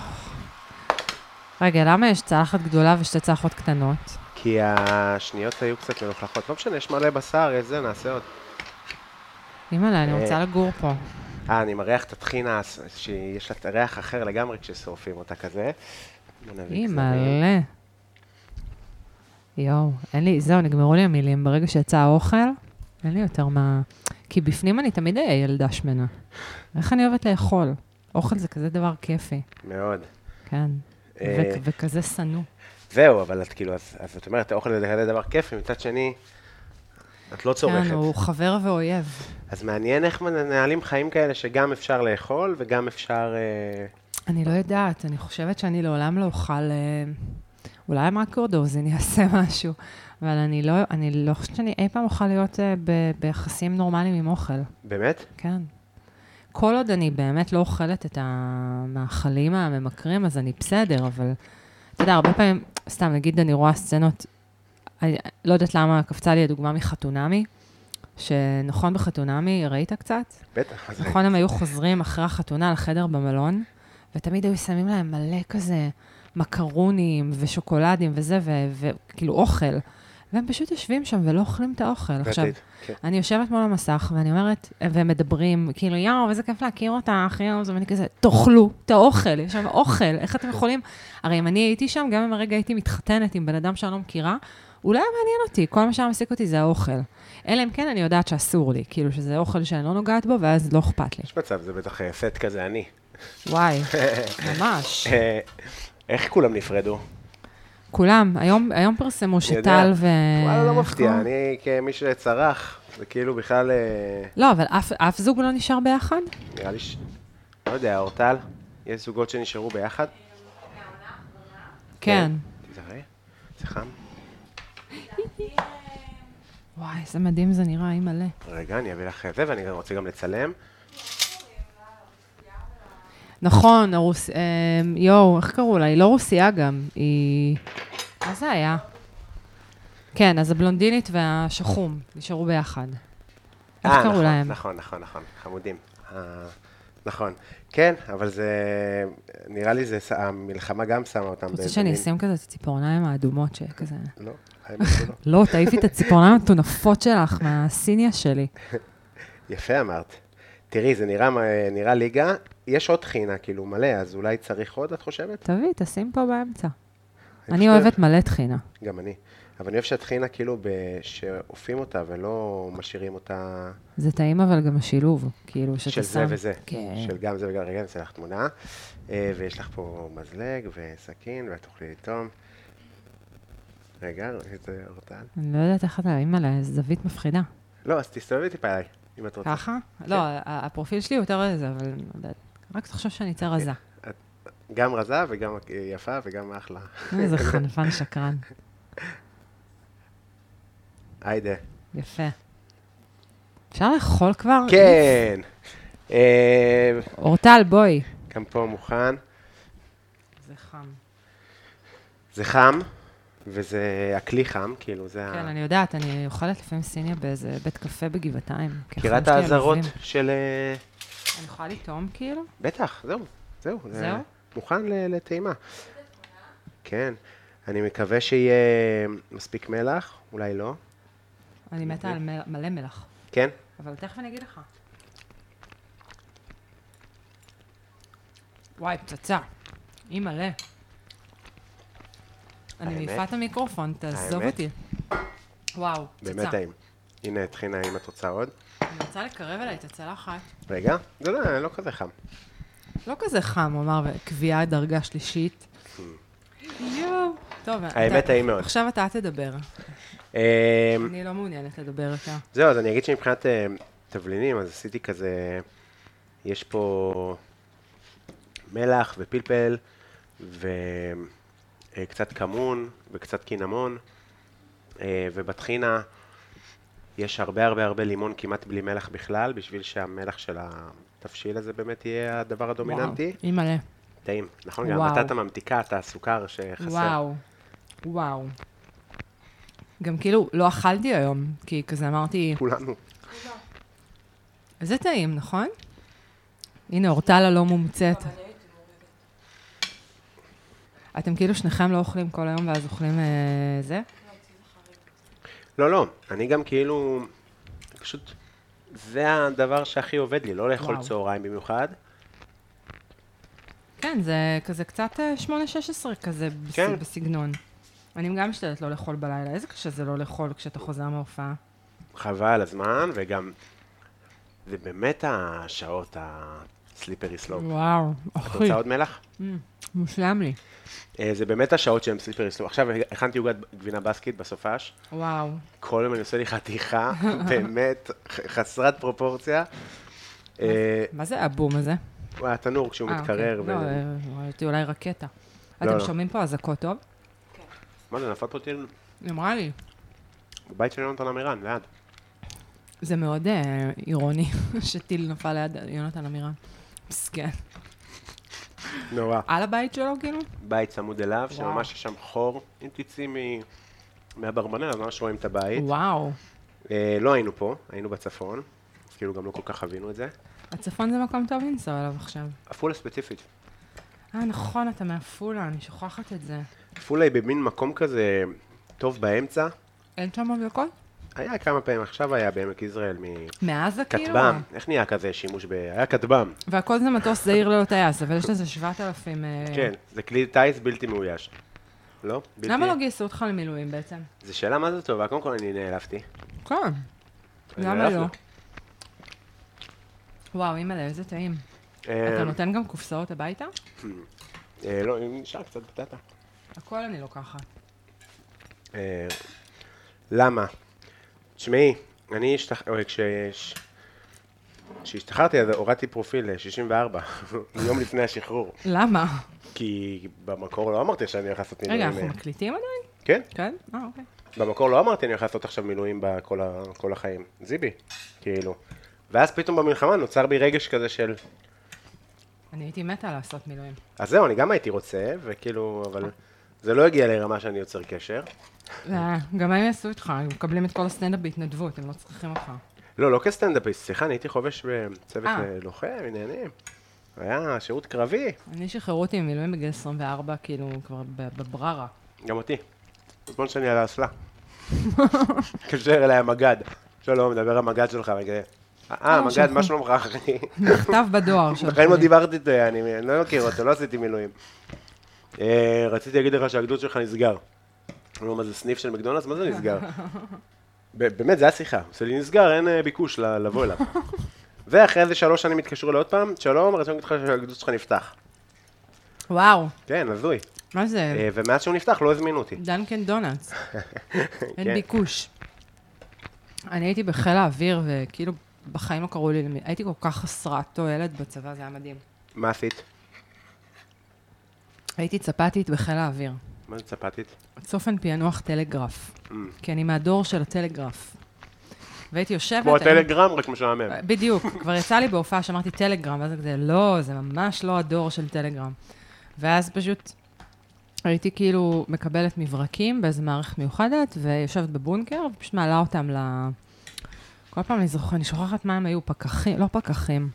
רגע, למה יש צלחת גדולה ושתי צלחות קטנות?
כי השניות היו קצת מלוכלכות. לא משנה, יש מלא בשר, יש זה, נעשה עוד.
אימא'לה, אני
אה.
רוצה לגור פה.
אה, אני מריח את הטחינה, ס- שיש לה ריח אחר לגמרי כששורפים אותה כזה. בוא נביא
היא
קצת.
מלא. יואו, אין לי, זהו, נגמרו לי המילים. ברגע שיצא האוכל, אין לי יותר מה... כי בפנים אני תמיד אהיה ילדה שמנה. איך אני אוהבת לאכול? אוכל זה כזה דבר כיפי,
מאוד.
כן.
אה.
ו- וכזה שנוא. כן,
זהו, אבל את כאילו, אז אז את אומרת, האוכל זה כזה דבר כיפי, מצד שני, את לא
כן,
צורכת.
הוא חבר ואויב.
אז מעניין איך מנהלים חיים כאלה שגם אפשר לאכול וגם אפשר... אה,
אני לא יודעת, אני חושבת שאני לעולם לא אוכל... אה, אולי אם רק אורדוזין יעשה משהו, אבל אני לא, אני לא חושבת שאני אי פעם אוכל להיות אה, ב- ביחסים נורמליים עם אוכל.
באמת?
כן. כל עוד אני באמת לא אוכלת את המאכלים הממכרים, אז אני בסדר, אבל אתה יודע, הרבה פעמים, סתם, נגיד אני רואה סצנות, אני לא יודעת למה, קפצה לי הדוגמה מחתונמי, שנכון בחתונמי, ראית קצת?
בטח. אז-
נכון, הם היו חוזרים אחרי החתונה לחדר במלון, ותמיד היו שמים להם מלא כזה מקרונים ושוקולדים וזה, ו- וכאילו אוכל. והם פשוט יושבים שם ולא אוכלים את האוכל. עכשיו,
רטית, כן.
אני יושבת מול המסך, ואני אומרת, והם מדברים, כאילו, יואו, איזה כיף להכיר אותך, יואו, זה, ואני כזה, תאכלו את האוכל, יש שם אוכל, איך אתם יכולים? הרי אם אני הייתי שם, גם אם הרגע הייתי מתחתנת עם בן אדם שאני לא מכירה, אולי היה מעניין אותי, כל מה שהיה מעסיק אותי זה האוכל. אלא אם כן אני יודעת שאסור לי, כאילו שזה אוכל שאני לא נוגעת בו, ואז לא אכפת לי.
יש מצב, זה בטח אה, סט כזה עני.
וואי, ממש.
אה, איך כולם נפרדו?
כולם, היום, היום פרסמו
אני יודע.
שטל ו...
וואלה, לא
איך
מפתיע,
קוראים?
אני כמי שצרח, זה כאילו בכלל, אה,
לא, אבל אף, אף זוג לא נשאר ביחד?
נראה לי ש... לא יודע, אורטל, יש זוגות שנשארו ביחד?
כן.
תיזהרי, זה חם.
וואי, איזה מדהים זה נראה, אי מלא.
רגע, אני אביא לך את זה, ואני גם רוצה גם לצלם.
נכון, הרוס... אה, יואו, איך קראו לה? היא לא רוסייה גם, היא... מה זה היה? כן, אז הבלונדינית והשחום נשארו ביחד. איך
אה,
קראו
נכון,
להם?
נכון, נכון, נכון, חמודים. אה, נכון. כן, אבל זה... נראה לי זה... ש- המלחמה גם שמה אותם
אתה רוצה
באיזה
שאני
מין-
אשים כזה את הציפורניים האדומות שכזה...
לא, האמת שלא.
לא, תעיפי את הציפורניים המטונפות שלך מהסיניה שלי.
יפה אמרת. תראי, זה נראה, מה- נראה ליגה, יש עוד חינה, כאילו, מלא, אז אולי צריך עוד, את חושבת?
תביא, תשים פה באמצע.
אני
אני
חושב-
אוהבת מלא טחינה.
גם אני. אבל אני אוהב שאת חינה, כאילו, ב- שאופים אותה ולא משאירים אותה
זה טעים אבל גם השילוב, כאילו, שאתה שם...
של זה וזה.
כן.
של גם זה וגם, רגע, אני אעשה לך תמונה. אה, ויש לך פה מזלג וסכין, ואת תוכלי לטעום. רגע, איזה אורטל.
אני לא יודעת איך אתה, אימא'לה, זווית מפחידה.
לא, אז תסתובבי טיפה אליי, אם את כן. רוצה.
ככה? לא, ה- הפרופיל שלי הוא יותר רזה, אבל אני לא יודעת. רק תחשוב שאני יותר
אוקיי.
רזה.
גם רזה וגם אה, יפה וגם אחלה.
איזה חנפן שקרן.
היידה.
אה, יפה. אפשר לאכול כבר?
כן! אה,
אורטל, בואי.
גם פה מוכן.
זה חם.
זה חם, וזה... הכלי חם, כאילו, זה
כן,
ה...
אני יודעת, אני אוכלת לפעמים סיניה באיזה בית קפה בגבעתיים. כי
מכירה את
החיים שלי
האזהרות
עלובים.
של... אה,
אני יכולה לטעום כאילו?
בטח, זהו, זהו. זה
זהו?
מוכן ל- לטעימה. כן. אני מקווה שיהיה מספיק מלח, אולי לא.
אני
אוקיי.
מתה על מל- מלא מלח.
כן?
אבל תכף אני אגיד לך. וואי, פצצה. היא מלא. אני
האמת?
מעיפה את המיקרופון, תעזוב
האמת?
אותי. וואו, פצצה.
באמת טעים. הנה, טחינה, אם את רוצה עוד.
אני רוצה לקרב אליי את הצלחת.
רגע, זה לא, לא כזה חם.
לא כזה חם, הוא אמר, קביעה דרגה שלישית. יואו. טוב, אתה-
האמת, טעים מאוד.
עכשיו אתה תדבר.
אה,
אני לא מעוניינת לדבר יותר.
זהו, אז אני אגיד שמבחינת אה, תבלינים, אז עשיתי כזה, יש פה מלח ופלפל וקצת כמון וקצת קינמון, אה, ובטחינה יש הרבה הרבה הרבה לימון כמעט בלי מלח בכלל, בשביל שהמלח של התבשיל הזה באמת יהיה הדבר הדומיננטי.
וואו, היא מלא.
טעים, נכון? גם
וואו.
נתת ממתיקה, את הסוכר שחסר.
וואו, וואו. גם כאילו, לא אכלתי היום, כי כזה אמרתי,
כולנו.
זה טעים, נכון? הנה, אורטלה לא מומצאת. אתם כאילו שניכם לא אוכלים כל היום ואז אוכלים אה, זה?
לא, לא, אני גם כאילו, פשוט, זה הדבר שהכי עובד לי, לא לאכול
וואו.
צהריים במיוחד.
כן, זה כזה קצת אה, 8-16 כזה בס-
כן.
בסגנון. אני גם משתדלת לא לאכול בלילה, איזה קשה זה לא לאכול כשאתה חוזר מההופעה.
חבל הזמן, וגם, זה באמת השעות הסליפרי סלופ.
וואו,
לא. את
אחי, Mm,
רוצה עוד מלח?
מושלם לי.
אה, זה באמת השעות שהן סליפרי סלופ. עכשיו הכנתי עוגת גבינה בסקית בסופש,
וואו,
כל יום אני עושה לי חתיכה, באמת, ח- חסרת פרופורציה. אה,
מה זה הבום הזה?
וואי, התנור כשהוא
אה,
מתקרר.
אוקיי.
ו-
לא, אה, ראיתי אולי רקטה.
לא,
אתם
לא.
שומעים פה אזעקות טוב?
מה זה, נפל פה טיל
היא אמרה לי.
בבית של יונתן עמירן, ליד.
זה מאוד אה, אירוני שטיל נפל ליד יונתן עמירן. מסכן.
נורא.
על הבית שלו, כאילו?
בית צמוד אליו,
וואו.
שממש יש שם חור. אם תצאי מ- מאברבנל, אז ממש רואים את הבית.
וואו.
אה, לא היינו פה, היינו בצפון, אז כאילו גם לא כל כך חווינו את זה.
הצפון זה מקום טוב לנסוע אליו עכשיו.
עפולה ספציפית.
אה, נכון, אתה מעפולה, אני שוכחת את זה.
עפולה היא במין מקום כזה טוב באמצע.
אין שם אזעקות?
היה כמה פעמים, עכשיו היה בעמק יזרעאל מכטב"ם,
מעזה, כאילו?
איך נהיה כזה שימוש ב... היה כטב"ם,
והכל זה מטוס זעיר ללא טייס, אבל יש לזה 7,000... אה,
כן, זה כלי טיס בלתי מאויש. לא? בלתי...
למה לא גייסו אותך למילואים בעצם?
זו שאלה מה זה טובה, קודם כל אני נעלבתי.
כן.
אני
למה
נעלב
לא?
לו.
וואו, אימא'לה, איזה טעים. אתה
אה,
נותן גם קופסאות הביתה?
אה, לא, נשאר קצת בטטה.
הכל אני לוקחת.
אה, למה? תשמעי, אני השתח... אוי, כש- כשהשתחררתי אז הורדתי פרופיל ל-64, יום לפני השחרור.
למה?
אה, כי במקור לא אמרתי שאני הולך לעשות
רגע,
מילואים. אה,
אנחנו מקליטים עדיין?
כן,
כן? אה, אוקיי.
במקור לא אמרתי אני הולך לעשות עכשיו מילואים בכל ה... כל החיים. זיבי, כאילו. ואז פתאום במלחמה נוצר בי רגש כזה של...
אני הייתי מתה לעשות מילואים.
אז זהו, אני גם הייתי רוצה, וכאילו, אבל זה לא הגיע לרמה שאני יוצר קשר.
אה, גם הם יעשו איתך, הם מקבלים את כל הסטנדאפ בהתנדבות, הם לא צריכים אותך.
לא, לא כסטנדאפיסט, סליחה, אני הייתי חובש בצוות
אה.
אה, לוחם, עניינים. היה שירות קרבי,
אני שחררו אותי ממילואים בגיל 24, כאילו, כבר בב- בבררה.
גם אותי. בזמן שאני על האסלה. התקשר אליי המג"ד. שלום, מדבר המג"ד שלך, ואני כזה, אה, המג"ד,
שלך.
מה שלומך, אחי?
נכתב בדואר שלך.
בחיים לא דיברתי איתו, אני אני לא מכיר אותו, לא עשיתי מילואים. אה, רציתי להגיד לך שהגדוד שלך נסגר. אמרו, מה זה סניף של מקדונלדס? מה זה נסגר? ב- באמת, זו הייתה שיחה. עושה לי נסגר, אין אה, ביקוש ל- לבוא אליו. ואחרי איזה שלוש שנים התקשרו אליי עוד פעם, שלום, רציתי להגיד לך שהגדוד שלך נפתח.
וואו,
כן, הזוי.
מה זה?
אה, ומאז שהוא נפתח לא הזמינו אותי.
דנקן דונלדס.
כן.
אין ביקוש. אני הייתי בחיל האוויר, וכאילו, בחיים לא קראו לי למי... הייתי כל כך חסרת תועלת בצבא, זה היה מדהים.
מה עשית?
הייתי צפתית בחיל האוויר.
מה זה צפתית?
צופן פענוח טלגרף. כי אני מהדור של הטלגרף. והייתי יושבת...
כמו
הייתי-
הטלגרם, רק משעמם.
בדיוק, כבר יצא לי בהופעה שאמרתי טלגרם, ואז כזה, לא, זה ממש לא הדור של טלגרם. ואז פשוט הייתי כאילו מקבלת מברקים באיזה מערכת מיוחדת, ויושבת בבונקר, ופשוט מעלה אותם ל... כל פעם אני זוכרת, אני שוכחת מה הם היו, פקחים, לא פקחים.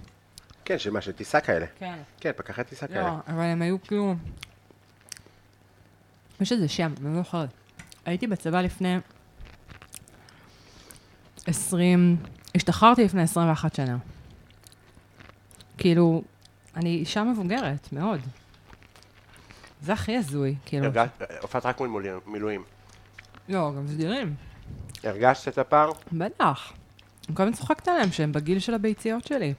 כן, שמה, של טיסה כאלה.
כן.
כן, פקחי טיסה
לא,
כאלה.
אבל הם היו כאילו... יש איזה שם, אני לא זוכרת. הייתי בצבא לפני 20... השתחררתי לפני 21 שנה. כאילו, אני אישה מבוגרת, מאוד. זה הכי הזוי, כאילו.
הרגשת- אה, הופעת רק מול מילואים- מילואים.
לא, גם סדירים.
הרגשת את הפער?
בטח. אני כל הזמן צוחקת עליהם שהם בגיל של הביציות שלי.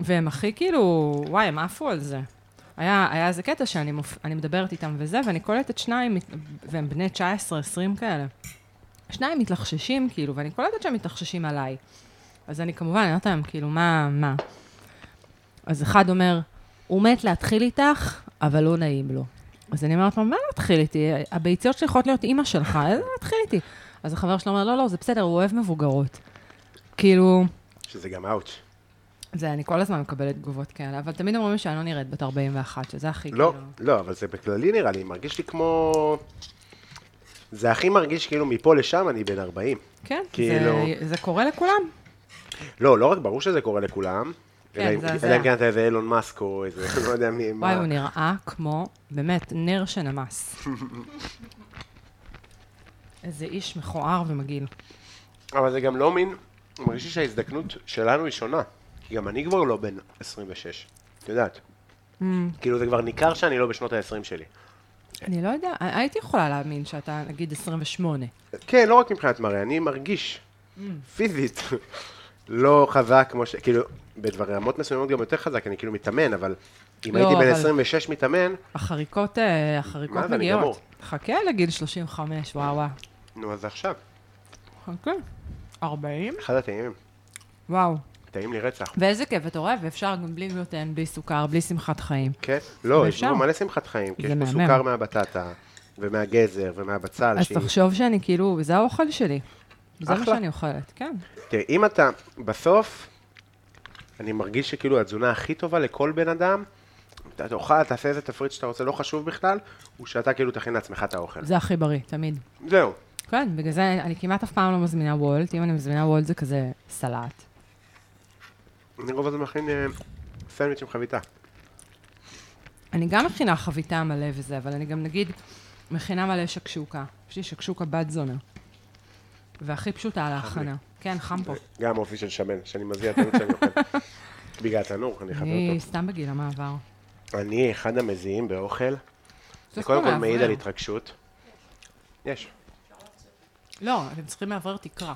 והם הכי כאילו, וואי, הם עפו על זה. היה, היה איזה קטע שאני מופ... אני מדברת איתם וזה, ואני קולטת שניים, מת- והם בני 19-20 כאלה. שניים מתלחששים, כאילו, ואני קולטת שהם מתלחששים עליי. אז אני כמובן, אני אומרת להם, כאילו, מה, מה? אז אחד אומר, הוא מת להתחיל איתך, אבל לא נעים לו. אז אני אומרת לו, מה להתחיל איתי? הביציות שלי יכולות להיות אימא שלך, איזה להתחיל איתי? אז החבר שלו אומר, לא, לא, זה בסדר, הוא אוהב מבוגרות. כאילו,
שזה גם אאוץ'.
זה, אני כל הזמן מקבלת תגובות כאלה, אבל תמיד אומרים לי שאני לא נראית בת 41, שזה הכי
לא,
כאילו...
לא, אבל זה בכללי נראה לי, מרגיש לי כמו... זה הכי מרגיש כאילו מפה לשם אני בן 40.
כן,
כאילו-
זה, זה קורה לכולם.
לא, לא רק ברור שזה קורה לכולם.
כן,
אלא אם-
זה הזיה.
אלא אם כן אתה איזה אילון מאסק או איזה, לא יודע מי,
וואי,
מה.
הוא נראה כמו, באמת, נר שנמס. איזה איש מכוער ומגעיל.
אבל זה גם לא מין, מרגיש לי שההזדקנות שלנו היא שונה. כי גם אני כבר לא בן 26, את יודעת.
Mm.
כאילו זה כבר ניכר שאני לא בשנות ה-20 שלי.
אני לא יודע, הייתי יכולה להאמין שאתה, נגיד, 28.
כן, לא רק מבחינת מראה, אני מרגיש פיזית לא חזק כמו ש... כאילו, ברמות מסוימות גם יותר חזק, אני כאילו מתאמן, אבל אם
לא,
הייתי בן
אבל-
26 מתאמן,
החריקות, אה, החריקות
מה זה, אני גמור.
מגיעות. חכה לגיל 35, וואו וואו.
נו, אז עכשיו,
חכה. 40?
אחד הטעים,
וואו.
טעים לי רצח.
ואיזה כיף, אתה רואה, ואפשר גם בלי גלוטן, בלי סוכר, בלי שמחת חיים.
כן? לא, יש
ואפשר.
פה מלא שמחת חיים, כי
זה
יש פה
מהמם.
סוכר מהבטטה, ומהגזר, ומהבצל,
אז
שהיא-
תחשוב שאני כאילו, זה האוכל שלי. זה מה
אחלה.
שאני אוכלת, כן.
תראה, אם אתה, בסוף, אני מרגיש שכאילו התזונה הכי טובה לכל בן אדם, אתה תאכל, תעשה איזה תפריט שאתה רוצה, לא חשוב בכלל, הוא שאתה כאילו תכין לעצמך את האוכל.
זה הכי בריא, תמיד.
זהו.
כן, בגלל זה אני כמעט אף פעם לא מזמינה וולט. אם אני מזמינה וולט זה כזה סלט.
אני רוב הזמן מכין אה, סנדוויץ' עם חביתה.
אני גם מכינה חביתה מלא וזה, אבל אני גם נגיד מכינה מלא שקשוקה. יש לי שקשוקה בת זונה. והכי פשוטה על ההכנה. כן, חם פה.
גם אופי של שמן, שאני מזיע את המיץ שאני אוכל. בגלל התנור, אני חבר
אני
אותו.
סתם בגיל המעבר.
אני אחד המזיעים באוכל, זה
צריך
קודם
פה
כל מעיד
מאוורר.
על התרגשות. יש.
לא, אתם צריכים לאוורר תקרה.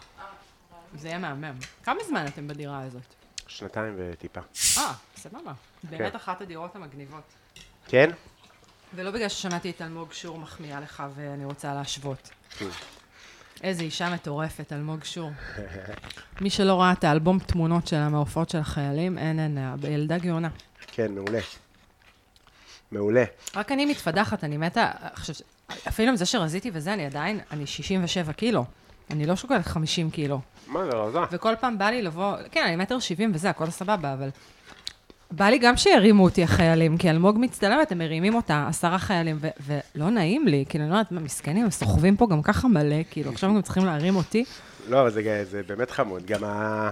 זה יהיה מהמם. כמה זמן אתם בדירה הזאת?
שנתיים וטיפה.
אה, סבבה. באמת אחת הדירות המגניבות.
כן?
ולא בגלל ששמעתי את אלמוג שור מחמיאה לך ואני רוצה להשוות. איזה אישה מטורפת, אלמוג שור. מי שלא ראה את האלבום תמונות שלה מההופעות של החיילים, אין, אין, אה, ילדה גאונה.
כן, מעולה. מעולה.
רק אני מתפדחת, אני מתה, עכשיו, אפילו עם זה שרזיתי וזה, אני עדיין, אני 67 קילו. אני לא שוקלת 50 קילו.
מה זה רזה?
וכל פעם בא לי לבוא, כן, אני מטר שבעים וזה, הכל סבבה, אבל... בא לי גם שירימו אותי החיילים, כי אלמוג מצטלמת, הם מרימים אותה, עשרה חיילים, ו- ולא נעים לי, כאילו, אני לא יודעת, מה, מסכנים, הם סוחבים פה גם ככה מלא, כאילו, עכשיו הם גם צריכים להרים אותי.
לא, אבל זה, ג- זה באמת חמוד. גם ה...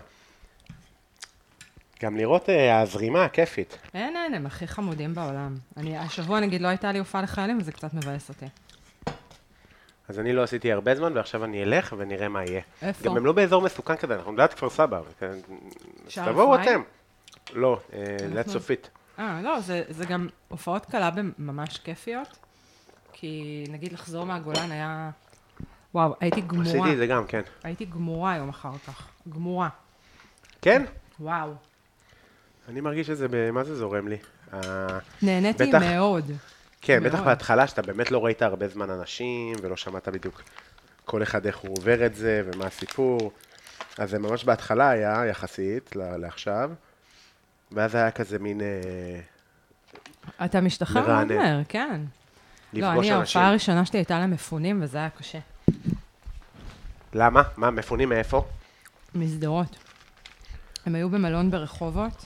גם לראות אה, הזרימה הכיפית.
אין, אין, הם הכי חמודים בעולם. אני, השבוע נגיד לא הייתה לי הופעה לחיילים, וזה קצת מבאס אותי.
אז אני לא עשיתי הרבה זמן, ועכשיו אני אלך ונראה מה יהיה.
איפה?
גם הם לא באזור מסוכן כזה, אנחנו ליד כפר סבא. אבל כן, אז
שער
תבואו אתם.
אפרים?
לא, אה, ליד
אנחנו-
צופית.
אה, לא, זה, זה גם הופעות קלה ממש כיפיות, כי נגיד לחזור מהגולן היה... וואו, הייתי גמורה.
עשיתי את זה גם, כן.
הייתי גמורה יום אחר כך. גמורה.
כן?
וואו.
אני מרגיש שזה, ב- מה זה זורם לי? אה,
נהניתי
בטח-
מאוד.
כן, בטח
מאוד.
בהתחלה, שאתה באמת לא ראית הרבה זמן אנשים, ולא שמעת בדיוק כל אחד איך הוא עובר את זה, ומה הסיפור. אז זה ממש בהתחלה היה, יחסית, ל- לעכשיו. ואז היה כזה מין אה,
אתה משתחרר מאוד
מרענן.
מהר, כן. לא,
לפגוש אנשים.
אני, ההופעה הראשונה שלי הייתה למפונים, וזה היה קשה.
למה? מה, מפונים מאיפה?
משדרות. הם היו במלון ברחובות.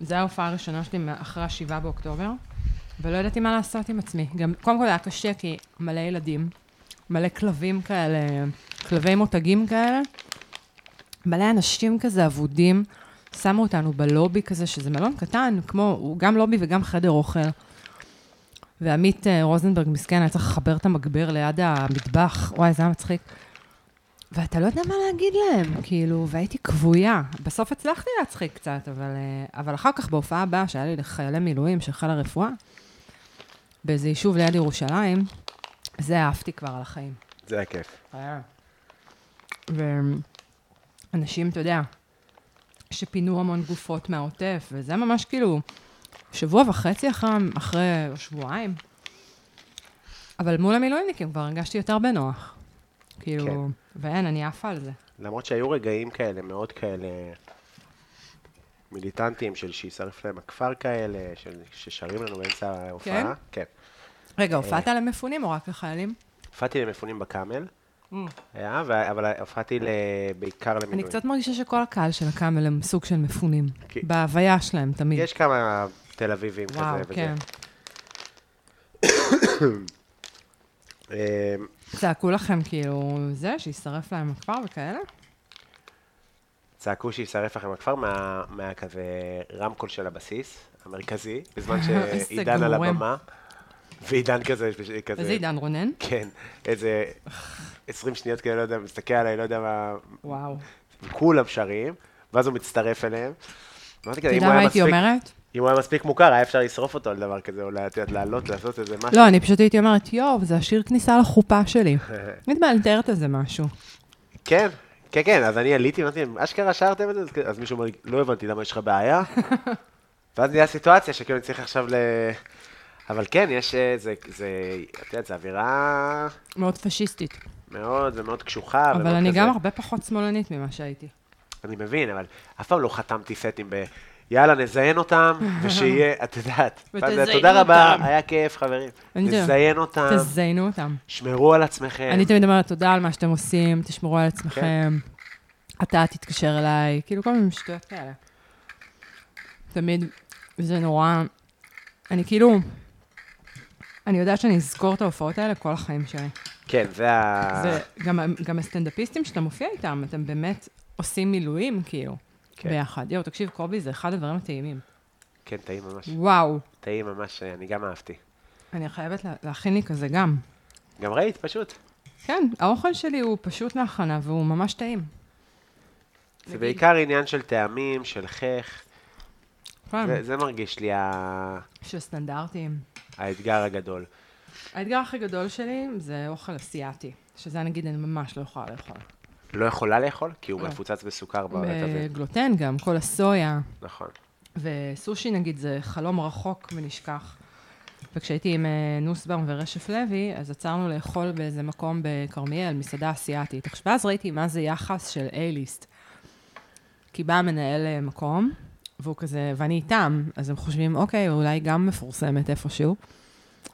זו ההופעה הראשונה שלי מה- אחרי השבעה באוקטובר, ולא ידעתי מה לעשות עם עצמי. גם, קודם כל היה קשה, כי מלא ילדים, מלא כלבים כאלה, כלבי מותגים כאלה, מלא אנשים כזה אבודים, שמו אותנו בלובי כזה, שזה מלון קטן, כמו, הוא גם לובי וגם חדר אוכל. ועמית אה, רוזנברג, מסכן, היה צריך לחבר את המגבר ליד המטבח, וואי, זה היה מצחיק. ואתה לא יודע מה להגיד להם, כאילו, והייתי כבויה. בסוף הצלחתי להצחיק קצת, אבל, אה, אבל אחר כך בהופעה הבאה, שהיה לי לחיילי מילואים של חיל הרפואה, באיזה יישוב ליד ירושלים, זה אהבתי כבר על החיים.
זה היה כיף.
היה. ואנשים, אתה יודע, שפינו המון גופות מהעוטף, וזה ממש כאילו שבוע וחצי אחרי, אחרי או שבועיים. אבל מול המילואימניקים כבר הרגשתי יותר בנוח. כאילו,
כן.
ואין, אני עפה על זה.
למרות שהיו רגעים כאלה, מאוד כאלה, מיליטנטיים של שישרף להם הכפר כאלה, של, ששרים לנו באמצע ההופעה. כן.
רגע, הופעת למפונים או רק לחיילים?
הופעתי למפונים בקאמל, היה, ו- אבל הופעתי ל- בעיקר
Mm. אני
למילואים.
קצת מרגישה שכל הקהל של הקאמל הם סוג של מפונים.
כן.
בהוויה שלהם תמיד.
יש כמה תל אביבים כזה
וואו,
וזה.
כן.
אמ,
צעקו לכם כאילו זה, שישרף להם הכפר וכאלה?
צעקו שישרף לכם הכפר מה- מהכזה רמקול של הבסיס המרכזי, בזמן
איזה
שעידן על
גורם.
הבמה. ועידן כזה, כזה-
איזה עידן רונן?
כן, איזה 20 שניות כאלה, לא יודע, מסתכל עליי, לא יודע מה,
וואו.
כולם שרים, ואז הוא מצטרף אליהם. אמרתי
אתה
כזה, אם
יודע
הוא
מה
היה
הייתי
מספיק,
אומרת?
אם הוא היה מספיק מוכר, היה אפשר לשרוף אותו על דבר כזה, או לעלות, לעלות, לעשות איזה משהו.
לא, אני פשוט הייתי אומרת, יואו, זה השיר כניסה לחופה שלי. נדמה לי, לתארת איזה משהו.
כן, כן, כן, אז אני עליתי, אמרתי, להם, אשכרה שרתם את זה? אז כ- אז מישהו אומר לי, לא הבנתי למה יש לך בעיה. ואז נהיה סיטואציה שכאילו אני צריך עכשיו ל... אבל כן, יש, אה, זה, זה, את יודעת, זו אווירה
מאוד פשיסטית.
מאוד ומאוד קשוחה.
אבל
ומאוד
אני
אה, כזה.
גם הרבה פחות שמאלנית ממה שהייתי.
אני מבין, אבל אף פעם לא חתמתי סטים ב... יאללה, נזיין אותם, ושיהיה, את יודעת.
ותזיינו
ואז, תודה רבה,
אותם."
היה כיף, חברים.
אני יודע.
נזיין אותם,
תזיינו אותם.
שמרו על עצמכם.
אני תמיד אומרת, תודה על מה שאתם עושים, תשמרו על עצמכם,
כן.
אתה תתקשר אליי, כאילו כל מיני שטויות כאלה. תמיד זה נורא, אני כאילו, אני יודעת שאני אזכור את ההופעות האלה כל החיים שלי.
כן, זה ה...
וגם גם הסטנדאפיסטים שאתה מופיע איתם, אתם באמת עושים מילואים, כאילו,
כן.
ביחד. יואו, תקשיב, קובי, זה אחד הדברים הטעימים.
כן, טעים ממש.
וואו,
טעים ממש, אה, אני גם אהבתי.
אני חייבת לה- להכין לי כזה גם.
גם ראית, פשוט.
כן, האוכל שלי הוא פשוט להכנה והוא ממש טעים.
זה בעיקר עניין של טעמים, של חך.
כן,
זה- זה מרגיש לי ה-
של סטנדרטים.
האתגר הגדול.
האתגר הכי גדול שלי זה אוכל אסיאתי, שזה נגיד אני ממש לא יכולה לאכול.
לא יכולה לאכול, כי הוא
לא.
מפוצץ בסוכר ברטבים.
גלוטן גם, כל הסויה,
נכון.
וסושי נגיד זה חלום רחוק ונשכח. וכשהייתי עם אה, נוסבאום ורשף לוי, אז עצרנו לאכול באיזה מקום בכרמיאל, מסעדה אסיאתית. עכשיו, ואז ראיתי מה זה יחס של A-ליסט. כי בא מנהל אה, מקום, והוא כזה, ואני איתם, אז הם חושבים, אוקיי, אולי גם מפורסמת איפשהו.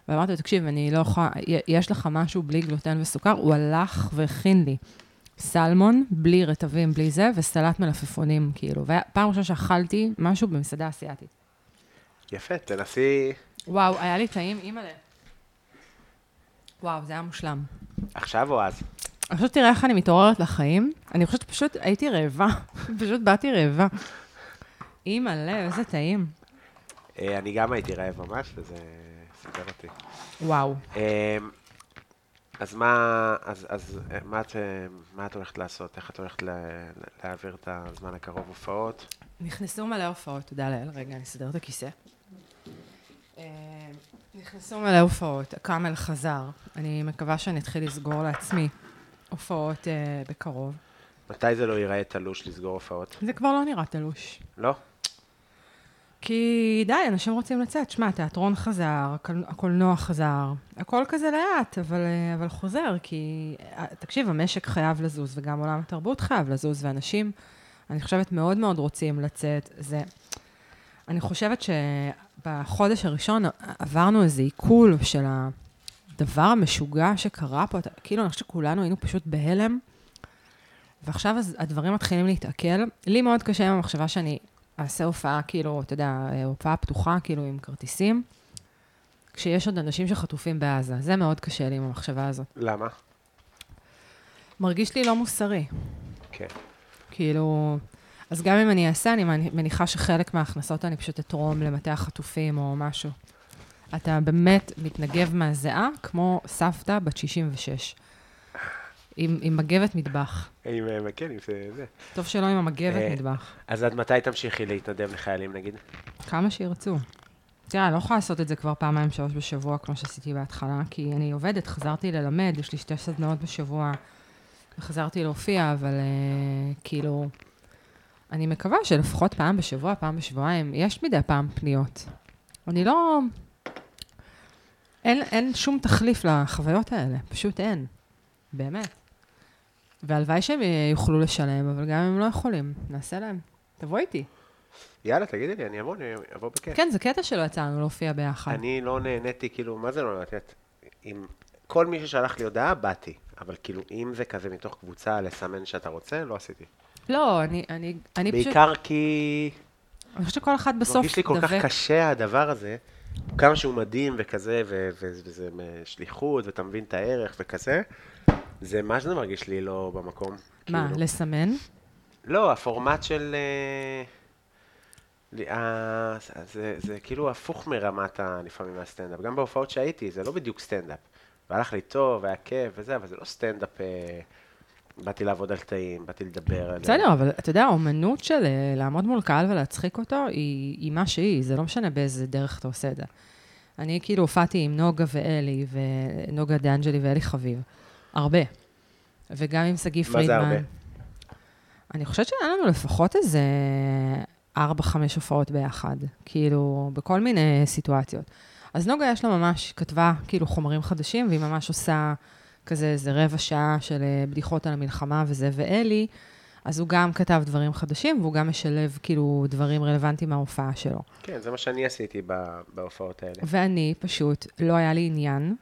ואמרתי לו, תקשיב, אני לא יכולה, י- יש לך משהו בלי גלוטן וסוכר? הוא הלך והכין לי סלמון, בלי רטבים, בלי זה, וסלט מלפפונים, כאילו. ופעם ראשונה שאכלתי משהו במסעדה אסיאתית.
יפה, תנסי...
וואו, היה לי טעים, אימא'לה. וואו, זה היה מושלם.
עכשיו או אז?
אני פשוט תראה איך אני מתעוררת לחיים. אני חושבת שפשוט הייתי רעבה. פשוט באתי רעבה. אימא'לה, איזה טעים.
אה, אני גם הייתי רעב ממש, וזה סידר אותי.
וואו.
אה, אז מה, אז, אז אה, מה, את, אה, מה את הולכת לעשות? איך את הולכת ל- ל- להעביר את הזמן הקרוב הופעות?
נכנסו מלא הופעות, תודה לאל. רגע, אני אסדר את הכיסא. אה, נכנסו מלא הופעות, הקאמל חזר. אני מקווה שאני אתחיל לסגור לעצמי הופעות אה, בקרוב.
מתי זה לא ייראה תלוש לסגור הופעות?
זה כבר לא נראה תלוש.
לא?
כי די, אנשים רוצים לצאת. שמע, התיאטרון חזר, הקל- הקולנוע חזר, הכל כזה לאט, אבל, אה, אבל חוזר, כי... אה, תקשיב, המשק חייב לזוז, וגם עולם התרבות חייב לזוז, ואנשים, אני חושבת, מאוד מאוד רוצים לצאת. זה... אני חושבת שבחודש הראשון עברנו איזה עיכול של הדבר המשוגע שקרה פה. אתה- כאילו, אני חושבת שכולנו היינו פשוט בהלם. ועכשיו אז הדברים מתחילים להתעכל. לי מאוד קשה עם המחשבה שאני אעשה הופעה, כאילו, אתה יודע, אה, הופעה פתוחה, כאילו, עם כרטיסים, כשיש עוד אנשים שחטופים בעזה. זה מאוד קשה לי עם המחשבה הזאת.
למה?
מרגיש לי לא מוסרי.
כן.
כאילו, אז גם אם אני אעשה, אני מני- מניחה שחלק מההכנסות אני פשוט אתרום למטה החטופים או משהו. אתה באמת מתנגב מהזיעה כמו סבתא בת 66. עם, עם מגבת מטבח.
אם, אה, כן, אם זה זה.
טוב שלא עם
אה,
המגבת מטבח.
אז עד מתי תמשיכי להתנדב לחיילים נגיד?
כמה שירצו. תראה, אני לא יכולה לעשות את זה כבר פעמיים, שלוש בשבוע, כמו שעשיתי בהתחלה, כי אני עובדת, חזרתי ללמד, יש לי שתי סדנאות בשבוע, וחזרתי להופיע, אבל אה, כאילו, אני מקווה שלפחות פעם בשבוע, פעם בשבועיים, יש מדי פעם פניות. אני לא... אין, אין שום תחליף לחוויות האלה, פשוט אין. באמת. והלוואי שהם אה, יוכלו לשלם, אבל גם אם לא יכולים, נעשה להם. תבוא איתי.
יאללה, תגידי לי, אני אבוא, אני אבוא בכיף.
כן, זה קטע שלא יצא לנו להופיע ביחד.
אני לא נהניתי, כאילו, מה זה לא נהנית? עם כל מי ששלח לי הודעה, באתי. אבל כאילו, אם זה כזה מתוך קבוצה לסמן שאתה רוצה, לא עשיתי.
לא, אני, אני, אני פשוט...
בעיקר כי...
אני חושבת שכל אחד בסוף
מרגיש לי כל כך
דבק.
קשה הדבר הזה, כמה שהוא מדהים וכזה, ו- ו- וזה שליחות, ואתה מבין את הערך וכזה, זה מה שזה מרגיש לי לא במקום.
מה,
כאילו.
לסמן?
לא, הפורמט של... אה, ל- אה, זה- זה, זה כאילו הפוך מרמת ה- לפעמים מהסטנדאפ. גם בהופעות שהייתי, זה לא בדיוק סטנדאפ. והלך לי טוב, היה כיף וזה, אבל זה לא סטנדאפ... אה, באתי לעבוד על קטעים, באתי לדבר על...
בסדר, אבל אתה יודע, האומנות של אה, לעמוד מול קהל ולהצחיק אותו, היא, היא מה שהיא, זה לא משנה באיזה דרך אתה עושה את זה. אני כאילו הופעתי עם נוגה ואלי, ונוגה דאנג'לי ואלי חביב, הרבה. וגם עם שגיא
זה
פרידמן.
הרבה?
אני חושבת שהיה לנו לפחות איזה ארבע, חמש הופעות ביחד, כאילו, בכל מיני סיטואציות. אז נוגה יש לה ממש, כתבה כאילו חומרים חדשים, והיא ממש עושה כזה איזה רבע שעה של אה, בדיחות על המלחמה וזה, ואלי, אז הוא גם כתב דברים חדשים, והוא גם משלב כאילו דברים רלוונטיים מההופעה שלו.
כן, זה מה שאני עשיתי ב- בהופעות האלה.
ואני פשוט, לא היה לי עניין.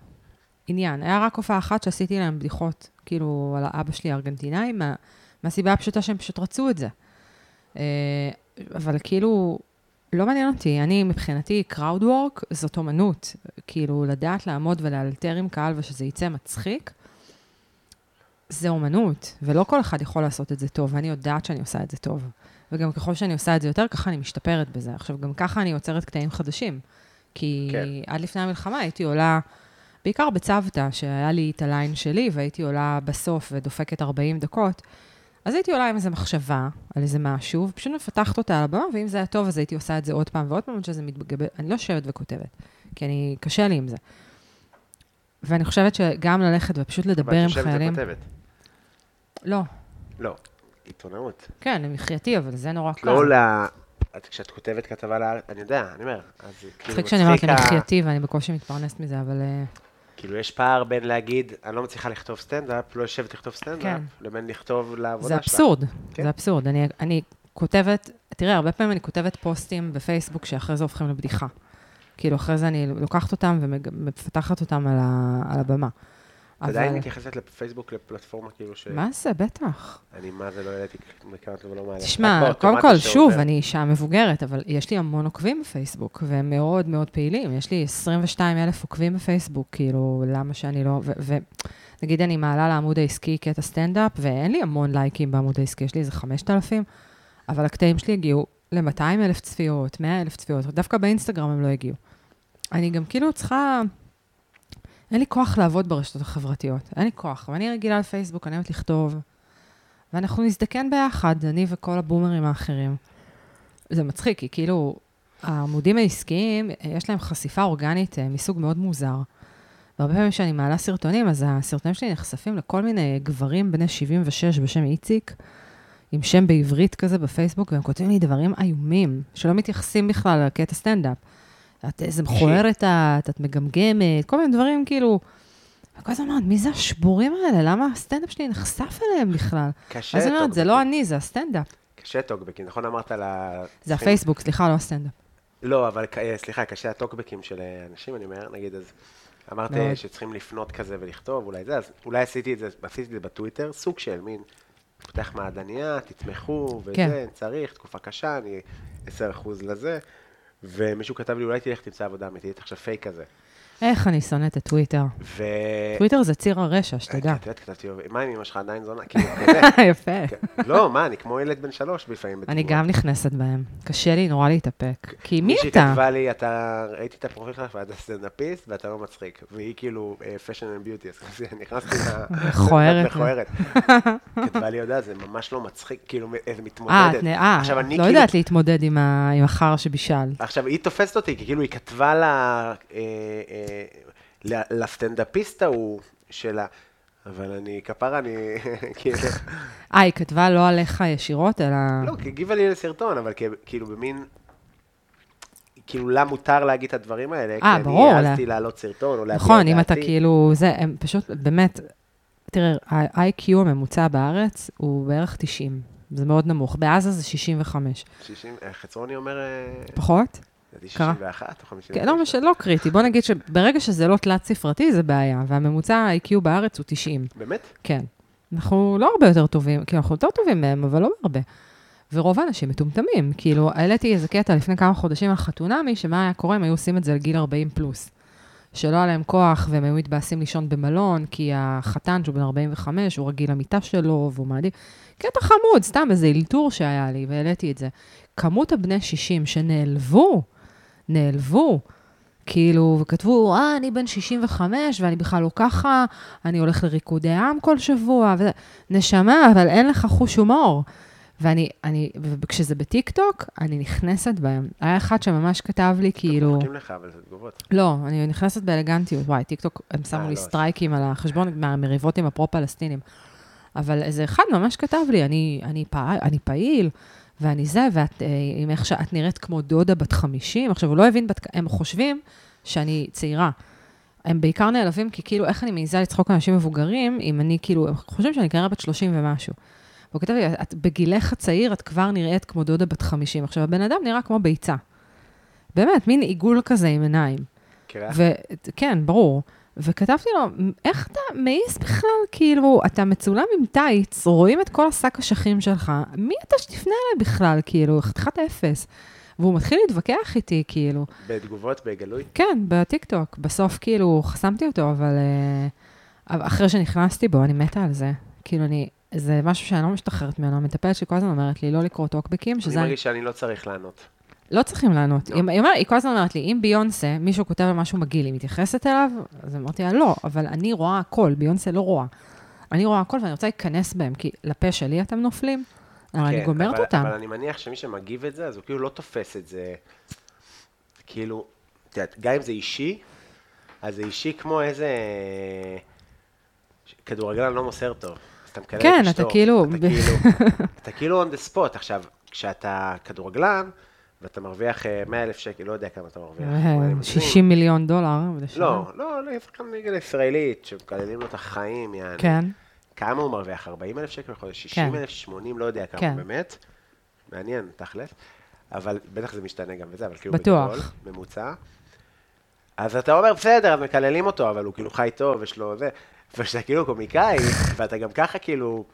עניין. היה רק הופעה אחת שעשיתי להם בדיחות, כאילו, על האבא שלי הארגנטינאי, מה, מהסיבה הפשוטה שהם פשוט רצו את זה. אה, אבל כאילו, לא מעניין אותי. אני, מבחינתי, crowd work זאת אומנות. כאילו, לדעת לעמוד ולאלתר עם קהל ושזה יצא מצחיק, זה אומנות, ולא כל אחד יכול לעשות את זה טוב, ואני יודעת שאני עושה את זה טוב. וגם ככל שאני עושה את זה יותר, ככה אני משתפרת בזה. עכשיו, גם ככה אני יוצרת קטעים חדשים. כי
כן.
כן. עד לפני המלחמה הייתי עולה, בעיקר בצוותא, שהיה לי את הליין שלי, והייתי עולה בסוף ודופקת 40 דקות, אז הייתי עולה עם איזו מחשבה על איזה משהו, ופשוט מפתחת אותה על הבמה, ואם זה היה טוב, אז הייתי עושה את זה עוד פעם ועוד פעם, עד שזה מתגבר, אני לא יושבת וכותבת, כי אני, קשה לי עם זה. ואני חושבת שגם ללכת ופשוט לדבר עם חיילים...
אבל את יושבת וכותבת.
לא,
לא, עיתונאות.
כן, למחייתי, אבל זה נורא קל.
לא עולה... את- כשאת כותבת כתבה לארץ, אני יודע, אני אומר. אז זה כאילו
מצחיק שאני אומרת
ה-
למחייתי, ואני בקושי מתפרנסת מזה, אבל... אה,
כאילו, יש פער בין להגיד, אני לא מצליחה לכתוב סטנדאפ, לא יושבת לכתוב סטנדאפ,
כן.
לבין לכתוב לעבודה
זה
שלה.
אבסורד,
כן.
זה אבסורד. אני, אני כותבת, תראה, הרבה פעמים אני כותבת פוסטים בפייסבוק שאחרי זה הופכים לבדיחה. כאילו, אחרי זה אני לוקחת אותם ומפתחת אותם על, ה, על הבמה.
את עדיין כן. מתייחסת לפייסבוק לפלטפורמה כאילו ש...
מה זה, בטח.
אני מה זה לא העליתי מכרת ולא מעלה.
תשמע,
רק
קודם
באוטומטי
כל,
שעובר.
שוב, אני אישה מבוגרת, אבל יש לי המון עוקבים בפייסבוק, והם מאוד מאוד פעילים. יש לי 22 אלף עוקבים בפייסבוק, כאילו, למה שאני לא... ו- ו- זה נגיד אני מעלה לעמוד העסקי קטע סטנדאפ, ואין לי המון לייקים בעמוד העסקי, יש לי איזה 5,000, אבל הקטעים שלי הגיעו ל-200 אלף צפיות, 100 אלף צפיות, דווקא באינסטגרם הם לא הגיעו. אני גם כאילו צריכה... אין לי כוח לעבוד ברשתות החברתיות, אין לי כוח. ואני רגילה לפייסבוק, אני אוהבת לכתוב, ואנחנו נזדקן ביחד, אני וכל הבומרים האחרים. זה מצחיק, כי כאילו, העמודים העסקיים, אה, יש להם חשיפה אורגנית אה, מסוג מאוד מוזר. והרבה פעמים כשאני מעלה סרטונים, אז הסרטונים שלי נחשפים לכל מיני גברים בני 76 בשם איציק, עם שם בעברית כזה בפייסבוק, והם כותבים לי דברים איומים, שלא מתייחסים בכלל לקטע סטנדאפ. את איזה מכוערת את, את מגמגמת, כל מיני דברים כאילו... וכל הזמן אומרת, מי זה השבורים האלה? למה הסטנדאפ שלי נחשף אליהם בכלל?
קשה
אז אני אומרת, זה לא
טוקבקים.
אני, זה הסטנדאפ.
קשה טוקבקים, נכון אמרת על ה...
זה הפייסבוק, סליחה, לא הסטנדאפ.
לא, אבל כ- אה, סליחה, קשה הטוקבקים של אה, אנשים, אני אומר, נגיד, אז אמרת אה,
מאוד.
שצריכים לפנות כזה ולכתוב, אולי זה, אז אולי עשיתי את זה, עשיתי את זה בטוויטר, סוג של מין, פותח מעדניה, תתמכו, וזה,
כן.
צריך, תקופה קשה, אני 10% לזה, ומישהו כתב לי, אולי תלך תמצא עבודה אמיתית, עכשיו פייק כזה.
איך אני שונאת את טוויטר.
ו... אה,
טוויטר זה ציר הרשע, שתדע.
את יודעת, כתבתי לו, מה עם אמא שלך עדיין זונה? כאילו, כזה.
יפה.
אה, כן. לא, מה, אני כמו ילד בן שלוש לפעמים.
אני
בתגובות.
גם נכנסת בהם. קשה לי נורא להתאפק. כי מי
מישהי
אתה?
כתבה לי, אתה, ראיתי את הפרופיל שלך ואתה סטנדאפיסט ואתה לא מצחיק. והיא כאילו פשן אנד ביוטי, אז כזה נכנסתי ל...
מכוערת.
מכוערת. כתבה לי, יודע, זה ממש לא מצחיק, כאילו, איזה
אה,
מתמודדת.
את נאה.
עכשיו, אני
לא
כאילו-
יודעת להתמודד עם ה- עם החרא שבישל.
עכשיו, היא תופסת אותי, כי כאילו היא כתבה לה, אה, אה, ל- לסטנדאפיסט ההוא שלה, אבל אני, כפרה, אני, כאילו,
אה, היא כתבה לא עליך ישירות, אלא...
לא, כי הגיבה לי לסרטון, אבל כ- כאילו במין... כאילו, לה מותר להגיד את הדברים האלה, כי
אה, ברור,
אני
לה.
העזתי לעלות סרטון, או להביע
נכון, אם אתה
דעתי.
כאילו... זה, הם פשוט, באמת, תראה, ה-IQ הממוצע בארץ הוא בערך 90. זה מאוד נמוך. בעזה זה 65.
60, אה, חצרוני אומר, אה,
פחות?
לדעתי
קרה.
61 או 50.
כן, לא, מש- לא קריטי. בוא נגיד שברגע שזה לא תלת-ספרתי, זה בעיה, והממוצע ה-IQ בארץ הוא 90.
באמת?
כן. אנחנו לא הרבה יותר טובים, כאילו, אנחנו יותר טובים מהם, אבל לא הרבה. ורוב האנשים מטומטמים. כאילו, העליתי איזה קטע לפני כמה חודשים על חתונמי, שמה היה קורה אם היו עושים את זה לגיל 40 פלוס. שלא היה להם כוח, והם היו מתבאסים לישון במלון, כי החתן שהוא בן 45, הוא רגיל למיטה שלו, והוא מעדיף. קטע חמוד, סתם איזה אלתור שהיה לי, והעליתי את זה. כמות הבני 60 שנעלבו, נעלבו, כאילו, וכתבו, אה, אני בן 65, ואני בכלל לא ככה, אני הולך לריקודי עם כל שבוע, וזה, נשמה, אבל אין לך חוש הומור. ואני, אני, וכשזה בטיקטוק, אני נכנסת בהם. היה אחד שממש כתב לי, כאילו...
מחכים לך, אבל זה תגובות.
לא, אני נכנסת באלגנטיות. וואי, טיקטוק, הם
אה,
שמו לי
לא,
סטרייקים על החשבון מהמריבות עם הפרו-פלסטינים. אבל איזה אחד ממש כתב לי, אני, אני, פעל, אני פעיל, ואני זה, ואת אה, עם איך שאת נראית כמו דודה בת 50. עכשיו, הוא לא הבין, בת, הם חושבים שאני צעירה. הם בעיקר נעלבים, כי כאילו, איך אני מעיזה לצחוק על אנשים מבוגרים, אם אני כאילו, הם חושבים שאני כנראה בת 30 ומשהו. והוא כתב לי, את בגילך הצעיר, את כבר נראית כמו דודה בת 50. עכשיו, הבן אדם נראה כמו ביצה. באמת, מין עיגול כזה עם עיניים.
קרח?
ו- כן, ברור. וכתבתי לו, איך אתה מעיס בכלל? כאילו, אתה מצולם עם טייץ, רואים את כל השק אשכים שלך, מי אתה שתפנה אליי בכלל? כאילו, חתיכת אפס. והוא מתחיל להתווכח איתי, כאילו.
בתגובות, בגלוי?
כן, בטיקטוק. בסוף, כאילו, חסמתי אותו, אבל... אה, אבל אחרי שנכנסתי בו, אני מתה על זה. כאילו, אני... זה משהו שאני לא משתחררת ממנו. המטפלת שלי כל הזמן אומרת לי לא לקרוא טוקבקים,
אני
שזה...
מרגיש שאני לא צריך לענות.
לא צריכים לענות. היא, היא, אומרת- היא כל הזמן אומרת לי, אם ביונסה, מישהו כותב לה משהו מגעיל, היא מתייחסת אליו? אז אמרתי לה, לא, אבל אני רואה הכל, ביונסה לא רואה. אני רואה הכל ואני רוצה להיכנס בהם, כי לפה שלי אתם נופלים, אבל אני
כן,
גומרת
אבל-
אותם.
אבל אני מניח שמי שמגיב את זה, אז הוא כאילו לא תופס את זה. כאילו, את יודעת, גם אם זה אישי, אז זה אישי כמו איזה... ש- כדורגלן לא מוסר טוב. אז אתה מקלל את
כן,
אשתו.
אתה כאילו-
אתה כאילו... אתה כאילו on the spot. עכשיו, כשאתה כדורגלן, ואתה מרוויח 100 אלף שקל, לא יודע כמה אתה מרוויח.
אה,
אולי אני מגזים.
60 מיליון דולר. לשנה.
לא, לא, לא, שחקן ליגה ישראלית, שמקללים לו את החיים, יעני.
כן.
כמה הוא מרוויח? 40 אלף שקל בחודש? 60 אלף? 80? לא יודע כמה,
כן.
באמת. מעניין, תכל'ס. אבל בטח זה משתנה גם וזה, אבל כאילו
בטוח.
בגדול, ממוצע. אז אתה אומר, בסדר, אז מקללים אותו, אבל הוא כאילו חי טוב, יש לו זה. וכשאתה כאילו קומיקאי, ואתה גם ככה כאילו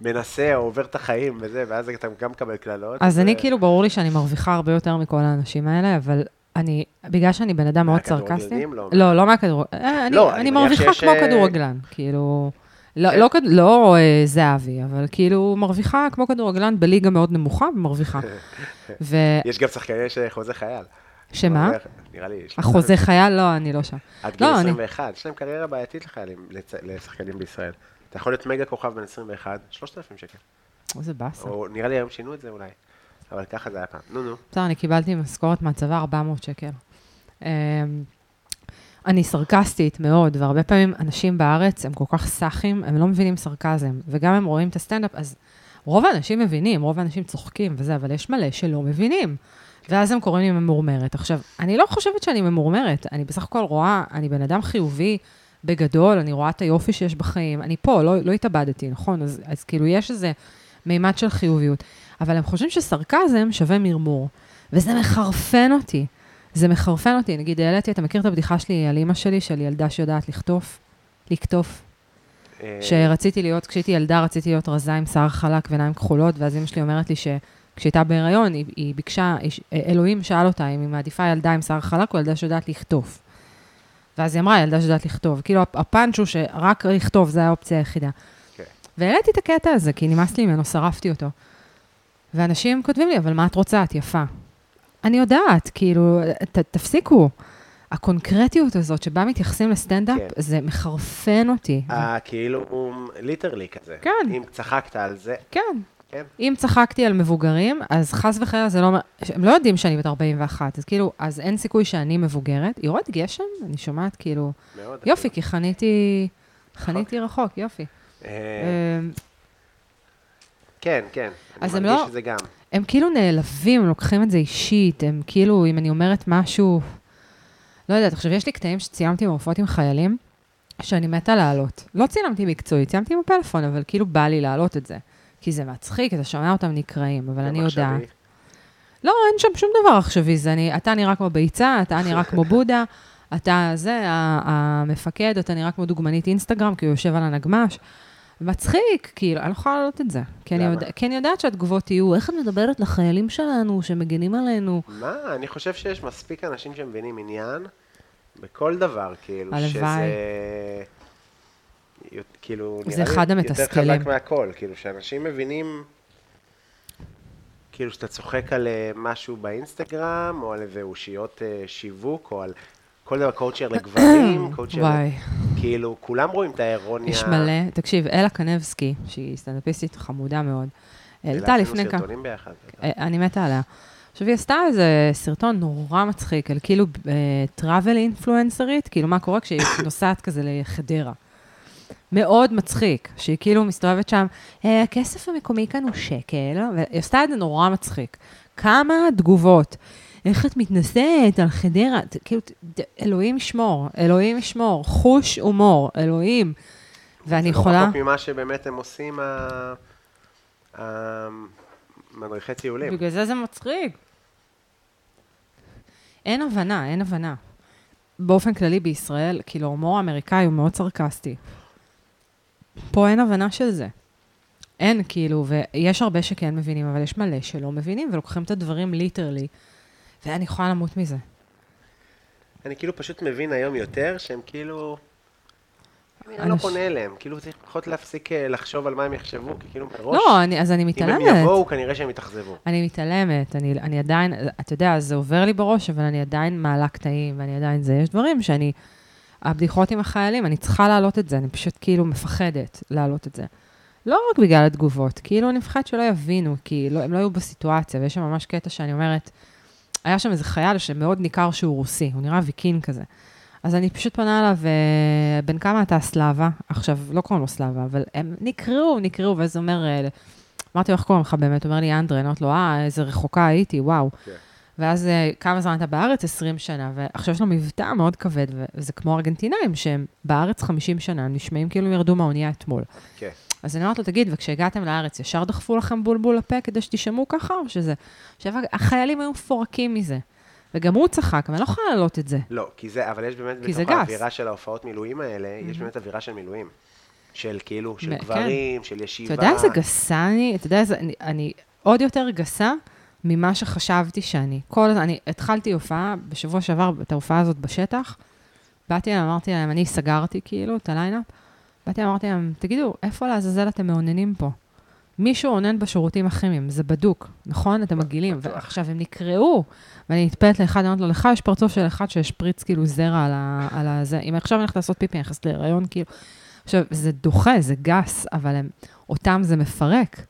מנסה או עובר את החיים וזה, ואז אתה גם מקבל קללות.
אז כאילו,
זה-
אני כאילו, ברור לי שאני מרוויחה הרבה יותר מכל האנשים האלה, אבל אני, בגלל שאני בן אדם מאוד
מהכדורגלנים,
סרקסטי,
לא, מה-
לא, לא מהכדורגלן, אה, אני-
לא, אני
אני
מניח
מרוויחה
שיש,
כמו
אה,
כדורגלן, כאילו, לא-
כן.
לא כד- לא אה, זהבי, אבל כאילו מרוויחה כמו כדורגלן בליגה מאוד נמוכה ומרוויחה. ושמה?
יש גם שחקנים שחוזה חייל. נראה לי. יש להם-
החוזה חייל? לא, אני לא שם.
עד גיל
לא, אני-
21, יש להם קריירה בעייתית לחיילים, לצ- לשחקנים בישראל. אתה יכול להיות מגה כוכב בן 21, 3,000 שקל.
איזה באסה.
או נראה לי היום שינו את זה אולי. אבל ככה זה היה פעם. נו, נו.
בסדר, אני קיבלתי משכורת מהצבא 400 שקל. אמ, אני סרקסטית מאוד, והרבה פעמים אנשים בארץ הם כל כך סאחים, הם לא מבינים סרקזם, וגם הם רואים את הסטנדאפ, אז רוב האנשים מבינים, רוב האנשים צוחקים וזה, אבל יש מלא שלא מבינים. ואז הם קוראים לי ממורמרת. עכשיו, אני לא חושבת שאני ממורמרת, אני בסך הכל רואה, אני בן אדם חיובי בגדול, אני רואה את היופי שיש בחיים, אני פה, לא, לא התאבדתי, נכון? אז, אז כאילו יש איזה מימד של חיוביות. אבל הם חושבים שסרקזם שווה מרמור, וזה מחרפן אותי. זה מחרפן אותי. נגיד, העליתי, אתה מכיר את הבדיחה שלי על אימא שלי, של ילדה שיודעת לכתוף? לקטוף.
אה,
שרציתי להיות, כשהייתי ילדה רציתי להיות רזה עם שיער חלק ועיניים כחולות, ואז אמא שלי אומרת לי שכשהייתה בהיריון, היא, היא ביקשה, היא, ש- אלוהים שאל אותה אם היא מעדיפה ילדה עם שיער חלק או ילדה שיודעת לכתוב. ואז היא אמרה, ילדה שיודעת לכתוב. כאילו, הפ- הפאנץ' הוא שרק לכתוב, זו האופציה היחידה.
כן.
והעליתי את הקטע הזה, כי נמאס לי ממנו, שרפתי אותו. ואנשים כותבים לי, אבל מה את רוצה? את יפה. אני יודעת, כאילו, ת, תפסיקו. הקונקרטיות הזאת שבה מתייחסים לסטנדאפ,
כן.
זה מחרפן אותי.
אה, כאילו, הוא ליטרלי כזה.
כן.
אם צחקת על זה,
כן.
כן.
אם צחקתי על מבוגרים, אז חס וחלילה זה לא אומר, הם לא יודעים שאני בת 41, אז כאילו, אז אין סיכוי שאני מבוגרת. יורד גשם? אני שומעת כאילו,
מאוד.
יופי, כי חניתי, חניתי רחוק, יופי.
אה,
אמ,
כן, כן.
אז
אני
הם
מרגיש
לא-
את זה גם.
הם כאילו נעלבים, הם לוקחים את זה אישית, הם כאילו, אם אני אומרת משהו, לא יודעת, עכשיו, יש לי קטעים שציימתי בהופעות עם חיילים, שאני מתה לעלות. לא צילמתי מקצועית, ציימתי עם הפלאפון, אבל כאילו בא לי להעלות את זה. כי זה מצחיק, אתה שומע אותם נקרעים, אבל
גם
אני
עכשווי.
יודעת. לא, אין שם שום דבר עכשווי, זה אני, אתה נראה כמו ביצה, אתה נראה כמו בודה, אתה זה, ה- המפקד, אתה נראה כמו דוגמנית אינסטגרם, כי הוא יושב על הנגמש. מצחיק, כאילו, אני לא יכולה להעלות את זה. כי אני,
למה?
יודע, כי אני יודעת שהתגובות יהיו, איך את מדברת לחיילים שלנו שמגנים עלינו?
מה? אני חושב שיש מספיק אנשים שמבינים עניין בכל דבר, כאילו,
הלוואי.
שזה... יו- כאילו, נראה
זה
לי
אחד
יותר
המתסכלים.
חזק מהכל, כאילו, שאנשים מבינים, כאילו, שאתה צוחק על אה, משהו באינסטגרם, או על איזה אושיות אה, שיווק, או על כל דבר, קואוצ'ר לגברים, קואוצ'ר...
וואי,
כאילו, כולם רואים את האירוניה.
יש מלא. תקשיב, אלה קנבסקי, שהיא סטנדאפיסטית חמודה מאוד, העלתה לפני
עשינו
כמה...
סרטונים ביחד.
אה, אני מתה עליה. עכשיו, היא עשתה איזה סרטון נורא מצחיק, על כאילו טראבל אינפלואנסרית, כאילו מה קורה כשהיא נוסעת כזה לחדרה. מאוד מצחיק, שהיא כאילו מסתובבת שם, "אה, הכסף המקומי כאן הוא שקל, והיא עשתה את זה נורא מצחיק. כמה תגובות. איך את מתנשאת על חדרה? ת- כאילו, ת- ת- אלוהים ישמור, אלוהים ישמור, חוש הומור, אלוהים. ואני
זה לא
יכולה...
רחוק ממה שבאמת הם עושים, ה- המדריכי טיולים.
בגלל זה זה מצחיק. אין הבנה, אין הבנה. באופן כללי בישראל, כאילו, ההומור האמריקאי הוא מאוד סרקסטי. פה אין הבנה של זה. אין, כאילו, ויש הרבה שכן מבינים, אבל יש מלא שלא מבינים, ולוקחים את הדברים ליטרלי. ואני יכולה למות מזה.
אני כאילו פשוט מבין היום יותר שהם כאילו... אני לא
אנש-
פונה אליהם, כאילו צריך פחות להפסיק אה, לחשוב על מה הם יחשבו, כי כאילו מראש,
לא, אני, אז אני
אם הם
מתעלמת.
יבואו כנראה שהם יתאכזבו.
אני מתעלמת, אני, אני עדיין, אתה יודע, זה עובר לי בראש, אבל אני עדיין מעלה קטעים, ואני עדיין זה. יש דברים שאני, הבדיחות עם החיילים, אני צריכה להעלות את זה, אני פשוט כאילו מפחדת להעלות את זה. לא רק בגלל התגובות, כאילו אני מפחדת שלא יבינו, כי לא, הם לא היו בסיטואציה, ויש שם ממש קטע שאני אומרת, היה שם איזה חייל שמאוד ניכר שהוא רוסי, הוא נראה ויקין כזה. אז אני פשוט פונה אליו, אה, בן כמה אתה סלאבה? עכשיו, לא קוראים לו סלאבה, אבל הם נקראו, נקראו, ואז הוא אומר, אה, אמרתי לו, איך קוראים לך באמת? הוא אומר לי, אנדרי, אני אומרת לו, אה, איזה רחוקה הייתי, וואו.
כן.
ואז אה, כמה זמן אתה בארץ? 20 שנה. ועכשיו יש לו מבטא מאוד כבד, וזה כמו ארגנטינאים, שהם בארץ 50 שנה, הם נשמעים כאילו הם ירדו מהאונייה אתמול.
כן.
אז אני אומרת לו, תגיד, וכשהגעתם לארץ, ישר דחפו לכם בולבול לפה כדי שתשמעו ככה, או שזה... עכשיו, החיילים היו מפורקים מזה. וגם הוא צחק, ואני לא יכולה להעלות את זה.
לא, כי זה, אבל יש באמת
כי זה
בתוך
גס.
האווירה של ההופעות מילואים האלה, יש באמת אווירה של מילואים. של כאילו, של
מ- כן.
גברים, של ישיבה.
אתה יודע איזה גסה אני? אתה יודע איזה... אני, אני עוד יותר גסה ממה שחשבתי שאני. כל הזמן, אני התחלתי הופעה, בשבוע שעבר, את ההופעה הזאת בשטח, באתי להם, אמרתי להם, אני סגרתי כאילו את הליינאפ, באתי להם, אמרתי להם, תגידו, איפה לעזאזל אתם מאוננים פה? מישהו אונן בשירותים הכימיים, זה בדוק, נכון? אתם מגעילים. ועכשיו הם נקרעו, ואני נטפלת לאחד, אני אומרת לו, לך יש פרצוף של אחד שהשפריץ כאילו זרע על, ה, על הזה. אם עכשיו אני הולכת לעשות פיפי, אני נכנסת להיריון, כאילו... עכשיו, זה דוחה, זה גס, אבל הם, אותם זה מפרק.
כן.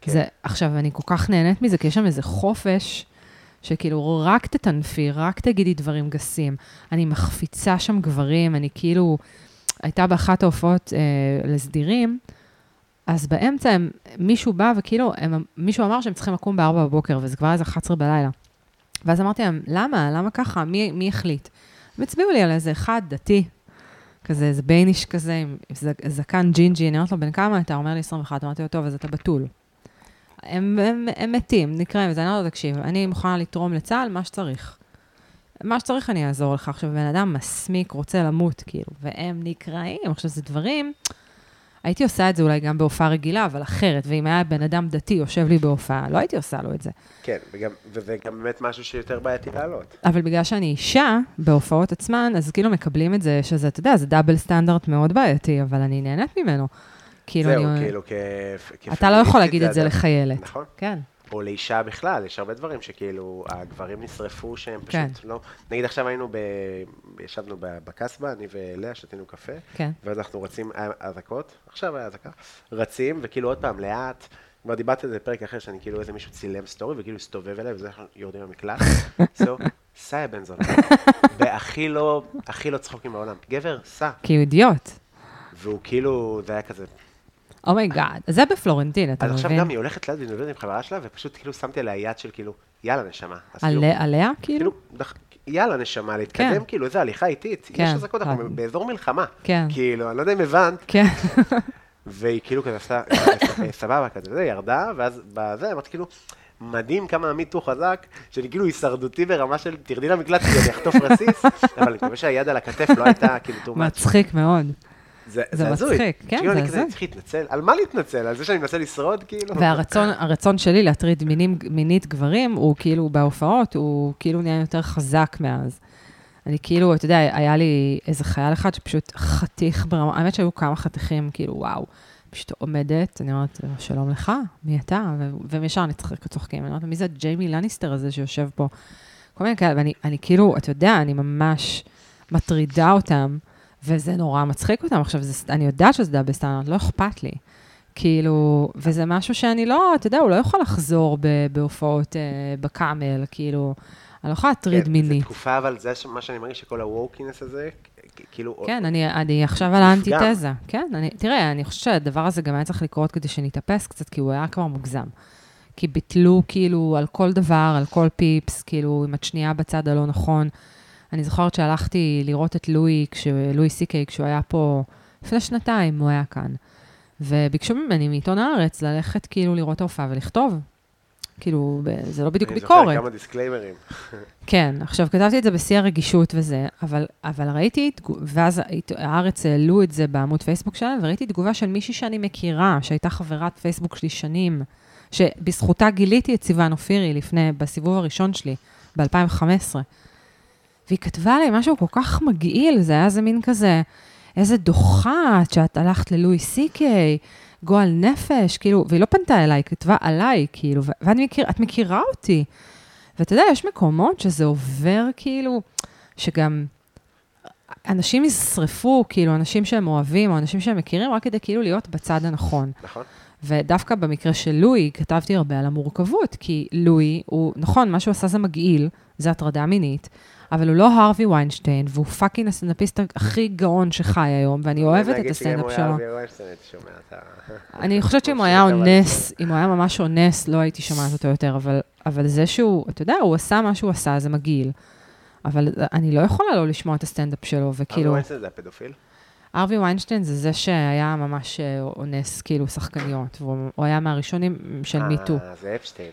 כן. זה, עכשיו, אני כל כך נהנית מזה, כי יש שם איזה חופש, שכאילו, רק תטנפי, רק תגידי דברים גסים. אני מחפיצה שם גברים, אני כאילו... הייתה באחת ההופעות אה, לסדירים, אז באמצע הם, מישהו בא וכאילו, הם, מישהו אמר שהם צריכים לקום ב-4 בבוקר, וזה כבר איזה 11 בלילה. ואז אמרתי להם, למה? למה ככה? מי, מי החליט? הם הצביעו לי על איזה אחד דתי, כזה, איזה בייניש כזה, עם ז- זקן ג'ינג'י, אני אומרת לו, בן כמה אתה? הוא אומר לי 21, אמרתי לו, טוב, אז אתה בתול. הם, הם, הם מתים, נקראים, אז אני אומרת לו, תקשיב, אני מוכנה לתרום לצה"ל מה שצריך. מה שצריך אני אעזור לך. עכשיו, בן אדם מסמיק, רוצה למות, כאילו, והם נקרעים. עכשיו, זה דברים... הייתי עושה את זה אולי גם בהופעה רגילה, אבל אחרת, ואם היה בן אדם דתי יושב לי בהופעה, לא הייתי עושה לו את זה.
כן, וגם- וזה גם באמת משהו שיותר בעייתי לעלות.
אבל בגלל שאני אישה, בהופעות עצמן, אז כאילו מקבלים את זה, שזה, אתה יודע, זה דאבל סטנדרט מאוד בעייתי, אבל אני נהנית ממנו. כאילו,
זהו,
אני...
כאילו, כ...
אתה לא יכול
כפמיניסטית
להגיד את זה
עדיין-
לחיילת.
נכון.
כן.
או לאישה בכלל, יש הרבה דברים שכאילו, הגברים נשרפו שהם פשוט
כן.
לא... נגיד עכשיו היינו ב... ישבנו ב- בקסבה, אני ולאה, שתינו קפה,
כן.
ואז אנחנו רצים, היה אזעקות, עכשיו היה אזעקה, רצים, וכאילו עוד פעם, לאט, כבר דיברתי על זה בפרק אחר, שאני כאילו איזה מישהו צילם סטורי, וכאילו הסתובב אליי, וזה אנחנו יורדים במקלט, סו, סע יא בן זונה, והכי לא, הכי לא צחוקים בעולם, גבר, סע,
כי הוא כאילו, אידיוט. Oh
והוא כאילו, זה היה כזה,
אומייגאד. זה בפלורנטין, אתה
אז
מבין?
עכשיו גם היא הולכת ליד והיא מדברת עם חברה שלה, ופשוט כאילו שמתי עליה יד של כאילו, יאללה נשמה. אז
על-
כאילו,
עליה, כאילו?
כאילו, דח- יאללה נשמה, להתקדם,
כן.
כאילו, איזה הליכה איטית.
כן.
יש אזעקות, אנחנו
אה.
באזור מלחמה.
כן.
כאילו, אני לא יודע אם הבנת,
כן.
והיא כאילו כזה עשתה, אה, סבבה, כזה, זה, ירדה, ואז בזה, אמרתי כאילו, מדהים כמה המיטו חזק, שאני כאילו הישרדותי ברמה של תרדי למקלט כי אני אחטוף רסיס, אבל אני מקווה שהיד על הכתף לא הייתה כאילו too much.
מצחיק מאוד. זה
הזוי.
מצחיק, כן,
כאילו, אני
זה
כזה
הזוי.
צריך להתנצל, על מה להתנצל? על זה שאני מנסה לשרוד, כאילו?
והרצון הרצון שלי להטריד מינים, מינית גברים, הוא כאילו בהופעות, הוא כאילו נהיה יותר חזק מאז. אני כאילו, אתה יודע, היה לי איזה חייל אחד שפשוט חתיך ברמה, האמת שהיו כמה חתיכים, כאילו, וואו. פשוט עומדת, אני אומרת, שלום לך, מי אתה? ו- והם ישר נצחק- צוחקים, אני אומרת, מי זה ג'יימי לניסטר הזה שיושב פה? כל מיני כאלה, ואני אני כאילו, אתה יודע, אני ממש מטרידה אותם, וזה נורא מצחיק אותם. עכשיו, זה, אני יודעת שזה דאבל סטנדרט, לא אכפת לי. כאילו, וזה משהו שאני לא, אתה יודע, הוא לא יכול לחזור ב- בהופעות אה, בקאמל, כאילו, אני לא יכולה להטריד
כן,
מיני.
זו תקופה, אבל זה ש- מה שאני מרגיש שכל הווקינס הזה, כ- כאילו...
כן, אני, אני עכשיו על האנטיתזה. כן, אני, תראה, אני חושבת שהדבר הזה גם היה צריך לקרות כדי שנתאפס קצת, כי הוא היה כבר מוגזם. כי ביטלו כאילו על כל דבר, על כל פיפס, כאילו, אם את שנייה בצד הלא נכון. אני זוכרת שהלכתי לראות את לואי, כש- לואי סי-קיי, כשהוא היה פה, לפני שנתיים הוא היה כאן. וביקשו ממני מעיתון הארץ ללכת כאילו לראות את ההופעה ולכתוב. כאילו, ב- זה לא בדיוק
אני
ביקורת.
זוכר כמה דיסקליימרים.
כן, עכשיו כתבתי את זה בשיא הרגישות וזה, אבל, אבל ראיתי, תגו- ואז הית- הארץ העלו את זה בעמוד פייסבוק שלהם, וראיתי תגובה של מישהי שאני מכירה, שהייתה חברת פייסבוק שלי שנים, שבזכותה גיליתי את סיוון אופירי לפני, בסיבוב הראשון שלי, ב-2015. והיא כתבה לי משהו כל כך מגעיל, זה היה איזה מין כזה, איזה דוחה את שאת הלכת ללואי סי-קיי, גועל נפש, כאילו, והיא לא פנתה אליי, היא כתבה עליי, כאילו, ו- ואת מכיר, את מכירה אותי. ואתה יודע, יש מקומות שזה עובר, כאילו, שגם אנשים ישרפו, כאילו, אנשים שהם אוהבים, או אנשים שהם מכירים, רק כדי כאילו להיות בצד הנכון.
נכון?
ודווקא במקרה של לואי, כתבתי הרבה על המורכבות, כי לואי הוא, נכון, מה שהוא עשה זה מגעיל, זה הטרדה מינית, אבל הוא לא הרווי ויינשטיין, והוא פאקינג הסטנדאפיסט הכי גאון שחי היום, ואני אוהבת את הסטנדאפ שלו.
אני אוהב את שומע את ה... אוקיי,
אני חושבת שאם הוא היה אונס, אם הוא היה ממש אונס, לא הייתי שומעת אותו יותר, אבל, אבל זה שהוא, אתה יודע, הוא עשה מה שהוא עשה, זה מגעיל. אבל אני לא יכולה לא לשמוע את הסטנדאפ שלו,
כאילו...
וכאילו,
ווינסטון זה הפדופיל?
ארווי ויינשטיין זה זה שהיה ממש אה, אונס, כאילו, שחקניות, והוא הוא היה מהראשונים של מיטו.
אה, זה אפשטיין.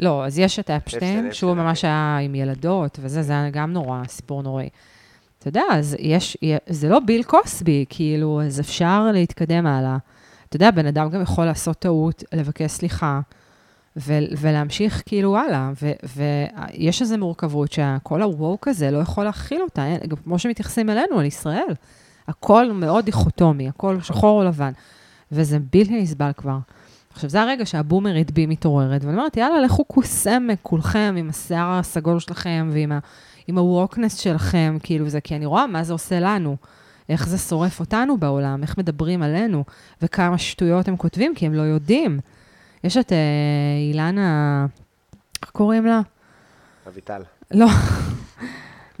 לא, אז יש את
אפשטיין,
אפשטיין, שהוא
אפשטיין,
ממש היה עם ילדות, וזה, זה היה גם נורא, סיפור נוראי. אתה יודע, אז יש, זה לא ביל קוסבי, כאילו, אז אפשר להתקדם הלאה. אתה יודע, בן אדם גם יכול לעשות טעות, לבקש סליחה, ו- ולהמשיך כאילו הלאה, ויש איזו מורכבות שכל ה-woke הזה לא יכול להכיל אותה, אין, גם כמו שמתייחסים אלינו, על ישראל. הכל מאוד דיכוטומי, הכל שחור או לבן, וזה בלתי נסבל כבר. עכשיו, זה הרגע שהבומרית בי מתעוררת, ואני אומרת, יאללה, לכו קוסמק כולכם עם השיער הסגול שלכם ועם ה... עם הווקנס שלכם, כאילו זה, כי אני רואה מה זה עושה לנו, איך זה שורף אותנו בעולם, איך מדברים עלינו, וכמה שטויות הם כותבים, כי הם לא יודעים. יש את אה, אילנה, איך קוראים לה?
אביטל.
לא,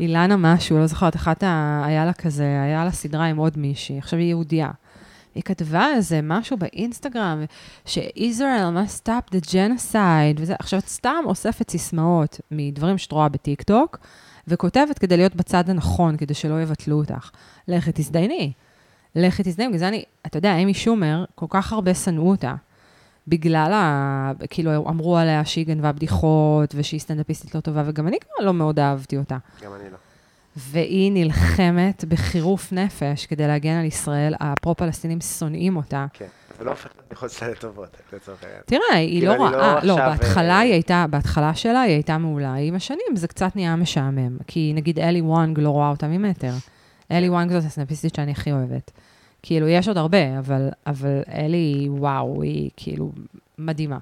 אילנה משהו, לא זוכרת, אחת ה... היה לה כזה, היה לה סדרה עם עוד מישהי, עכשיו היא יהודייה. היא כתבה איזה משהו באינסטגרם, ש-Israel must stop the genocide, וזה, עכשיו את סתם אוספת סיסמאות מדברים שאת רואה בטיקטוק, וכותבת כדי להיות בצד הנכון, כדי שלא יבטלו אותך. לכי תזדייני. לכי תזדייני, בגלל זה אני, אתה יודע, אמי שומר, כל כך הרבה שנאו אותה. בגלל ה... כאילו, אמרו עליה שהיא גנבה בדיחות, ושהיא סטנדאפיסטית לא טובה, וגם אני כבר לא מאוד אהבתי אותה.
גם אני לא.
והיא נלחמת בחירוף נפש כדי להגן על ישראל, הפרו-פלסטינים שונאים אותה.
כן. זה לא הופך להיות מחוץ לטובות, לצורך העניין.
תראה, היא
כאילו,
לא
אני לא
רואה, לא,
עכשיו,
בהתחלה
אה,
היא הייתה, בהתחלה שלה היא הייתה מעולה, עם השנים זה קצת נהיה משעמם, כי נגיד אלי וואנג לא רואה אותה ממטר.
כן.
אלי וואנג זאת הסנאפיסטית שאני הכי אוהבת. כאילו, יש עוד הרבה, אבל, אבל אלי, היא- וואו, היא כאילו מדהימה.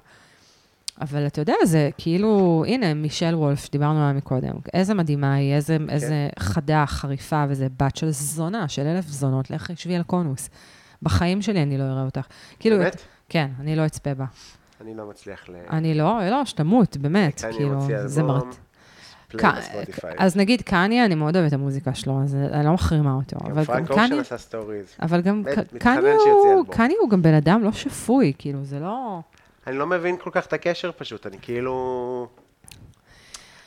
אבל אתה יודע, זה כאילו, הנה, מישל וולף, שדיברנו עליה מקודם, איזה מדהימה היא, איזה,
כן.
איזה חדה, חריפה, וזה בת של זונה, של אלף זונות, לך שבי על קונוס. בחיים שלי אני לא אראה אותך. כאילו,
באמת?
כן, אני לא אצפה בה.
אני לא מצליח ל...
אני לא, לא, שתמות, באמת,
קניה
כאילו,
הוציא
זה
אלבום,
מרט.
פליי
ק-
בספוטיפיי.
אז נגיד קניה, אני מאוד אוהבת את המוזיקה שלו, אז אני לא מחרימה אותו, אבל
גם
גם
פרנק אושן
קניה,
עשה סטוריז.
אבל גם
מת-
ק-
מתחנן
קניה
שיוציא
הוא-
אלבום.
קניה הוא גם בן אדם לא שפוי, כאילו, זה לא...
אני לא מבין כל כך את הקשר פשוט, אני כאילו...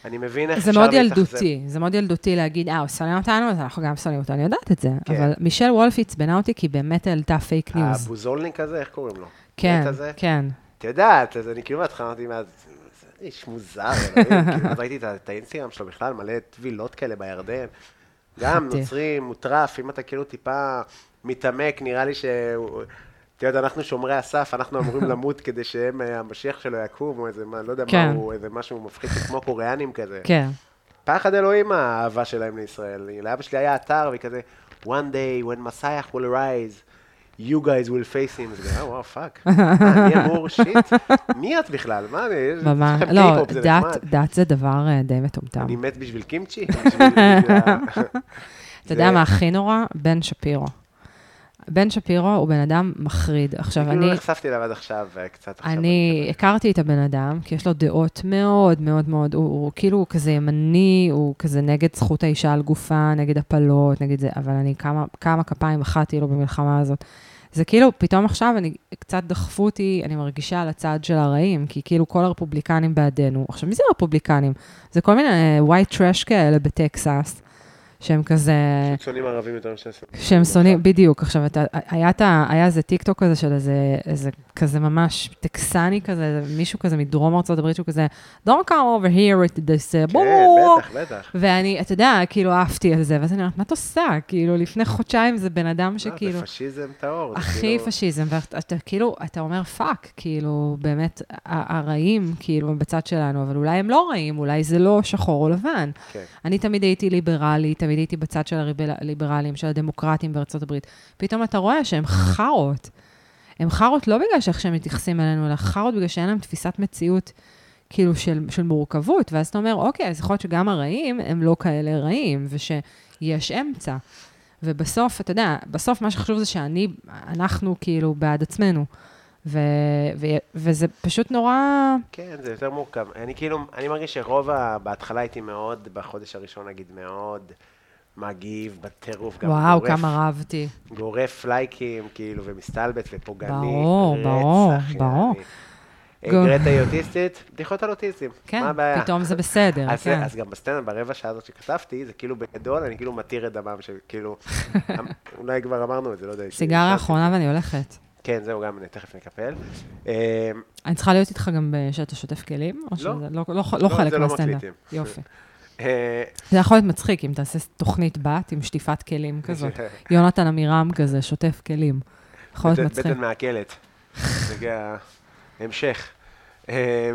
אני מבין איך אפשר
זה מאוד
להתאכזב.
ילדותי, זה מאוד ילדותי להגיד, אה, הוא שונא אותנו, אז אנחנו גם שונאים אותו, אני יודעת את זה.
כן.
אבל מישל וולף עצבנה אותי, כי היא באמת העלתה פייק ניוז.
הבוזולניק הזה, איך קוראים לו?
כן,
נט הזה?
כן.
את יודעת, אז אני כאילו בהתחלה אמרתי, מה, זה זה איש מוזר, אלוהים", כאילו, אז ראיתי את ה- את האינסטגרם שלו בכלל, מלא טבילות כאלה בירדן. גם
חתיך.
נוצרי מוטרף, אם אתה כאילו טיפה מתעמק, נראה לי ש... את יודעת, אנחנו שומרי הסף, אנחנו אמורים למות כדי שהם, אה, המשיח שלו יקום, או איזה, מה, לא יודע
כן.
מה הוא, איזה משהו מפחיד, כמו קוריאנים כזה.
כן.
פחד אלוהים האהבה שלהם לישראל. לאבא שלי היה אתר, והיא כזה, one day when Messiah will rise, you guys will face him. זה גם, וואו, פאק. מה, אני אמור שיט? מי את בכלל? מה, אני... יש
ממש,
לכם
לא,
K-pop, זה נחמד.
דת- דת זה דבר אה, די מטומטם.
אני מת בשביל קימצ'י? בשביל- אה, בשביל ה-
אתה יודע
זה-
מה הכי נורא? בן שפירו. בן שפירו הוא בן אדם מחריד. עכשיו,
כאילו
אני,
לא נחשפתי אליו עד עכשיו, וקצת עכשיו.
אני הכרתי את הבן אדם, כי יש לו דעות מאוד מאוד מאוד, הוא, הוא כאילו הוא כזה ימני, הוא כזה נגד זכות האישה על גופה, נגד הפלות, נגד זה, אבל אני כמה, כמה כפיים אחת לו במלחמה הזאת. זה כאילו, פתאום עכשיו אני, קצת דחפו אותי, אני מרגישה על הצד של הרעים, כי כאילו כל הרפובליקנים בעדנו. עכשיו, מי זה רפובליקנים? זה כל מיני אה, white trash כאלה בטקסס, שהם כזה...
שונאים ערבים יותר משהו.
שהם שונאים, בדיוק. עכשיו, אתה, היה, אתה, היה איזה טיקטוק כזה של איזה, איזה כזה ממש טקסני כזה, איזה מישהו כזה מדרום ארצות הברית שהוא כזה, Don't come over here with this uh,
כן,
bull."
בטח, בטח.
ואני, אתה יודע, כאילו עפתי על זה, ואז אני אומרת, מה את עושה? כאילו, לפני חודשיים זה בן אדם
מה,
שכאילו...
זה פשיזם טהור. זה
הכי
כאילו-
פשיזם, ואתה אתה כאילו, אתה אומר פאק, כאילו, באמת, ה- הרעים, כאילו, הם בצד שלנו, אבל אולי הם לא רעים, אולי זה לא שחור או לבן.
כן.
אני תמיד הייתי ליברלית, תמיד הייתי בצד של הליברלים, של הדמוקרטים בארצות הברית. פתאום אתה רואה שהם חארות. הם חארות לא בגלל שאיך שהם מתייחסים אלינו, אלא חארות בגלל שאין להם תפיסת מציאות, כאילו, של, של מורכבות. ואז אתה אומר, אוקיי, אז יכול להיות שגם הרעים הם לא כאלה רעים, ושיש אמצע. ובסוף, אתה יודע, בסוף מה שחשוב זה שאני, אנחנו כאילו בעד עצמנו. ו, ו, וזה פשוט נורא...
כן, זה יותר מורכב. אני כאילו, אני מרגיש שרוב ה... בהתחלה הייתי מאוד, בחודש הראשון נגיד, מאוד מגיב, בטירוף, גם
וואו,
גורף,
כמה רבתי.
גורף לייקים, כאילו, ומסתלבט ופוגעני.
ברור,
רצח,
ברור,
יעני.
ברור.
אה,
גם-
גרטה היא אוטיסטית, בדיחות על אוטיסטים, מה
כן,
הבעיה?
פתאום זה בסדר,
אז,
כן.
אז גם בסצנה, ברבע שעה הזאת שכתבתי, זה כאילו בגדול, אני כאילו מתיר את דמם, שכאילו, אמ- אולי כבר אמרנו את זה, לא יודע.
סיגריה אחרונה ואני הולכת.
כן, זהו, גם, אני תכף נקפל. אמ,
אני צריכה להיות איתך גם ב- שאתה שוטף כלים? או
לא.
שזה לא, לא,
לא,
לא חלק
זה לא
מהסטנדאפ.
מקליטים.
יופי.
אה,
זה יכול להיות מצחיק אם תעשה תוכנית בת עם שטיפת כלים כזאת.
אה,
יונתן עמירם כזה, שוטף כלים. יכול להיות
בטן-
מצחיק.
בטן מעכלת. זה ה- המשך. אה,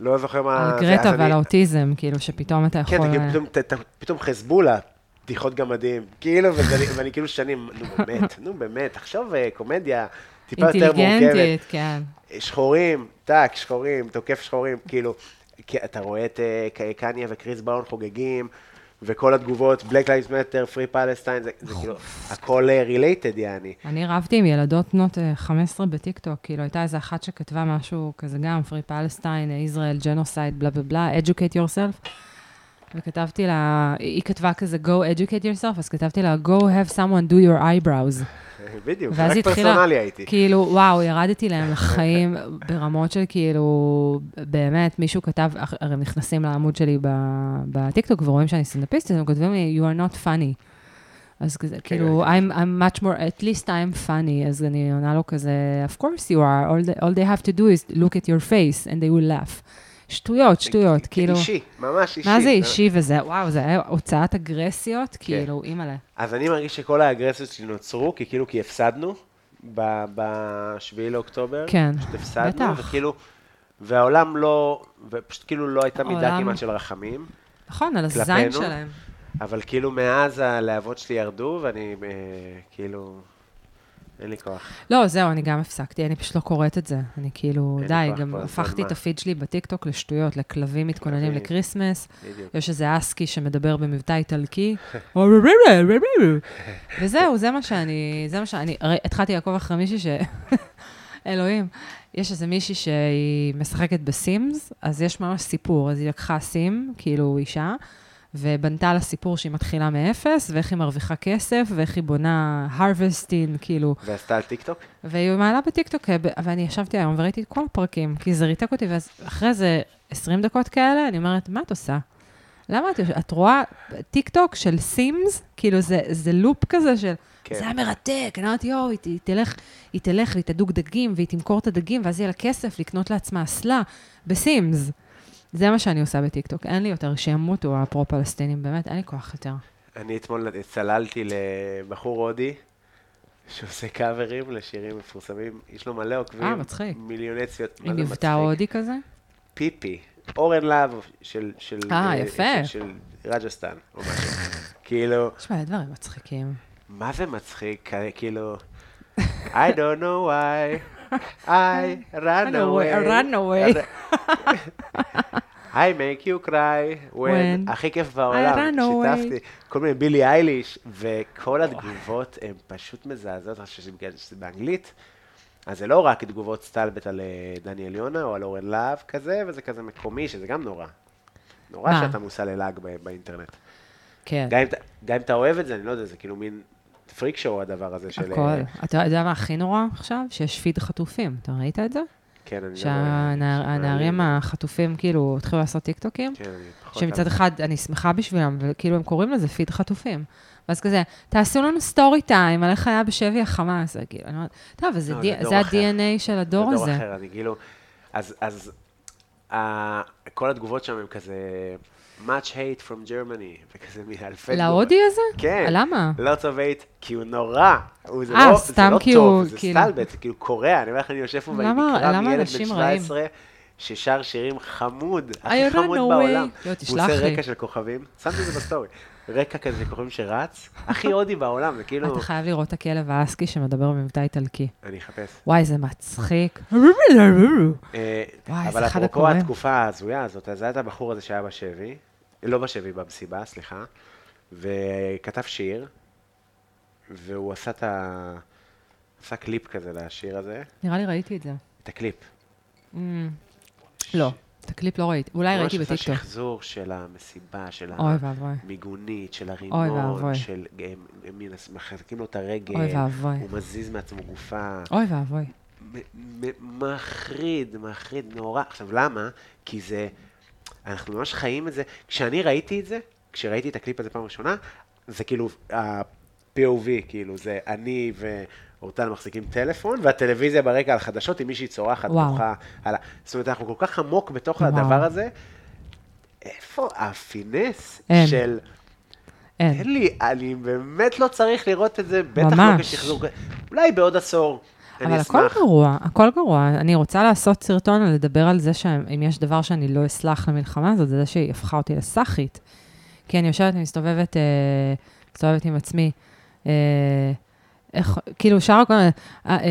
לא זוכר מה...
על
זה,
גרטה
אז אני-
ועל האוטיזם, כאילו, שפתאום אתה יכול...
כן, אתה כאילו
אה,
פתאום- ת- ת- פתאום חזבולה, בדיחות גמדים, כאילו, וזה- ואני כאילו שנים, נו באמת, נו באמת, עכשיו אה, קומדיה טיפה יותר מורכבת.
אינטליגנטית, כן.
שחורים, טאק, שחורים, תוקף שחורים, כאילו, כי אתה רואה את אה, ק- קניה וקריס בראון חוגגים, וכל התגובות, Black Lives Matter, Free Palestine, זה זה כאילו, הכל רילייטד, יעני.
אני רבתי עם ילדות בנות אה, 15 בטיקטוק, כאילו הייתה איזה אחת שכתבה משהו כזה גם, אה, פרי פלסטיין, ישראל, ג'נוסייד, בלה בלה בלה, educate yourself. וכתבתי לה, היא היא כתבה כזה, go educate yourself, אז כתבתי לה, go have someone do your eyebrows.
בדיוק,
ואז
רק
היא התחילה-
פרסונלי הייתי.
כאילו, וואו, ירדתי להם לחיים ברמות של כאילו, באמת, מישהו כתב, הרי הם נכנסים לעמוד שלי ב- בטיקטוק ורואים שאני סטנדאפיסט, אז הם כותבים לי, you are not funny. אז
כן,
כזה, כאילו, I'm, I'm much more, at least I'm funny, אז אני עונה לו כזה, of course you are, all they, all they have to do is look at your face and they will laugh. שטויות, שטויות, כאילו,
כן, אישי, ממש אישי. לא? אה, כן.
מה זה אישי וזה, וואו, זה היה הוצאת אגרסיות, כאילו, אימא'לה.
אז אני מרגיש שכל האגרסיות שלי נוצרו, כי כאילו, כי הפסדנו ב-7 לאוקטובר.
כן,
פשוט הפסדנו,
בטח.
וכאילו, והעולם לא, ופשוט כאילו לא הייתה מידה
העולם-
כמעט של רחמים.
נכון, על הזין
כלפינו?
שלהם.
אבל כאילו מאז הלהבות שלי ירדו, ואני אה, כאילו, אין לי כוח.
לא, זהו, אני גם הפסקתי, אני פשוט לא קוראת את זה. אני כאילו,
אין לי
די,
כוח
גם
כבר, זה
הפכתי את
מה?
הפיד שלי בטיקטוק לשטויות, לכלבים מתכוננים
כלבים.
לקריסמס,
בדיוק.
יש איזה אסקי שמדבר במבטא איטלקי, וזהו, זה מה שאני, זה מה שאני, הרי התחלתי לעקוב אחרי מישהי ש... אלוהים, יש איזה מישהי שהיא משחקת בסימס, אז יש ממש סיפור, אז היא לקחה סים, כאילו אישה, ובנתה לה סיפור שהיא מתחילה מאפס, ואיך היא מרוויחה כסף, ואיך היא בונה הרווסטין, כאילו,
ועשתה על טיקטוק?
והיא מעלה בטיקטוק, אה, ב- ואני ישבתי היום וראיתי את כל הפרקים, כי זה ריתק אותי, ואז אחרי זה 20 דקות כאלה, אני אומרת, מה את עושה? למה את יושבת? את רואה טיקטוק של סימס, כאילו זה, זה לופ כזה של,
כן.
כן. זה היה מרתק, אני אומרת, יואו, היא, ת- היא תלך, היא תלך והיא תדוג דגים, והיא תמכור את הדגים, ואז יהיה לה כסף לקנות לעצמה אסלה בסימס. זה מה שאני עושה בטיקטוק, אין לי יותר, שימותו הפרו-פלסטינים, באמת, אין לי כוח יותר.
אני אתמול צללתי לבחור הודי, שעושה קאברים לשירים מפורסמים, יש לו מלא עוקבים.
אה, מצחיק.
מיליוני צפיות. מה
עם
זה
מבטא
מצחיק?
הודי כזה?
פיפי, אורן להב של... של-
אה,
של
יפה.
של רג'סטן, או משהו. כאילו,
יש מלא דברים מצחיקים.
מה זה מצחיק? כאילו, I don't know why, I run away.
run away.
I make you cry when,
When
הכי כיף בעולם,
run away.
שיתפתי, כל מיני בילי אייליש, וכל התגובות הן פשוט מזעזעות, אני חושב שזה בגלל שזה באנגלית, אז זה לא רק תגובות סטלבט על אה, דניאל יונה או על אורן להב כזה, וזה כזה מקומי, שזה גם נורא. נורא
מה?
שאתה מושא ללעג ב- באינטרנט.
כן.
גם אם אתה- גם אם אתה אוהב את זה, אני לא יודע, זה כאילו מין פריק שואו הדבר הזה של... אה,
הכל. אתה יודע מה הכי נורא עכשיו? שיש פיד חטופים. אתה ראית את זה?
כן, אני לא יודע.
שהנערים
אני-
החטופים כאילו התחילו לעשות טיקטוקים?
כן, אני פחות...
שמצד אחד אני שמחה בשבילם, וכאילו הם קוראים לזה פיד חטופים. ואז כזה, תעשו לנו סטורי טיים על איך היה בשבי החמאס. זה כאילו, אני אומרת, טוב, אבל זה
לא,
די-
זה דור
זה
אחר.
ה-DNA של הדור
זה דור
הזה.
אחר, אני כאילו... אז, אז ה, כל התגובות שם הם כזה, much hate from Germany, וכזה מאלפי תגובות.
להודי הזה?
כן.
למה?
lots of hate, כי הוא נורא. הוא, זה
אה,
לא,
סתם
זה לא
כי
טוב,
הוא-
זה
כאילו-
סטלבט, זה כאילו קורע, אני אומר לך, אני יושב פה ואני
למה-
נקרע
למה
מילד בן
אנשים רעים?
17, ששר שירים חמוד, הכי
I don't
חמוד
know
בעולם.
way. לא,
הוא
תשלח
עושה
לי.
רקע של כוכבים, שמתי את זה בסטורי, רקע כזה של כוכבים שרץ, הכי הודי בעולם, זה כאילו,
אתה חייב לראות את הכלב האסקי שמדבר במבטא איטלקי.
אני אחפש.
וואי, זה מצחיק.
אה,
וואי,
אבל
זה אחד
אפרופו
הקוראים.
התקופה ההזויה הזאת, אז היה את הבחור הזה שהיה בשבי, לא בשבי, במסיבה, סליחה, וכתב שיר, והוא עשה את ה... עשה קליפ כזה לשיר הזה,
נראה לי ראיתי את זה.
את הקליפ.
אמ, לא, את הקליפ לא ראיתי. אולי ראיתי
ממש עשה
בטיקטוק.
שחזור של המסיבה, של
אוי ואבוי.
המיגונית, של
אוי
הרימון,
ואבוי.
של... הם- הם מן הס- מחזקים לו את הרגל,
אוי ואבוי.
הוא מזיז מעצמו גופה.
אוי ואבוי.
מ- מ- מחריד, מחריד, נורא. עכשיו, למה? כי זה... אנחנו ממש חיים את זה. כשאני ראיתי את זה, כשראיתי את הקליפ הזה פעם ראשונה, זה כאילו ה-POV, כאילו, זה אני ואורטל מחזיקים טלפון, והטלוויזיה ברקע על חדשות עם מישהי צורחת,
וואו.
בוכה. על ה- זאת אומרת, אנחנו כל כך עמוק בתוך
וואו.
הדבר הזה. איפה הפינס
אין.
של...
אין.
תן לי, אני באמת לא צריך לראות את זה, בטח לא
ממש.
כשחזור. אולי בעוד עשור. אני
אבל הכל
אשמח.
גרוע, הכל גרוע. אני רוצה לעשות סרטון לדבר על זה שאם יש דבר שאני לא אסלח למלחמה הזאת, זה זה שהיא הפכה אותי לסאחית. כי אני יושבת ומסתובבת, אה, מסתובבת עם עצמי. אה, איך, כאילו, שרה כל הזמן, אה, אה,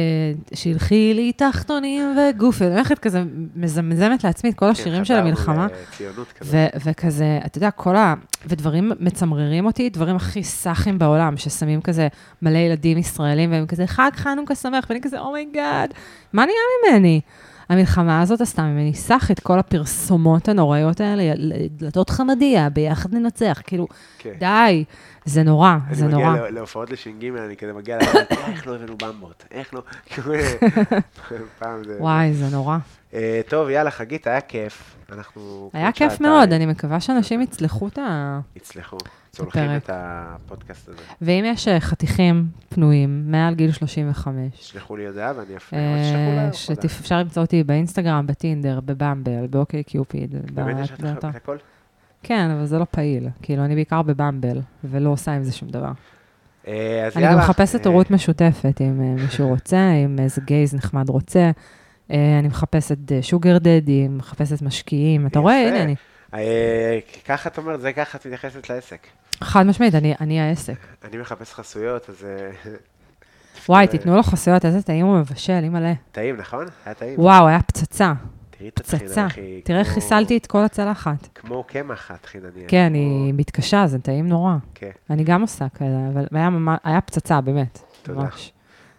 שילחי לי תחתונים וגופי, אני הולכת כזה, מזמזמת לעצמי
כן,
את כל השירים של
חדרנו
המלחמה.
לציונות כזאת.
ו- וכזה, אתה יודע, כל ה... ודברים מצמררים אותי, דברים הכי סאחים בעולם, ששמים כזה מלא ילדים ישראלים, והם כזה, חג חנוכה שמח, ואני כזה, אומייגאד, מה נהיה ממני? המלחמה הזאת עשתה ממני סאחית, כל הפרסומות הנוראיות האלה, ל- דלתות חמדיה, ביחד ננצח, כאילו,
כן.
די, זה נורא, זה
אני
נורא.
מגיע לה- להופעות לש"ג, אני כזה מגיע לארץ, איך לא הבאנו במבות? איך לא... פעם זה...
וואי, זה נורא.
אה, טוב, יאללה, חגית, היה כיף. אנחנו... כבר
היה כיף
שעתיים.
מאוד, אני מקווה שאנשים יצלחו את ה...
יצלחו. צולחים
הפרק.
את הפודקאסט הזה.
ואם יש אה, חתיכים פנויים מעל גיל 35,
תשלחו לי הודעה ואני אפילו... לא
אה, שתפ- אפשר למצוא אותי באינסטגרם, בטינדר, בבמבל, באוקיי קיופיד.
באמת
ב-
יש לך
זה אתה.
את הכל?
כן, אבל זה לא פעיל. כאילו, אני בעיקר בבמבל, ולא עושה עם זה שום דבר.
אה, אז
אני
יאללה.
גם מחפשת
אה,
הורות משותפת, אם אה, מישהו רוצה, אם איזה גייז נחמד רוצה. אה, אני מחפשת שוגר דדי, מחפשת משקיעים. אתה
יפה.
רואה? הנה אני.
אה, ככה את אומרת, זה ככה את מתייחסת לעסק.
חד משמעית, אני- אני העסק.
אני מחפש חסויות, אז אה,
וואי, תיתנו לו חסויות, איזה טעים הוא מבשל, אימא'לה.
טעים, נכון? היה טעים.
וואו, היה פצצה,
תראי את הטחינה,
פצצה.
אחי,
תראה איך
כמו-
חיסלתי את כל הצלחת.
כמו קמח הטחינני.
כן, אני מתקשה, זה טעים נורא.
כן.
אני גם עושה כאלה, אבל היה, ממש, היה פצצה, באמת.
תודה.
ממש.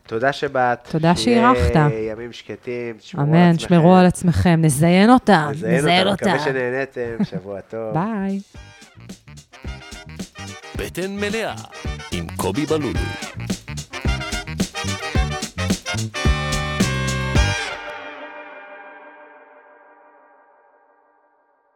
תודה שבאת.
תודה שאירחת.
שיהיה ימים שקטים, תשמרו על
אמן, שמרו על עצמכם, נזיין אותם,
נזיין
נזיין
אותה. מקווה
אותם.
שנהנתם, שבוע טוב.
ביי.
בטן מלאה עם קובי בלולו.